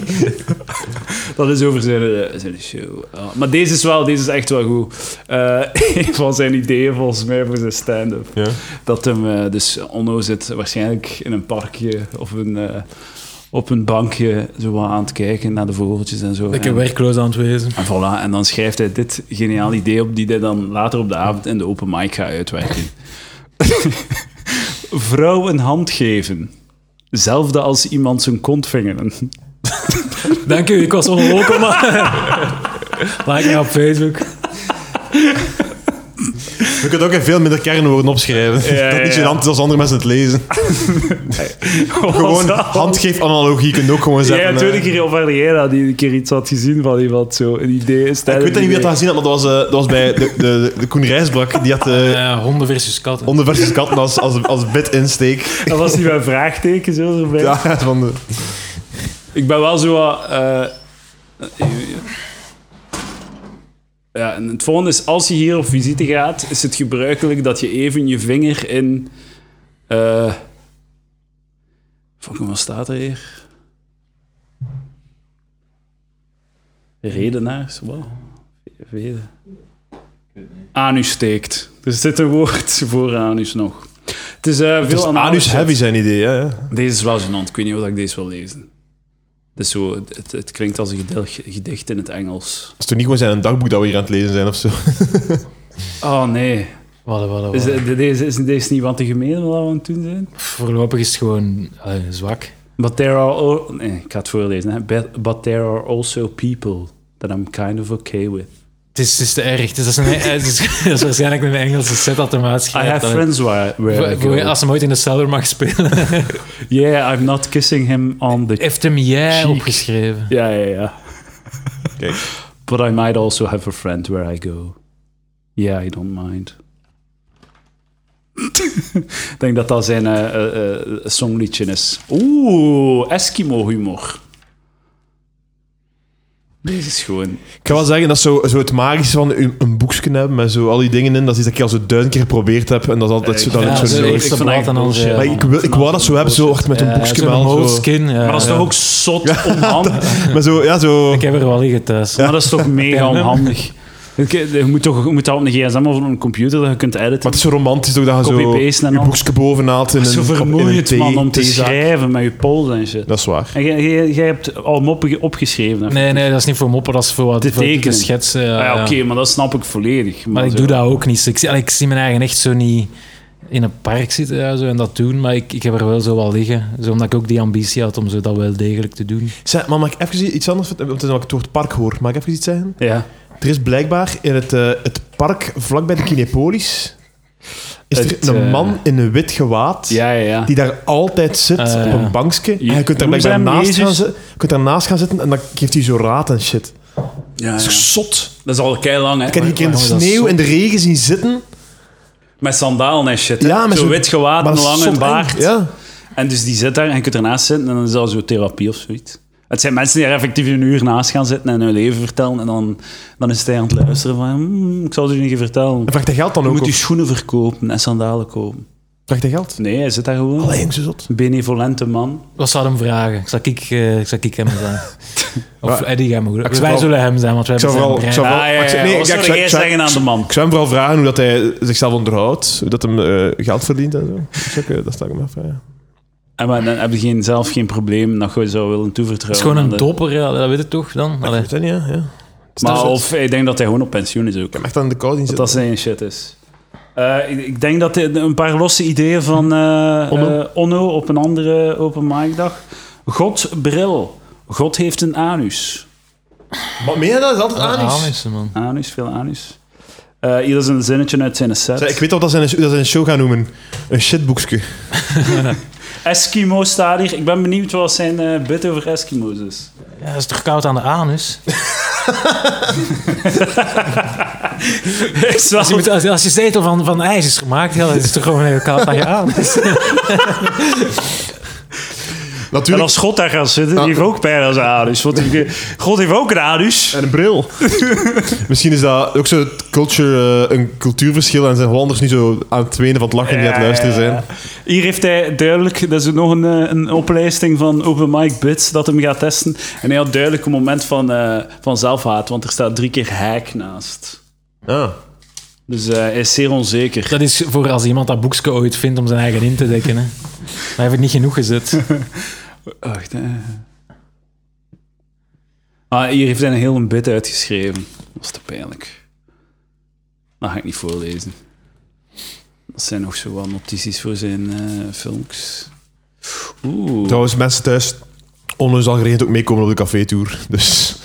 Speaker 1: Dat is over zijn, eh, zijn show. Ja, maar deze is wel, deze is echt wel goed. Eh, een van zijn ideeën volgens mij voor zijn stand-up.
Speaker 2: Ja.
Speaker 1: Dat hem, eh, dus Onno zit waarschijnlijk in een parkje of een, eh, op een bankje zo wat aan het kijken naar de vogeltjes en zo.
Speaker 3: Ik
Speaker 1: en,
Speaker 3: heb werkloos aan het wezen.
Speaker 1: en voilà, en dan schrijft hij dit geniaal idee op die hij dan later op de avond in de open mic gaat uitwerken. Vrouw een hand geven. Zelfde als iemand zijn kont vingeren.
Speaker 3: Dank u, ik was onwelkom. like mij op Facebook.
Speaker 2: We kunnen ook in veel minder kernwoorden opschrijven.
Speaker 1: Ja,
Speaker 2: dat is niet
Speaker 1: ja.
Speaker 2: gênant is als andere mensen het lezen. Gewoon handgeef-analogie kun je ook gewoon eh,
Speaker 1: Ja,
Speaker 2: zetten. hè.
Speaker 1: natuurlijk. Of had jij dat die een keer iets had gezien van iemand zo? Een idee. Een
Speaker 2: Ah, ik weet dat niet wie dat gezien had, maar dat was, eh, dat was bij de, de, de, Koen Rijsbrak. Die had eh
Speaker 3: Eh, honden versus katten.
Speaker 2: onder versus katten als, als, als bit-insteek.
Speaker 1: Dat was niet mijn vraagteken. Zo erbij.
Speaker 2: Ja, van de...
Speaker 1: Ik ben wel zo wat. eh, ja, en het volgende is: als je hier op visite gaat, is het gebruikelijk dat je even je vinger in. eh fucking, wat staat er hier? Redenaars, wow. Reden. Anus steekt. Er zit een woord voor anus nog. Het is eh,
Speaker 2: Het
Speaker 1: veel
Speaker 2: was
Speaker 1: anale
Speaker 2: anus
Speaker 1: seks.
Speaker 2: heavy zijn idee, hè.
Speaker 1: Deze is wel gênant. Ik weet niet of ik deze wil lezen. Dus zo, het, het klinkt als een gedel- gedicht in het Engels.
Speaker 2: Het is toch niet gewoon zijn een dagboek dat we hier aan het lezen zijn of zo?
Speaker 1: Oh nee.
Speaker 3: Wadden, wadden,
Speaker 1: Is,
Speaker 3: wadden.
Speaker 1: de- de- deze, is deze niet wat te gemeen wat we aan het doen zijn?
Speaker 3: Voorlopig is het gewoon eh, zwak.
Speaker 1: But there are... al- nee, ik ga het voorlezen. Hè. But, but there are also people that I'm kind of okay with.
Speaker 3: Het is, het is te erg. Het is, dat, is een, het is, dat is waarschijnlijk een Engelse set dat hem
Speaker 1: I
Speaker 3: uitschrijft.
Speaker 1: have
Speaker 3: Dat-
Speaker 1: friends where, where I
Speaker 3: Voor- voor-
Speaker 1: go.
Speaker 3: Als hem ooit in de cellar mag spelen,
Speaker 1: Yeah, I'm not kissing him on the...
Speaker 3: heeft hem jij
Speaker 1: Chic.
Speaker 3: opgeschreven.
Speaker 1: Ja, ja, ja.
Speaker 2: Kijk.
Speaker 1: But I might also have a friend where I go. Yeah, I don't mind. Ik denk dat dat zijn eh, eh, eh, songliedje is. Oeh, Eskimo-humor. Deze is gewoon...
Speaker 2: Ik kan wel zeggen, dat is zo, zo het magische van een, een boekje hebben met zo al die dingen in. Dat is iets dat ik al zo duizend keer geprobeerd heb en dat is
Speaker 1: eh,
Speaker 2: altijd zo, dat
Speaker 3: Ja,
Speaker 2: het zo
Speaker 3: zo
Speaker 2: nooit-
Speaker 3: eerst op
Speaker 1: vond
Speaker 3: blad
Speaker 1: echt
Speaker 3: en dan
Speaker 1: bullshit.
Speaker 3: zo.
Speaker 2: Maar ik, wil, ik wou dat zo hebben, zo, echt met een boekje
Speaker 3: Eh, zo'n eh,
Speaker 2: wel. zo.
Speaker 3: moleskin, ja.
Speaker 1: Maar dat is
Speaker 3: Ja.
Speaker 1: toch ook zot onhandig?
Speaker 2: Maar zo, ja, zo...
Speaker 3: Ik heb er wel liggen thuis.
Speaker 1: Maar dat is toch mega onhandig? Ik- Je moet, toch, je moet dat op een gsm of op een computer dat je kunt editen.
Speaker 2: Maar het is zo romantisch ook dat je zo
Speaker 1: Copy-paste en
Speaker 2: je
Speaker 1: al.
Speaker 2: boekje bovenhaalt in een
Speaker 1: zo
Speaker 2: op- in een
Speaker 1: vermoeiend,
Speaker 2: thee-
Speaker 1: man, om te
Speaker 2: theezak.
Speaker 1: schrijven met je pols en shit.
Speaker 2: Dat is waar.
Speaker 1: En jij- jij jij hebt al moppen ge- opgeschreven. hè?
Speaker 3: Nee, nee, dat is niet voor moppen, dat is voor wat
Speaker 1: De
Speaker 3: voor te
Speaker 1: tekenen.
Speaker 3: schetsen. ja,
Speaker 1: Ah, ja,
Speaker 3: ja.
Speaker 1: Oké, maar dat snap ik volledig.
Speaker 3: Maar ik
Speaker 1: zo-
Speaker 3: doe dat ook niet. zo. Ik, zie- allee, ik zie mijn eigen echt zo niet in een park zitten ja, zo, en dat doen, maar ik, ik heb er wel zo wel liggen. Zo, omdat ik ook die ambitie had om zo dat wel degelijk te doen.
Speaker 2: Zeg, maar mag ik even iets anders... Want het is ook het woord park hoor. Mag ik even iets zeggen?
Speaker 1: Ja.
Speaker 2: Er is blijkbaar in het, eh, het park vlakbij de Kinepolis... Is er
Speaker 1: Het,
Speaker 2: een
Speaker 1: eh,
Speaker 2: man in een wit gewaad...
Speaker 1: Ja, ja, ja.
Speaker 2: Die daar altijd zit,
Speaker 3: Eh,
Speaker 2: op
Speaker 3: ja.
Speaker 2: een bankje. En je kunt daar
Speaker 1: Noem ze
Speaker 2: blijkbaar
Speaker 1: hem
Speaker 2: naast
Speaker 1: Jezus?
Speaker 2: gaan, zitten- je kunt daar naast gaan zitten en dan geeft hij zo raad en shit.
Speaker 1: ja,
Speaker 2: Dat
Speaker 1: ja.
Speaker 2: is zot.
Speaker 1: Dat is al kei lang, hè?
Speaker 2: Ik heb die een keer in de
Speaker 3: Waarom is dat
Speaker 2: sneeuw,
Speaker 3: zot?
Speaker 2: in de regen zien zitten.
Speaker 1: Met sandalen en shit. hè.
Speaker 2: Ja, met
Speaker 1: zo
Speaker 2: zo'n-
Speaker 1: wit gewaad,
Speaker 2: maar
Speaker 1: een
Speaker 2: dat is
Speaker 1: lange
Speaker 2: zot
Speaker 1: baard.
Speaker 2: eng. Ja.
Speaker 1: En dus die zit daar en je kunt ernaast zitten en dan is dat zo therapie of zoiets. Het zijn mensen die er effectief een uur naast gaan zitten en hun leven vertellen. En dan, dan is hij aan het luisteren van... "Hmm, ik zal het je niet vertellen.
Speaker 2: En vraagt hij geld dan
Speaker 1: Je
Speaker 2: ook?
Speaker 1: moet je
Speaker 2: of-
Speaker 1: schoenen verkopen en sandalen kopen.
Speaker 2: Vraagt hij geld?
Speaker 1: Nee, hij zit daar gewoon.
Speaker 2: Alleen zo zot.
Speaker 1: Een benevolente man.
Speaker 3: Wat zou hem vragen? Zal ik, eh, zal ik hem zijn? Of
Speaker 2: Ja.
Speaker 3: Eddie hem goed.
Speaker 2: zou
Speaker 3: Wij
Speaker 2: wel-
Speaker 3: zullen hem zijn, want wij
Speaker 2: Ik zou
Speaker 3: hebben
Speaker 2: vooral-
Speaker 3: zijn
Speaker 2: ik
Speaker 3: brein.
Speaker 2: zou-
Speaker 1: Ah,
Speaker 2: Wel,
Speaker 1: ja, ja,
Speaker 2: maar ik zeg-
Speaker 1: ja.
Speaker 2: nee,
Speaker 1: Wat
Speaker 2: ja,
Speaker 1: zou
Speaker 2: ik-
Speaker 1: jij
Speaker 2: ik-
Speaker 1: zeggen aan de man?
Speaker 2: Ik zou hem vooral vragen hoe dat hij zichzelf onderhoudt, hoe dat hem eh, geld verdient en zo. Dat, is ook, eh, dat sta ik hem af. Ja.
Speaker 1: En maar dan heb je geen, zelf geen probleem dat je zou willen
Speaker 3: Het is
Speaker 1: toevertrouwen.
Speaker 3: gewoon
Speaker 1: aan
Speaker 3: een
Speaker 1: de-
Speaker 3: dopper, ja, dat weet ik toch dan?
Speaker 2: Ik
Speaker 3: Allee.
Speaker 2: weet dat niet, hè, ja.
Speaker 1: Maar of ik denk dat hij gewoon op pensioen is ook.
Speaker 2: Ik heb echt aan de kou zien
Speaker 1: Dat dat
Speaker 2: zitten.
Speaker 1: zijn shit is. Eh, ik, ik denk dat dit een paar losse ideeën van eh,
Speaker 2: Onno.
Speaker 1: eh, Onno op een andere open mic dag. God bril. God heeft een anus.
Speaker 2: Maar meer dan is altijd
Speaker 3: Ah,
Speaker 2: anus.
Speaker 3: mensen, man.
Speaker 1: Anus, veel anus. Eh, hier is een zinnetje uit zijn set.
Speaker 2: Zeg, ik weet of dat ze een, dat ze een show gaan noemen. Een shitboekske.
Speaker 1: Eskimo staat hier. Ik ben benieuwd wat zijn eh bit over Eskimo's is.
Speaker 3: Ja, dat is toch koud aan de anus?
Speaker 1: Ik zal-
Speaker 3: Als je, met- als, als je zetel van, van ijs is gemaakt, ja, dat is toch gewoon heel koud aan je anus?
Speaker 1: En
Speaker 2: Natuurlijk.
Speaker 1: als God daar gaat zitten, die heeft ook pijn als anus. Want die- God heeft ook een anus.
Speaker 2: En een bril. Misschien is dat ook zo het culture, eh, een cultuurverschil. En zijn Hollanders niet zo aan het wenen van het lachen die aan het luisteren zijn.
Speaker 1: Eh, Hier heeft hij duidelijk, dat is nog een, eh, een oplijsting van Open Mic Bits dat hem gaat testen. En hij had duidelijk een moment van, eh, van zelfhaat, want er staat drie keer hack naast.
Speaker 2: Ah.
Speaker 1: Dus eh, hij is zeer onzeker.
Speaker 3: Dat is voor als iemand dat boekje ooit vindt om zijn eigen in te dekken. Hè. Daar heb ik niet genoeg gezet.
Speaker 1: Wacht, eh. Ah, hier heeft hij een heel een bit uitgeschreven. Dat is te pijnlijk. Dat ga ik niet voorlezen. Dat zijn nog zo wat notities voor zijn eh filmpjes. Oeh.
Speaker 2: Trouwens, mensen thuis, onlangs al geregeld ook meekomen op de café-tour. Dus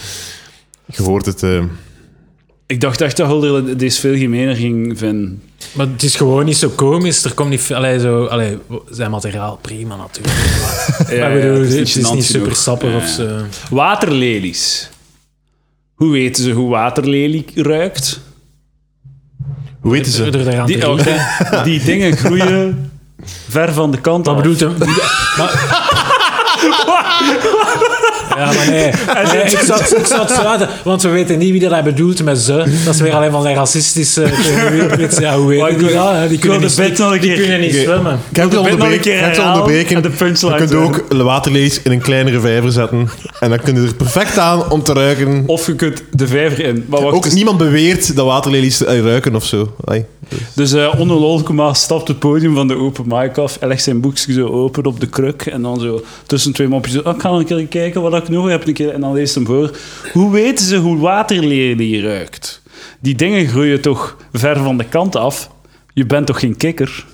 Speaker 2: je hoort het. eh.
Speaker 1: Ik dacht echt dat Hulder deze veel gemener ging vinden.
Speaker 3: Maar het is gewoon niet zo komisch. Er komt niet veel... Allee, zo, allee, w- zijn materiaal prima natuurlijk. maar ik bedoel,
Speaker 1: het is
Speaker 3: het
Speaker 1: niet
Speaker 3: is niet,
Speaker 1: gênant
Speaker 3: super
Speaker 1: genoeg.
Speaker 3: sappig
Speaker 1: Ja,
Speaker 3: of
Speaker 1: ja.
Speaker 3: zo.
Speaker 1: Waterlelies. Hoe weten ze hoe waterlelie ruikt?
Speaker 2: Hoe weten
Speaker 3: Door
Speaker 2: ze?
Speaker 3: door daaraan te
Speaker 1: Die, oh, die-
Speaker 3: ruiken.
Speaker 1: die dingen groeien ver van de kant
Speaker 3: Wat
Speaker 1: af.
Speaker 3: bedoelt hem? Maar... Ja, maar nee. Nee, ik, zou, ik zou het zo uit- want we weten niet wie dat hij bedoelt met ze. Dat is weer alleen van zijn racistische tegenwicht. Ja,
Speaker 1: Maar
Speaker 3: hoe weet
Speaker 1: ik
Speaker 3: die
Speaker 1: wil-
Speaker 3: dat? hè? Die
Speaker 1: ik wil
Speaker 3: kunnen
Speaker 1: de
Speaker 3: niet,
Speaker 1: bed nog een
Speaker 3: die
Speaker 1: keer-
Speaker 3: kunnen niet
Speaker 2: Oké.
Speaker 3: zwemmen.
Speaker 2: Ik heb het al
Speaker 1: bit nog
Speaker 2: onderbreken.
Speaker 1: een keer
Speaker 2: Ik heb het al
Speaker 1: herhalen
Speaker 2: onderbreken.
Speaker 1: en de punchline
Speaker 2: Je kunt
Speaker 1: zeggen.
Speaker 2: ook waterlees in een kleinere vijver zetten. En dan kun je er perfect aan om te ruiken.
Speaker 1: Of je kunt de vijver in. Maar wacht,
Speaker 2: Ook
Speaker 1: dus-
Speaker 2: niemand beweert dat waterlelies eh, ruiken of zo. Ai.
Speaker 1: Dus eh Onno Lolkema stapt het podium van de open mic af en legt zijn boekje zo open op de kruk. En dan zo tussen twee mopjes, zo, "Ah, ik ga nog een keer kijken wat ik nog heb. Een keer, en dan leest hem voor. Hoe weten ze hoe waterlelie ruikt? Die dingen groeien toch ver van de kant af? Je bent toch geen kikker?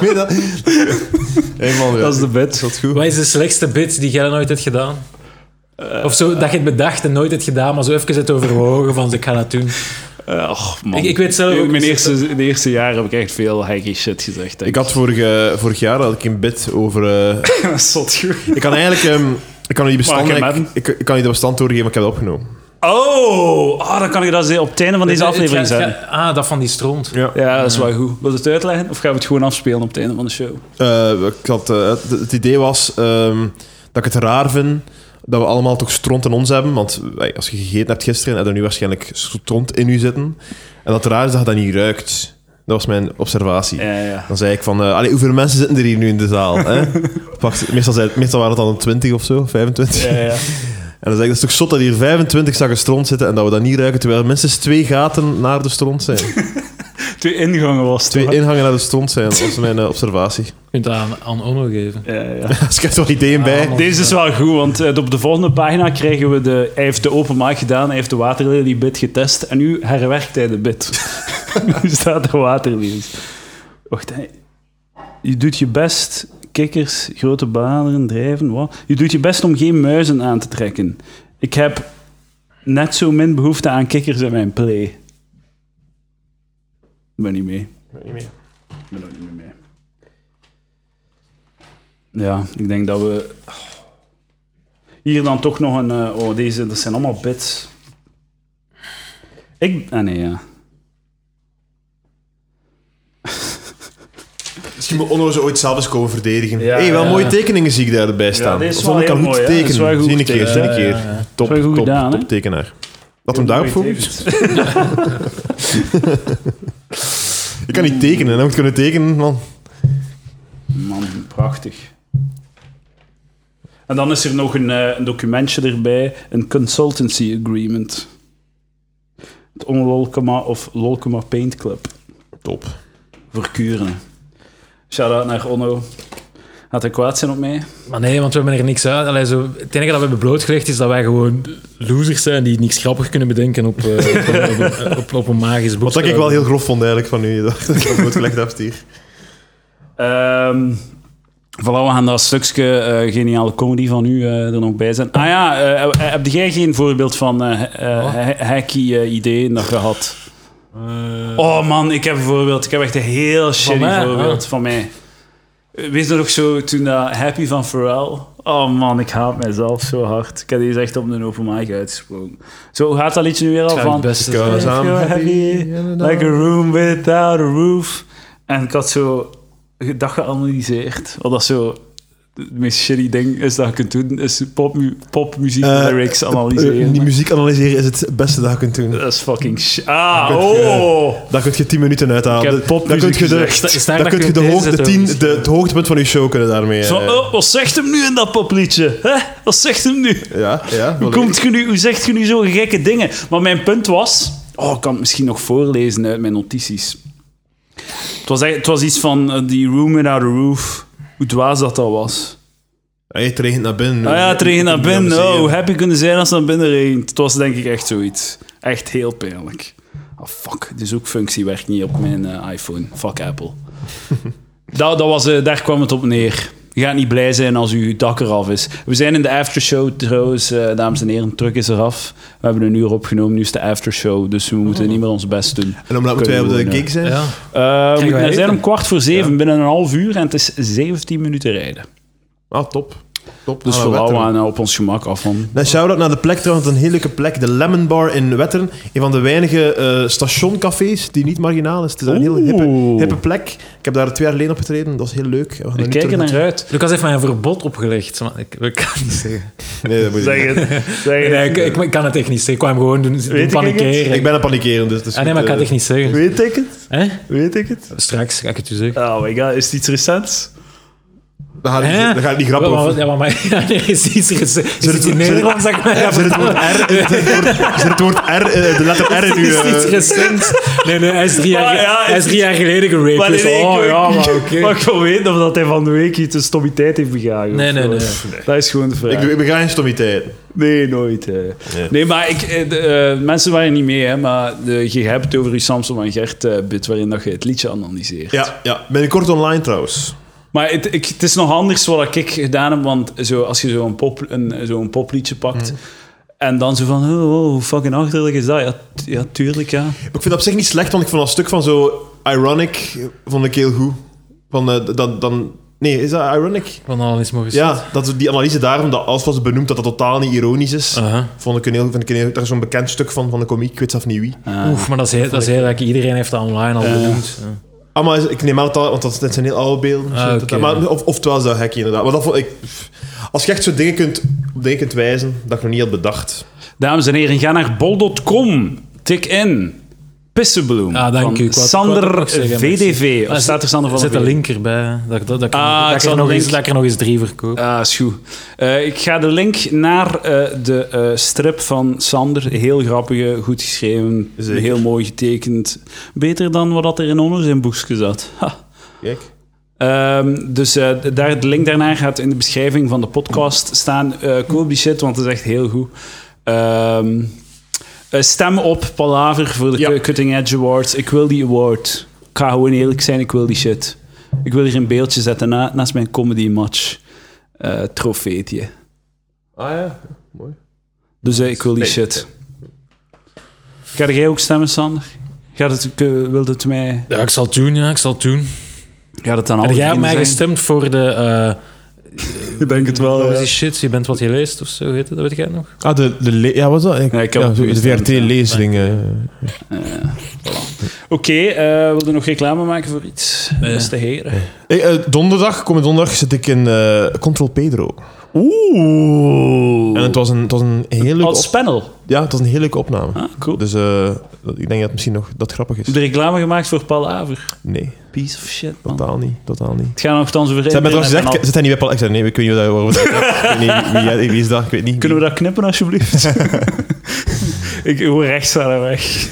Speaker 2: Nee, dat... Hey man, ja.
Speaker 1: Dat is de bed.
Speaker 2: Dat is goed.
Speaker 3: Wat is de slechtste bit die jij nooit hebt gedaan?
Speaker 4: Of zo, dat je het bedacht en nooit het gedaan, maar zo even het overwogen van ik ga dat doen.
Speaker 1: Eh, och, man.
Speaker 4: Ik- ik weet zelf ook-
Speaker 1: Mijn eerste, de eerste jaar heb ik echt veel hacky shit gezegd. denk
Speaker 2: Ik had vorige, vorig jaar had ik een bit over... eh,
Speaker 1: Dat is zot goed.
Speaker 2: ik kan eigenlijk... ehm, ik kan die bestand,
Speaker 1: Mag ik hem
Speaker 2: ik, ik, ik kan je de bestand doorgeven, maar ik heb dat opgenomen.
Speaker 1: Oh, ah, dan kan ik dat ze- op het einde van deze
Speaker 4: Het
Speaker 1: aflevering
Speaker 4: ga-
Speaker 1: zetten.
Speaker 4: het ga- Ah, dat van die stront.
Speaker 1: Ja, dat is wel goed. Wil je het uitleggen of gaan we het gewoon afspelen op het einde van de show?
Speaker 2: Eh, ik had, eh, het, het idee was ehm, dat ik het raar vind dat we allemaal toch stront in ons hebben. Want eh, als je gegeten hebt gisteren, heb je nu waarschijnlijk stront in je zitten. En dat het raar is dat je dat niet ruikt. Dat was mijn observatie.
Speaker 1: Ja, ja.
Speaker 2: Dan zei ik van, eh, allee, hoeveel mensen zitten er hier nu in de zaal? Hè? Pak- meestal, zei, meestal waren het dan 20 of zo, 25.
Speaker 1: ja, ja.
Speaker 2: En dan zei ik, dat is toch zot dat hier 25 zakken stront zitten en dat we dat niet ruiken, terwijl er minstens twee gaten naar de stront zijn.
Speaker 1: Twee ingangen was het,
Speaker 2: Twee
Speaker 1: hoor.
Speaker 2: ingangen naar de stront zijn, dat was mijn eh, observatie.
Speaker 4: Je kunt dat aan, aan Onno geven.
Speaker 1: Ja, ja.
Speaker 2: Dus ik heb er wel ideeën bij.
Speaker 4: Ah,
Speaker 1: Deze is wel goed, want eh, op de volgende pagina krijgen we de... Hij heeft de open mic gedaan, hij heeft de waterlily bit getest en nu herwerkt hij de bit. nu staat er waterlelies. Wacht, hè. je doet je best... Kikkers, grote bladeren, drijven, wat? Je doet je best om geen muizen aan te trekken. Ik heb net zo min behoefte aan kikkers in mijn play. Ik ben niet mee. Ik ben ook niet meer mee. Ja, ik denk dat we hier dan toch nog een. eh, oh, deze, dat zijn allemaal bits. Ik. Ah nee, ja.
Speaker 2: Misschien moet Onno ze ooit zelf eens komen verdedigen.
Speaker 1: Ja,
Speaker 2: hey, wel
Speaker 1: ja.
Speaker 2: mooie tekeningen zie ik daarbij staan.
Speaker 1: dit is
Speaker 2: Of
Speaker 1: wel
Speaker 2: Onno kan
Speaker 1: heel
Speaker 2: goed
Speaker 1: mooi, hè? Dat is
Speaker 2: tekenen.
Speaker 1: wel goed
Speaker 2: Zie een keer,
Speaker 1: getekend.
Speaker 2: zie een
Speaker 1: Ja,
Speaker 2: keer.
Speaker 1: ja, ja.
Speaker 2: Top,
Speaker 1: Dat is wel goed
Speaker 2: top,
Speaker 1: gedaan, hè?
Speaker 2: top tekenaar. Laat hem daarop focussen. Ik kan niet tekenen, dan moet ik kunnen tekenen, man.
Speaker 1: Man, prachtig. En dan is er nog een, eh, een documentje erbij, een consultancy agreement. Het Onlolkema of Lolkema Paint Club.
Speaker 2: Top.
Speaker 1: Voor Kuren. Shout-out naar Onno. Gaat hij kwaad zijn op mij?
Speaker 4: Maar nee, want we hebben er niks uit. Allee, zo, het enige dat we hebben blootgelegd is dat wij gewoon losers zijn die niks grappig kunnen bedenken op, eh, op, een- op, op, op een magisch boek.
Speaker 2: Wat dat ik wel heel grof vond eigenlijk van u, dat ik dat goed gelegd hebt hier.
Speaker 1: Ehm voilà, we gaan dat stukje eh, geniale comedy van u eh, er nog bij zijn. Ah ja, eh, eh, heb jij geen voorbeeld van eh
Speaker 4: Oh.
Speaker 1: eh, ha- hacky eh, ideeën dat je had?
Speaker 4: Eh,
Speaker 1: Oh man, ik heb een voorbeeld. Ik heb echt een heel shitty
Speaker 4: mij? Oh.
Speaker 1: voorbeeld van mij. Eh, Weet je nog zo, toen dat Happy van Pharrell... Oh man, ik haat mijzelf zo hard. Ik heb deze echt op een open mic uitgesproken. Zo, hoe gaat dat liedje nu weer al
Speaker 4: Het zou
Speaker 1: van...
Speaker 4: het beste
Speaker 2: Ik, eh,
Speaker 4: zijn.
Speaker 1: If
Speaker 2: Samen.
Speaker 1: you're happy, like a room without a roof. En ik had zo dat geanalyseerd. Wat dat zo het meest shitty ding is dat je kunt doen, is popmu popmuziek
Speaker 2: Eh,
Speaker 1: lyrics
Speaker 2: Eh,
Speaker 1: analyseren.
Speaker 2: Die muziek analyseren is het beste dat je kunt doen.
Speaker 1: dat is fucking shit. Ah,
Speaker 2: Dan kun je-
Speaker 1: oh!
Speaker 2: Daar kun je 10 minuten
Speaker 1: Ik
Speaker 2: uithalen.
Speaker 1: heb popmuziek
Speaker 2: kun je de,
Speaker 1: gezegd.
Speaker 4: Is daar
Speaker 2: dan
Speaker 4: dat
Speaker 2: kun
Speaker 4: je
Speaker 2: je de
Speaker 4: deze
Speaker 2: hoogte,
Speaker 4: zet
Speaker 2: tien,
Speaker 4: ook?
Speaker 2: de, het hoogtepunt van je show kunnen daarmee.
Speaker 1: Zo,
Speaker 2: eh,
Speaker 1: oh, wat zegt hem nu in dat popliedje? Hè? Wat zegt hem nu?
Speaker 2: ja, ja.
Speaker 1: Hoe, komt je nu, hoe zegt je nu zo gekke dingen? Maar mijn punt was... Oh, ik kan het misschien nog voorlezen uit mijn notities. Het was, echt- het was iets van eh, die room without a roof. Hoe dwaas dat dat was.
Speaker 2: Hey, het regent naar binnen.
Speaker 1: Ah ja, het regent naar binnen.
Speaker 2: Analyseren.
Speaker 1: Oh, hoe happy kunnen zijn als het naar binnen regent. Het was denk ik echt zoiets. Echt heel pijnlijk. Ah, fuck. De zoekfunctie werkt niet op mijn eh, iPhone. Fuck Apple. dat, dat was, eh, daar kwam het op neer. Je gaat niet blij zijn als uw dak eraf is. We zijn in de aftershow trouwens, eh, dames en heren. Het truc is eraf. We hebben een uur opgenomen. Nu is de aftershow. Dus we moeten niet meer ons best doen.
Speaker 2: En omdat moeten wij op de gig zijn?
Speaker 4: Ja.
Speaker 1: Eh, we
Speaker 4: wij
Speaker 1: moeten er zijn
Speaker 4: eten?
Speaker 1: om kwart voor zeven. Binnen een half uur. En het is 17 minuten rijden.
Speaker 2: Ah, top. top.
Speaker 1: Dus
Speaker 2: Ah,
Speaker 1: we
Speaker 2: Wetteren.
Speaker 1: houden op ons gemak af van.
Speaker 2: Dan shout-out naar de plek trouwens, een heerlijke plek. De Lemon Bar in Wetteren. Een van de weinige eh, stationcafés die niet marginaal is. Het is een heel hippe,
Speaker 1: Oeh.
Speaker 2: hippe plek. Ik heb daar twee jaar geleden opgetreden. Dat is heel leuk. We gaan er
Speaker 1: We
Speaker 2: nu
Speaker 1: kijken
Speaker 2: terug
Speaker 1: naar uit.
Speaker 4: Lucas heeft mij een verbod opgelegd. maar ik, ik kan het niet zeggen.
Speaker 2: naartoe. Nee, dat moet je niet.
Speaker 1: het.
Speaker 4: Nee, ik, ik- ik kan het echt niet zeggen. Ik kwam gewoon doen, doen
Speaker 1: ik
Speaker 4: panikeren.
Speaker 2: Ik ben aan het panikeren, dus... dus
Speaker 4: Ah, nee, maar ik kan het echt niet zeggen.
Speaker 2: Weet ik het?
Speaker 4: Hè?
Speaker 2: Weet ik het?
Speaker 4: Straks ga ik het u zeggen.
Speaker 1: Oh my god, is het iets recents?
Speaker 2: Dan gaat
Speaker 4: Hè?
Speaker 2: het niet, niet grappig
Speaker 4: Wel, maar-
Speaker 2: over.
Speaker 4: Ja, maar, maar ja, nee, is iets, is, is iets in
Speaker 2: zit-
Speaker 4: Nederlands dat ik mij
Speaker 2: Zit het woord R, zit het woord- zit het woord R, eh, de letter R in uw...
Speaker 4: is iets
Speaker 2: eh,
Speaker 4: recent. Nee, nee, hij is drie jaar,
Speaker 1: Maar ja,
Speaker 4: hij is drie jaar geleden geraped. Dus, oh ja, maar oké.
Speaker 1: Maar ik wil weten of dat hij van de week iets een stommiteit heeft begaan. of
Speaker 4: Nee, nee,
Speaker 1: zo.
Speaker 4: nee.
Speaker 1: Dat is gewoon de vraag.
Speaker 2: Ik, doe- ik bega geen stommiteit.
Speaker 1: Nee, nooit. hè. Nee. maar ik, eh, de, eh, mensen waren niet mee, hè, maar de, je hebt het over je Samson en Gert eh, bit waarin dat je het liedje analyseert.
Speaker 2: Ja, ja. Binnenkort online trouwens.
Speaker 1: Maar het, ik, het is nog anders wat ik gedaan heb, want zo, als je zo'n pop, een, zo'n popliedje pakt
Speaker 2: Mhm.
Speaker 1: en dan zo van, oh, oh, hoe fucking achterlijk is dat? Ja, t- ja tuurlijk, ja.
Speaker 2: Maar ik vind dat op zich niet slecht, want ik vond dat stuk van zo ironic eh, vond ik heel goed. Van, eh, dan, dan, nee, is dat ironic?
Speaker 4: Van al is mogen
Speaker 2: Ja, dat, die analyse daarom, dat alles was benoemd, dat dat totaal niet ironisch is.
Speaker 4: Aha.
Speaker 2: Vond ik een heel, vind ik een heel, daar is zo'n bekend stuk van, van de komiek, ik weet zelf niet wie.
Speaker 1: Ah.
Speaker 4: Oef, maar dat is heel, dat is heel lekker. Iedereen heeft dat online al
Speaker 1: Ja.
Speaker 4: benoemd. Ja.
Speaker 2: Ah, maar ik neem aan dat, dat- want dat dat zijn heel oude beelden.
Speaker 4: Ah,
Speaker 2: Dat-
Speaker 4: oké.
Speaker 2: maar, of, oftewel is dat gek, inderdaad. Maar dat vond ik, als je echt zo dingen kunt, op dingen kunt wijzen, dat ik nog niet had bedacht.
Speaker 1: Dames en heren, ga naar bol.com. Tik in. Pissenbloem.
Speaker 4: Ah, dank u. Ik
Speaker 1: van
Speaker 4: wou- ik wou het
Speaker 1: Sander
Speaker 4: ook zeggen,
Speaker 1: VDV. Of
Speaker 4: Ah,
Speaker 1: staat er Sander van
Speaker 4: zit
Speaker 1: de
Speaker 4: een
Speaker 1: V?
Speaker 4: link erbij. Dat, dat, dat, ik-
Speaker 1: Ah,
Speaker 4: dat,
Speaker 1: ik
Speaker 4: ik
Speaker 1: zal
Speaker 4: er
Speaker 1: een
Speaker 4: nog eens,
Speaker 1: link-
Speaker 4: dat ik er nog eens drie verkoop.
Speaker 1: Ah, is goed. Eh, ik ga de link naar eh, de eh, strip van Sander. Heel grappige, goed geschreven,
Speaker 2: Zeker.
Speaker 1: heel mooi getekend. Beter dan wat dat er in onder zijn boekje zat. Ha.
Speaker 2: Kijk.
Speaker 1: Ehm, dus eh, d- daar, de link daarnaar gaat in de beschrijving van de podcast staan. Eh koop die shit, want het is echt heel goed. Ehm, eh, stem op Palaver voor de
Speaker 2: Ja.
Speaker 1: Cu- Cutting Edge Awards. Ik wil die award. Ik ga gewoon eerlijk zijn, ik wil die shit. Ik wil hier een beeldje zetten na, naast mijn comedy match eh, trofeetje.
Speaker 2: Ah ja, mooi.
Speaker 1: Dus eh, ik wil die
Speaker 2: Nee.
Speaker 1: shit. Ga jij ook stemmen, Sander? Gaat het, ke- wilt het mij...
Speaker 4: Ja, ik zal het doen, ja, ik zal het doen.
Speaker 1: Gaat het aan alle
Speaker 4: Heb jij op mij
Speaker 1: vrienden zijn?
Speaker 4: gestemd voor de... eh
Speaker 1: Ik denk het
Speaker 4: wat
Speaker 1: wel,
Speaker 4: was
Speaker 1: ja.
Speaker 4: die shit? Je bent wat je leest of zo, heet het, dat weet jij nog?
Speaker 2: Ah, de, de le- ja, wat is dat? Ik,
Speaker 1: Ja, ik heb ook
Speaker 2: zo- de
Speaker 1: gestemd, ja.
Speaker 2: VRT-lezing.
Speaker 1: Oké, eh wilde nog reclame maken voor iets, beste heren?
Speaker 2: eh, donderdag, komende donderdag, zit ik in eh, Control Pedro.
Speaker 1: Oeh.
Speaker 2: En het was een, het was een heel leuke
Speaker 1: Als
Speaker 2: op-
Speaker 1: panel.
Speaker 2: Ja, het was een heel leuke opname.
Speaker 1: Ah, cool.
Speaker 2: Dus eh, dat- ik denk dat het misschien nog dat grappig is.
Speaker 1: De reclame gemaakt voor Palaver.
Speaker 2: Nee,
Speaker 1: Piece of shit, man.
Speaker 2: totaal niet. Totaal niet.
Speaker 1: Het gaat nogthans over...
Speaker 2: Ze hebben
Speaker 1: Internet
Speaker 2: trouwens gezegd,
Speaker 1: Oh. en al.
Speaker 2: zit hij niet bij Paul? Ik zei, nee, ik weet niet waarover dat gaat. Ik weet niet wie, jij- wie is dat, ik weet niet.
Speaker 1: Kunnen we dat knippen, alsjeblieft? ik hoor rechts aan de weg.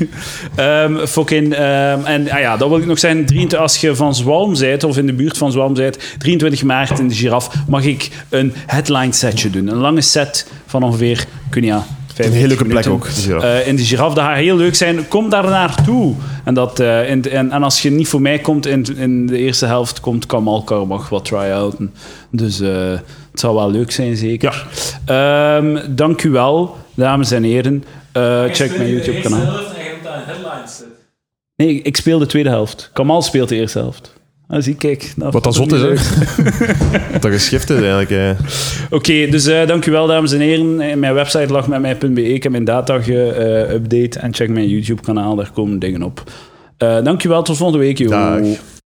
Speaker 1: Ehm, fucking... ehm, en ah ja, dat wil ik nog zijn. 23, als je van Zwalm bent, of in de buurt van Zwalm bent, 23 maart in de Giraf, mag ik een headline setje doen. Een lange set van ongeveer, kun je...
Speaker 2: Een hele leuke plek ook. Dus ja.
Speaker 1: Eh, in de Giraffe. Dat gaat heel leuk zijn. Kom daar naartoe. En, dat, eh, in, en, en als je niet voor mij komt in, in de eerste helft, komt Kamal Karmach wat try-outen. Dus eh, het zal wel leuk zijn, zeker. Ehm, dank u wel, dames en heren. Eh, check mijn YouTube-kanaal. Nee, ik speel de tweede helft. Kamal speelt de eerste helft. Ah, zie, kijk.
Speaker 2: Wat dat zot is, hè? dat geschift is eigenlijk. eh.
Speaker 1: Oké, dus eh dank u wel, dames en heren. Eh, Mijn website lag met mij.be. Ik heb mijn data Eh, geüpdate. en check mijn YouTube-kanaal, daar komen dingen op. Eh dank u wel, tot volgende week, joh.
Speaker 2: Dag.